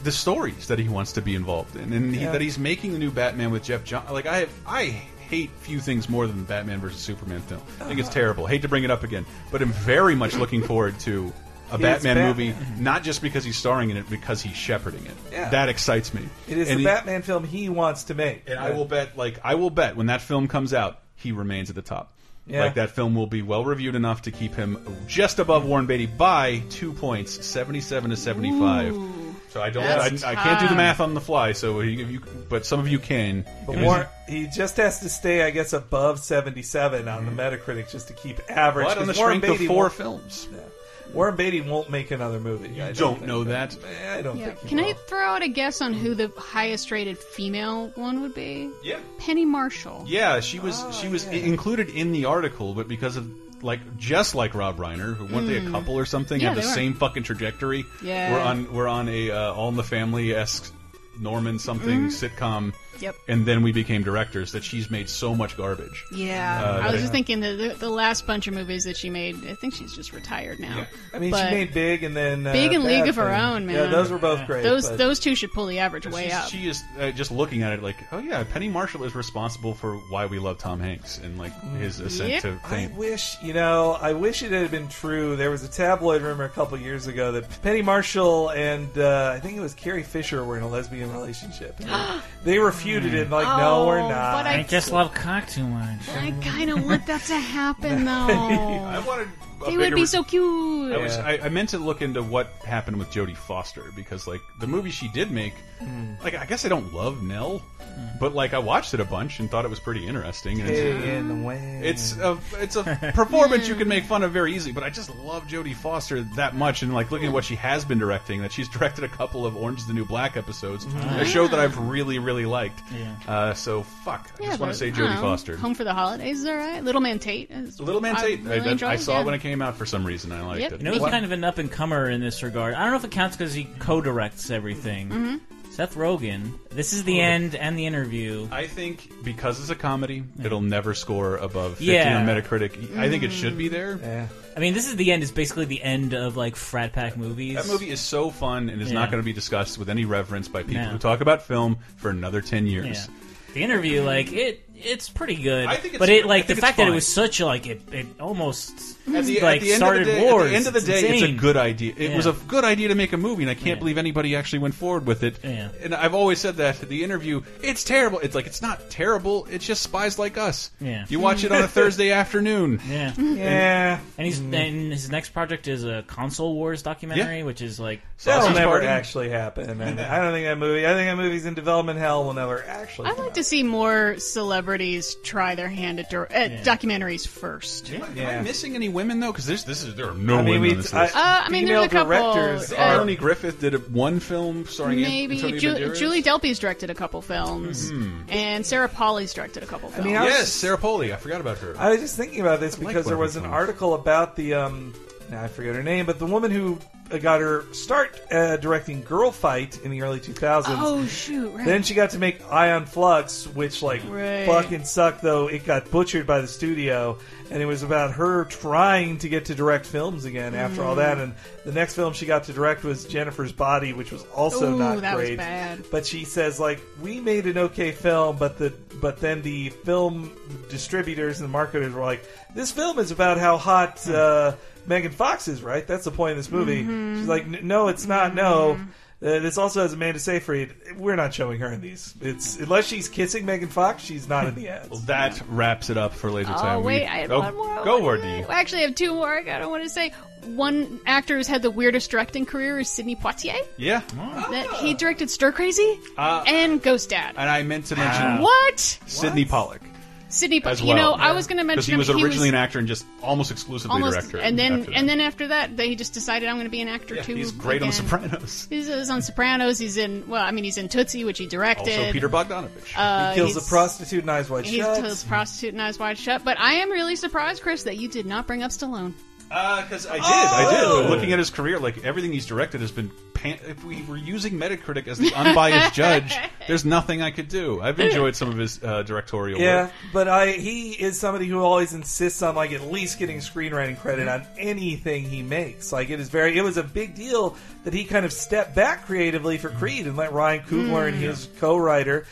Speaker 1: the stories that he wants to be involved in, and he,
Speaker 2: Yeah.
Speaker 1: that he's making the new Batman with Jeff John. Like, I have I hate few things more than the Batman versus Superman film. I think it's
Speaker 2: Uh-huh.
Speaker 1: terrible. Hate to bring it up again, but I'm very much looking forward to. A
Speaker 2: His
Speaker 1: Batman,
Speaker 2: Batman.
Speaker 1: movie, not just because he's starring in it, because he's shepherding it.
Speaker 2: Yeah.
Speaker 1: That excites me.
Speaker 2: It is
Speaker 1: And
Speaker 2: the
Speaker 1: he-
Speaker 2: Batman film he wants to make.
Speaker 1: and I will bet, like, I will bet when that film comes out, he remains at the top.
Speaker 2: Yeah.
Speaker 1: Like that film will be well reviewed enough to keep him just above Warren Beatty by two points, seventy-seven to seventy-five. so I don't,
Speaker 2: that's
Speaker 1: I, I can't do the
Speaker 2: tough.
Speaker 1: math on the fly. So you, you but some of you can.
Speaker 2: But
Speaker 1: It was-
Speaker 2: Warren, he just has to stay, I guess, above 77 on
Speaker 1: Mm-hmm.
Speaker 2: the Metacritic just to keep average.
Speaker 1: But on
Speaker 2: 'cause
Speaker 1: the
Speaker 2: Warren
Speaker 1: strength of
Speaker 2: Beatty
Speaker 1: four
Speaker 2: won't-
Speaker 1: films.
Speaker 2: Yeah. Warren Beatty won't make another movie. I
Speaker 1: don't
Speaker 2: think.
Speaker 1: know that.
Speaker 2: I don't
Speaker 3: Yeah.
Speaker 2: think he
Speaker 3: Can
Speaker 2: will.
Speaker 3: I throw out a guess on who the highest rated female one would be?
Speaker 1: Yeah.
Speaker 3: Penny Marshall.
Speaker 1: Yeah, she was
Speaker 3: Oh,
Speaker 1: she was i- included in the article, but because of like just like Rob Reiner, who weren't they a
Speaker 3: Mm.
Speaker 1: couple or something,
Speaker 3: Yeah,
Speaker 1: had the
Speaker 3: they were.
Speaker 1: same fucking trajectory.
Speaker 3: Yeah.
Speaker 1: we're on we're on a uh, All in the Family esque Norman something sitcom.
Speaker 3: Mm-hmm. Yep.
Speaker 1: And then we became directors. That she's made so much garbage.
Speaker 3: Yeah,
Speaker 1: Uh,
Speaker 3: I was
Speaker 1: that-
Speaker 3: just thinking the, the the last bunch of movies that she made. I think she's just retired now.
Speaker 2: I mean,
Speaker 3: But
Speaker 2: she made Big and then uh,
Speaker 3: Big and
Speaker 2: Bad
Speaker 3: League of Her
Speaker 2: Thing.
Speaker 3: Own, man.
Speaker 2: Yeah, those were both great.
Speaker 3: Those
Speaker 2: but-
Speaker 3: those two should pull the average way
Speaker 1: she's-
Speaker 3: up.
Speaker 1: She is uh, just looking at it like, oh yeah, Penny Marshall is responsible for why we love Tom Hanks and like his ascent to
Speaker 2: I
Speaker 1: fame.
Speaker 2: wish, you know, I wish it had been true. There was a tabloid rumor a couple years ago that Penny Marshall and uh, I think it was Carrie Fisher were in a lesbian relationship. And they refuted it, like, no, we're
Speaker 3: Oh,
Speaker 2: not.
Speaker 3: but I-
Speaker 4: I just love cock too much.
Speaker 3: I kind of want that to happen though.
Speaker 1: I wanted. a
Speaker 3: They would
Speaker 1: bigger
Speaker 3: be
Speaker 1: re-
Speaker 3: so cute.
Speaker 1: I, was, I, I meant to look into what happened with Jodie Foster because, like, the movie she did make, like, I guess I don't love Nell, but like, I watched it a bunch and thought it was pretty interesting. And it's,
Speaker 2: Hey, in the way.
Speaker 1: it's a it's a performance you can make fun of very easily, but I just love Jodie Foster that much, and like looking at what she has been directing, that she's directed a couple of Orange is the New Black episodes, a show that I've really really liked. Uh, so fuck, I just want to
Speaker 3: but,
Speaker 1: say
Speaker 3: I don't
Speaker 1: Jodie
Speaker 3: know,
Speaker 1: Foster.
Speaker 3: Home for the holidays is all right. Little Man Tate. Is,
Speaker 1: Little Man
Speaker 3: I
Speaker 1: Tate, I,
Speaker 3: really
Speaker 1: that-
Speaker 3: enjoyed
Speaker 1: I saw
Speaker 3: yeah.
Speaker 1: it when it came out for some reason. I liked
Speaker 3: Yep.
Speaker 1: it.
Speaker 4: You know, he's kind of an up and comer in this regard. I don't know if it counts because he co-directs everything.
Speaker 3: Mhm.
Speaker 1: Mm-hmm.
Speaker 4: Seth Rogen. This is the end and the interview.
Speaker 1: I think because it's a comedy, it'll never score above 50
Speaker 4: Yeah. Mm.
Speaker 1: on Metacritic. I think it should be there.
Speaker 4: I mean, this is the end. Is basically the end of like frat pack movies.
Speaker 1: That movie is so fun and is
Speaker 4: Yeah.
Speaker 1: not going to be discussed with any reverence by people
Speaker 4: No.
Speaker 1: who talk about film for another 10 years.
Speaker 4: The interview, like it, it's pretty good.
Speaker 1: I think it's
Speaker 4: but
Speaker 1: good.
Speaker 4: it
Speaker 1: I
Speaker 4: like the
Speaker 1: think it's
Speaker 4: fact that it
Speaker 1: fine.
Speaker 4: was such a, like it, it almost
Speaker 1: At the,
Speaker 4: like
Speaker 1: at the end
Speaker 4: started
Speaker 1: of the day,
Speaker 4: wars.
Speaker 1: At the end of the day, it's, a
Speaker 4: insane.
Speaker 1: good idea. It
Speaker 4: Yeah.
Speaker 1: was a good idea to make a movie, and I can't believe anybody actually went forward with it. And I've always said that the interview, it's terrible. It's like it's not terrible. It's just spies like us.
Speaker 4: Yeah.
Speaker 1: You watch it on a Thursday afternoon.
Speaker 4: Yeah.
Speaker 1: And-
Speaker 4: And he's and his next project is a console wars documentary, which is like
Speaker 2: That'll never actually happen. And I don't think that movie. I think that movie's in development hell. Will never actually.
Speaker 3: I'd like to see more celebrities try their hand at, dir- at documentaries first.
Speaker 1: Am I missing any women though? Because there's this is there are no
Speaker 2: I mean,
Speaker 1: women
Speaker 2: we-
Speaker 1: on this
Speaker 2: I-
Speaker 1: list.
Speaker 3: Uh, I mean, there's a
Speaker 2: Female
Speaker 3: couple.
Speaker 2: directors
Speaker 3: uh,
Speaker 1: Uh, Melanie Griffith did a, one film starring An-
Speaker 3: maybe
Speaker 1: Antonio
Speaker 3: Ju-
Speaker 1: Banderas.
Speaker 3: Julie Delpy's directed a couple films,
Speaker 1: Mhm.
Speaker 3: and Sarah Polly's directed a couple films.
Speaker 2: mean, I was-
Speaker 1: yes, Sarah Polley. I forgot about her.
Speaker 2: I was just thinking about this
Speaker 1: like
Speaker 2: because there
Speaker 1: Barbie
Speaker 2: was an
Speaker 1: films.
Speaker 2: article about the um, now I forget her name, but the woman who uh, got her start uh, directing Girl Fight in the early 2000s.
Speaker 3: Oh shoot! Right.
Speaker 2: Then she got to make Ion Flux, which like
Speaker 3: Right.
Speaker 2: fucking sucked. Though it got butchered by the studio, and it was about her trying to get to direct films again after all
Speaker 3: Mm.
Speaker 2: that. And the next film she got to direct was Jennifer's Body, which was also
Speaker 3: Ooh,
Speaker 2: not
Speaker 3: that was
Speaker 2: great.
Speaker 3: bad.
Speaker 2: But she says like we made an okay film, but the but then the film distributors and marketers were like, this film is about how hot uh, Megan Fox is, right? That's the point of this movie.
Speaker 3: Mhm.
Speaker 2: She's like, "N- no, it's not. No. Uh, this also has Amanda Seyfried. We're not showing her in these. It's unless she's kissing Megan Fox, she's not in the ads.
Speaker 1: well, that wraps it up for laser
Speaker 3: Oh,
Speaker 1: time. We-
Speaker 3: wait, I had
Speaker 1: go,
Speaker 3: one more.
Speaker 1: Go, Wardy.
Speaker 3: I actually have two more. I don't want to say. One actor who's had the weirdest directing career is Sidney Poitier.
Speaker 1: Yeah.
Speaker 3: That he directed Stir Crazy
Speaker 1: Uh,
Speaker 3: and Ghost Dad.
Speaker 1: And I meant to mention
Speaker 3: What?
Speaker 1: Sidney Pollock.
Speaker 3: Sidney, Po-
Speaker 1: as
Speaker 3: you know,
Speaker 1: well.
Speaker 3: I was going to
Speaker 1: Because
Speaker 3: mention
Speaker 1: he was
Speaker 3: him.
Speaker 1: originally an actor and just almost exclusively
Speaker 3: almost,
Speaker 1: director.
Speaker 3: and
Speaker 1: after
Speaker 3: then
Speaker 1: that.
Speaker 3: and then after that, they just decided I'm going to be an actor
Speaker 1: Yeah,
Speaker 3: too.
Speaker 1: he's great on The
Speaker 3: again.
Speaker 1: Sopranos.
Speaker 3: He's, he's on Sopranos. He's in well, I mean, he's in Tootsie, which he directed.
Speaker 2: Also Peter
Speaker 1: Bogdanovich.
Speaker 3: Uh,
Speaker 2: he kills
Speaker 3: he's-
Speaker 2: a prostitute and eyes wide
Speaker 3: He's
Speaker 2: shut.
Speaker 3: a prostitute and eyes wide shut. But I am really surprised, Chris, that you did not bring up Stallone.
Speaker 1: Because I did, I did. But looking at his career, like everything he's directed has been. Pan- if we were using Metacritic as the unbiased judge, there's nothing I could do. I've enjoyed some of his uh, directorial
Speaker 2: Yeah,
Speaker 1: work.
Speaker 2: but I he is somebody who always insists on like at least getting screenwriting credit on anything he makes. Like it is very it was a big deal that he kind of stepped back creatively for Creed and let Ryan Coogler and
Speaker 1: Mm.
Speaker 2: his co-writer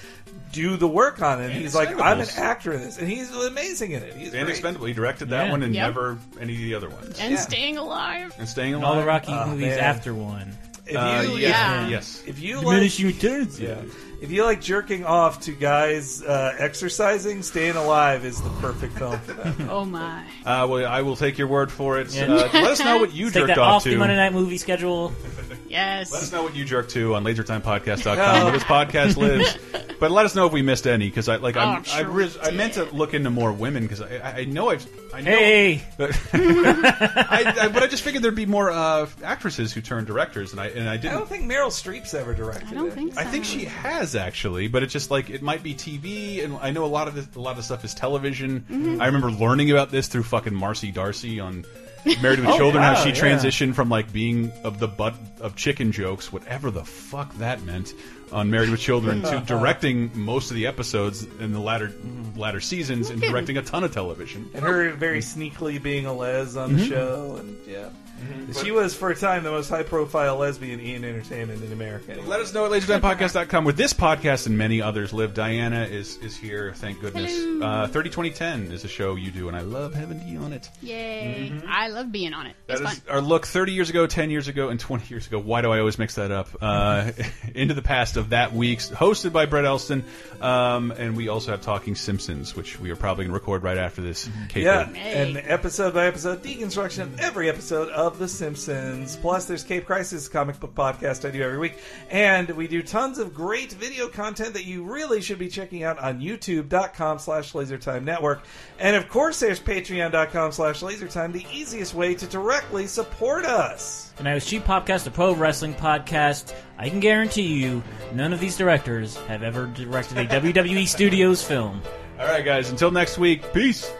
Speaker 2: do the work on it. And
Speaker 1: And
Speaker 2: he's like, I'm an
Speaker 1: Expendables.
Speaker 2: actor in this, and he's amazing in it. He's
Speaker 1: And
Speaker 2: great.
Speaker 1: Expendable, he directed that
Speaker 2: Yeah.
Speaker 1: one and
Speaker 2: Yep.
Speaker 1: never any of the other ones.
Speaker 3: And staying alive.
Speaker 1: And staying
Speaker 4: And
Speaker 1: alive.
Speaker 4: all the Rocky movies after one.
Speaker 2: If you,
Speaker 1: Uh,
Speaker 2: yeah.
Speaker 1: yeah. Yes.
Speaker 2: If you like,
Speaker 4: Diminishing returns.
Speaker 2: Yeah. If you like jerking off to guys uh, exercising, Staying Alive is the perfect film for that.
Speaker 3: Oh my!
Speaker 1: Uh, well, I will take your word for it.
Speaker 4: Yeah.
Speaker 1: Uh, let us know what you
Speaker 4: Let's
Speaker 1: jerked
Speaker 4: take that
Speaker 1: off,
Speaker 4: off
Speaker 1: to.
Speaker 4: the Monday night movie schedule.
Speaker 3: Yes.
Speaker 1: Let us know what you jerk to on lasertimepodcast.com where this podcast lives. But let us know if we missed any because I like
Speaker 4: Oh,
Speaker 1: I'm,
Speaker 4: I'm sure
Speaker 1: I, re- I meant to look into more women because I, I I know I've I know
Speaker 4: Hey.
Speaker 1: I, I, but I just figured there'd be more uh, actresses who turn directors and I and I
Speaker 2: I
Speaker 1: didn't
Speaker 2: don't think Meryl Streep's ever directed. I don't think
Speaker 1: I think she has actually, but it's just like it might be TV, and I know a lot of this, a lot of stuff is television.
Speaker 2: Mhm.
Speaker 1: I remember learning about this through fucking Marcy Darcy on Married with
Speaker 2: Oh,
Speaker 1: Children, how
Speaker 2: wow,
Speaker 1: she
Speaker 2: yeah.
Speaker 1: transitioned from like being of the butt of chicken jokes, whatever the fuck that meant, on Married with Children to directing most of the episodes in the latter latter seasons and
Speaker 2: kidding.
Speaker 1: directing a ton of television.
Speaker 2: and her very sneakily being a les on the
Speaker 1: Mhm.
Speaker 2: show, and yeah, she was for a time the most high-profile lesbian in entertainment in America.
Speaker 1: Let us know at lasertimepodcast.com where this podcast and many others live. Diana is is here, thank goodness.
Speaker 3: Hello.
Speaker 1: Uh, 30 2010 is a show you do, and I love having you on it.
Speaker 3: Yay! I love being on it.
Speaker 1: Mm-hmm. That
Speaker 3: it's
Speaker 1: is
Speaker 3: fun.
Speaker 1: our look 30 years ago, 10 years ago, and 20 years ago. Why do I always mix that up? Uh, into the past of that week's, hosted by Brett Elston. Um, and we also have Talking Simpsons, which we are probably going to record right after this. Capo.
Speaker 2: Yeah, and episode by episode deconstruction of every episode of The Simpsons. Plus, there's Cape Crisis, a comic book podcast I do every week, and we do tons of great video content that you really should be checking out on YouTube.com/slash LaserTime Network, and of course, there's Patreon.com/slash LaserTime, the easiest way to directly support us.
Speaker 4: And I was Cheap Popcast, a pro wrestling podcast. I can guarantee you, none of these directors have ever directed a WWE E Studios film.
Speaker 1: All right, guys, until next week, peace.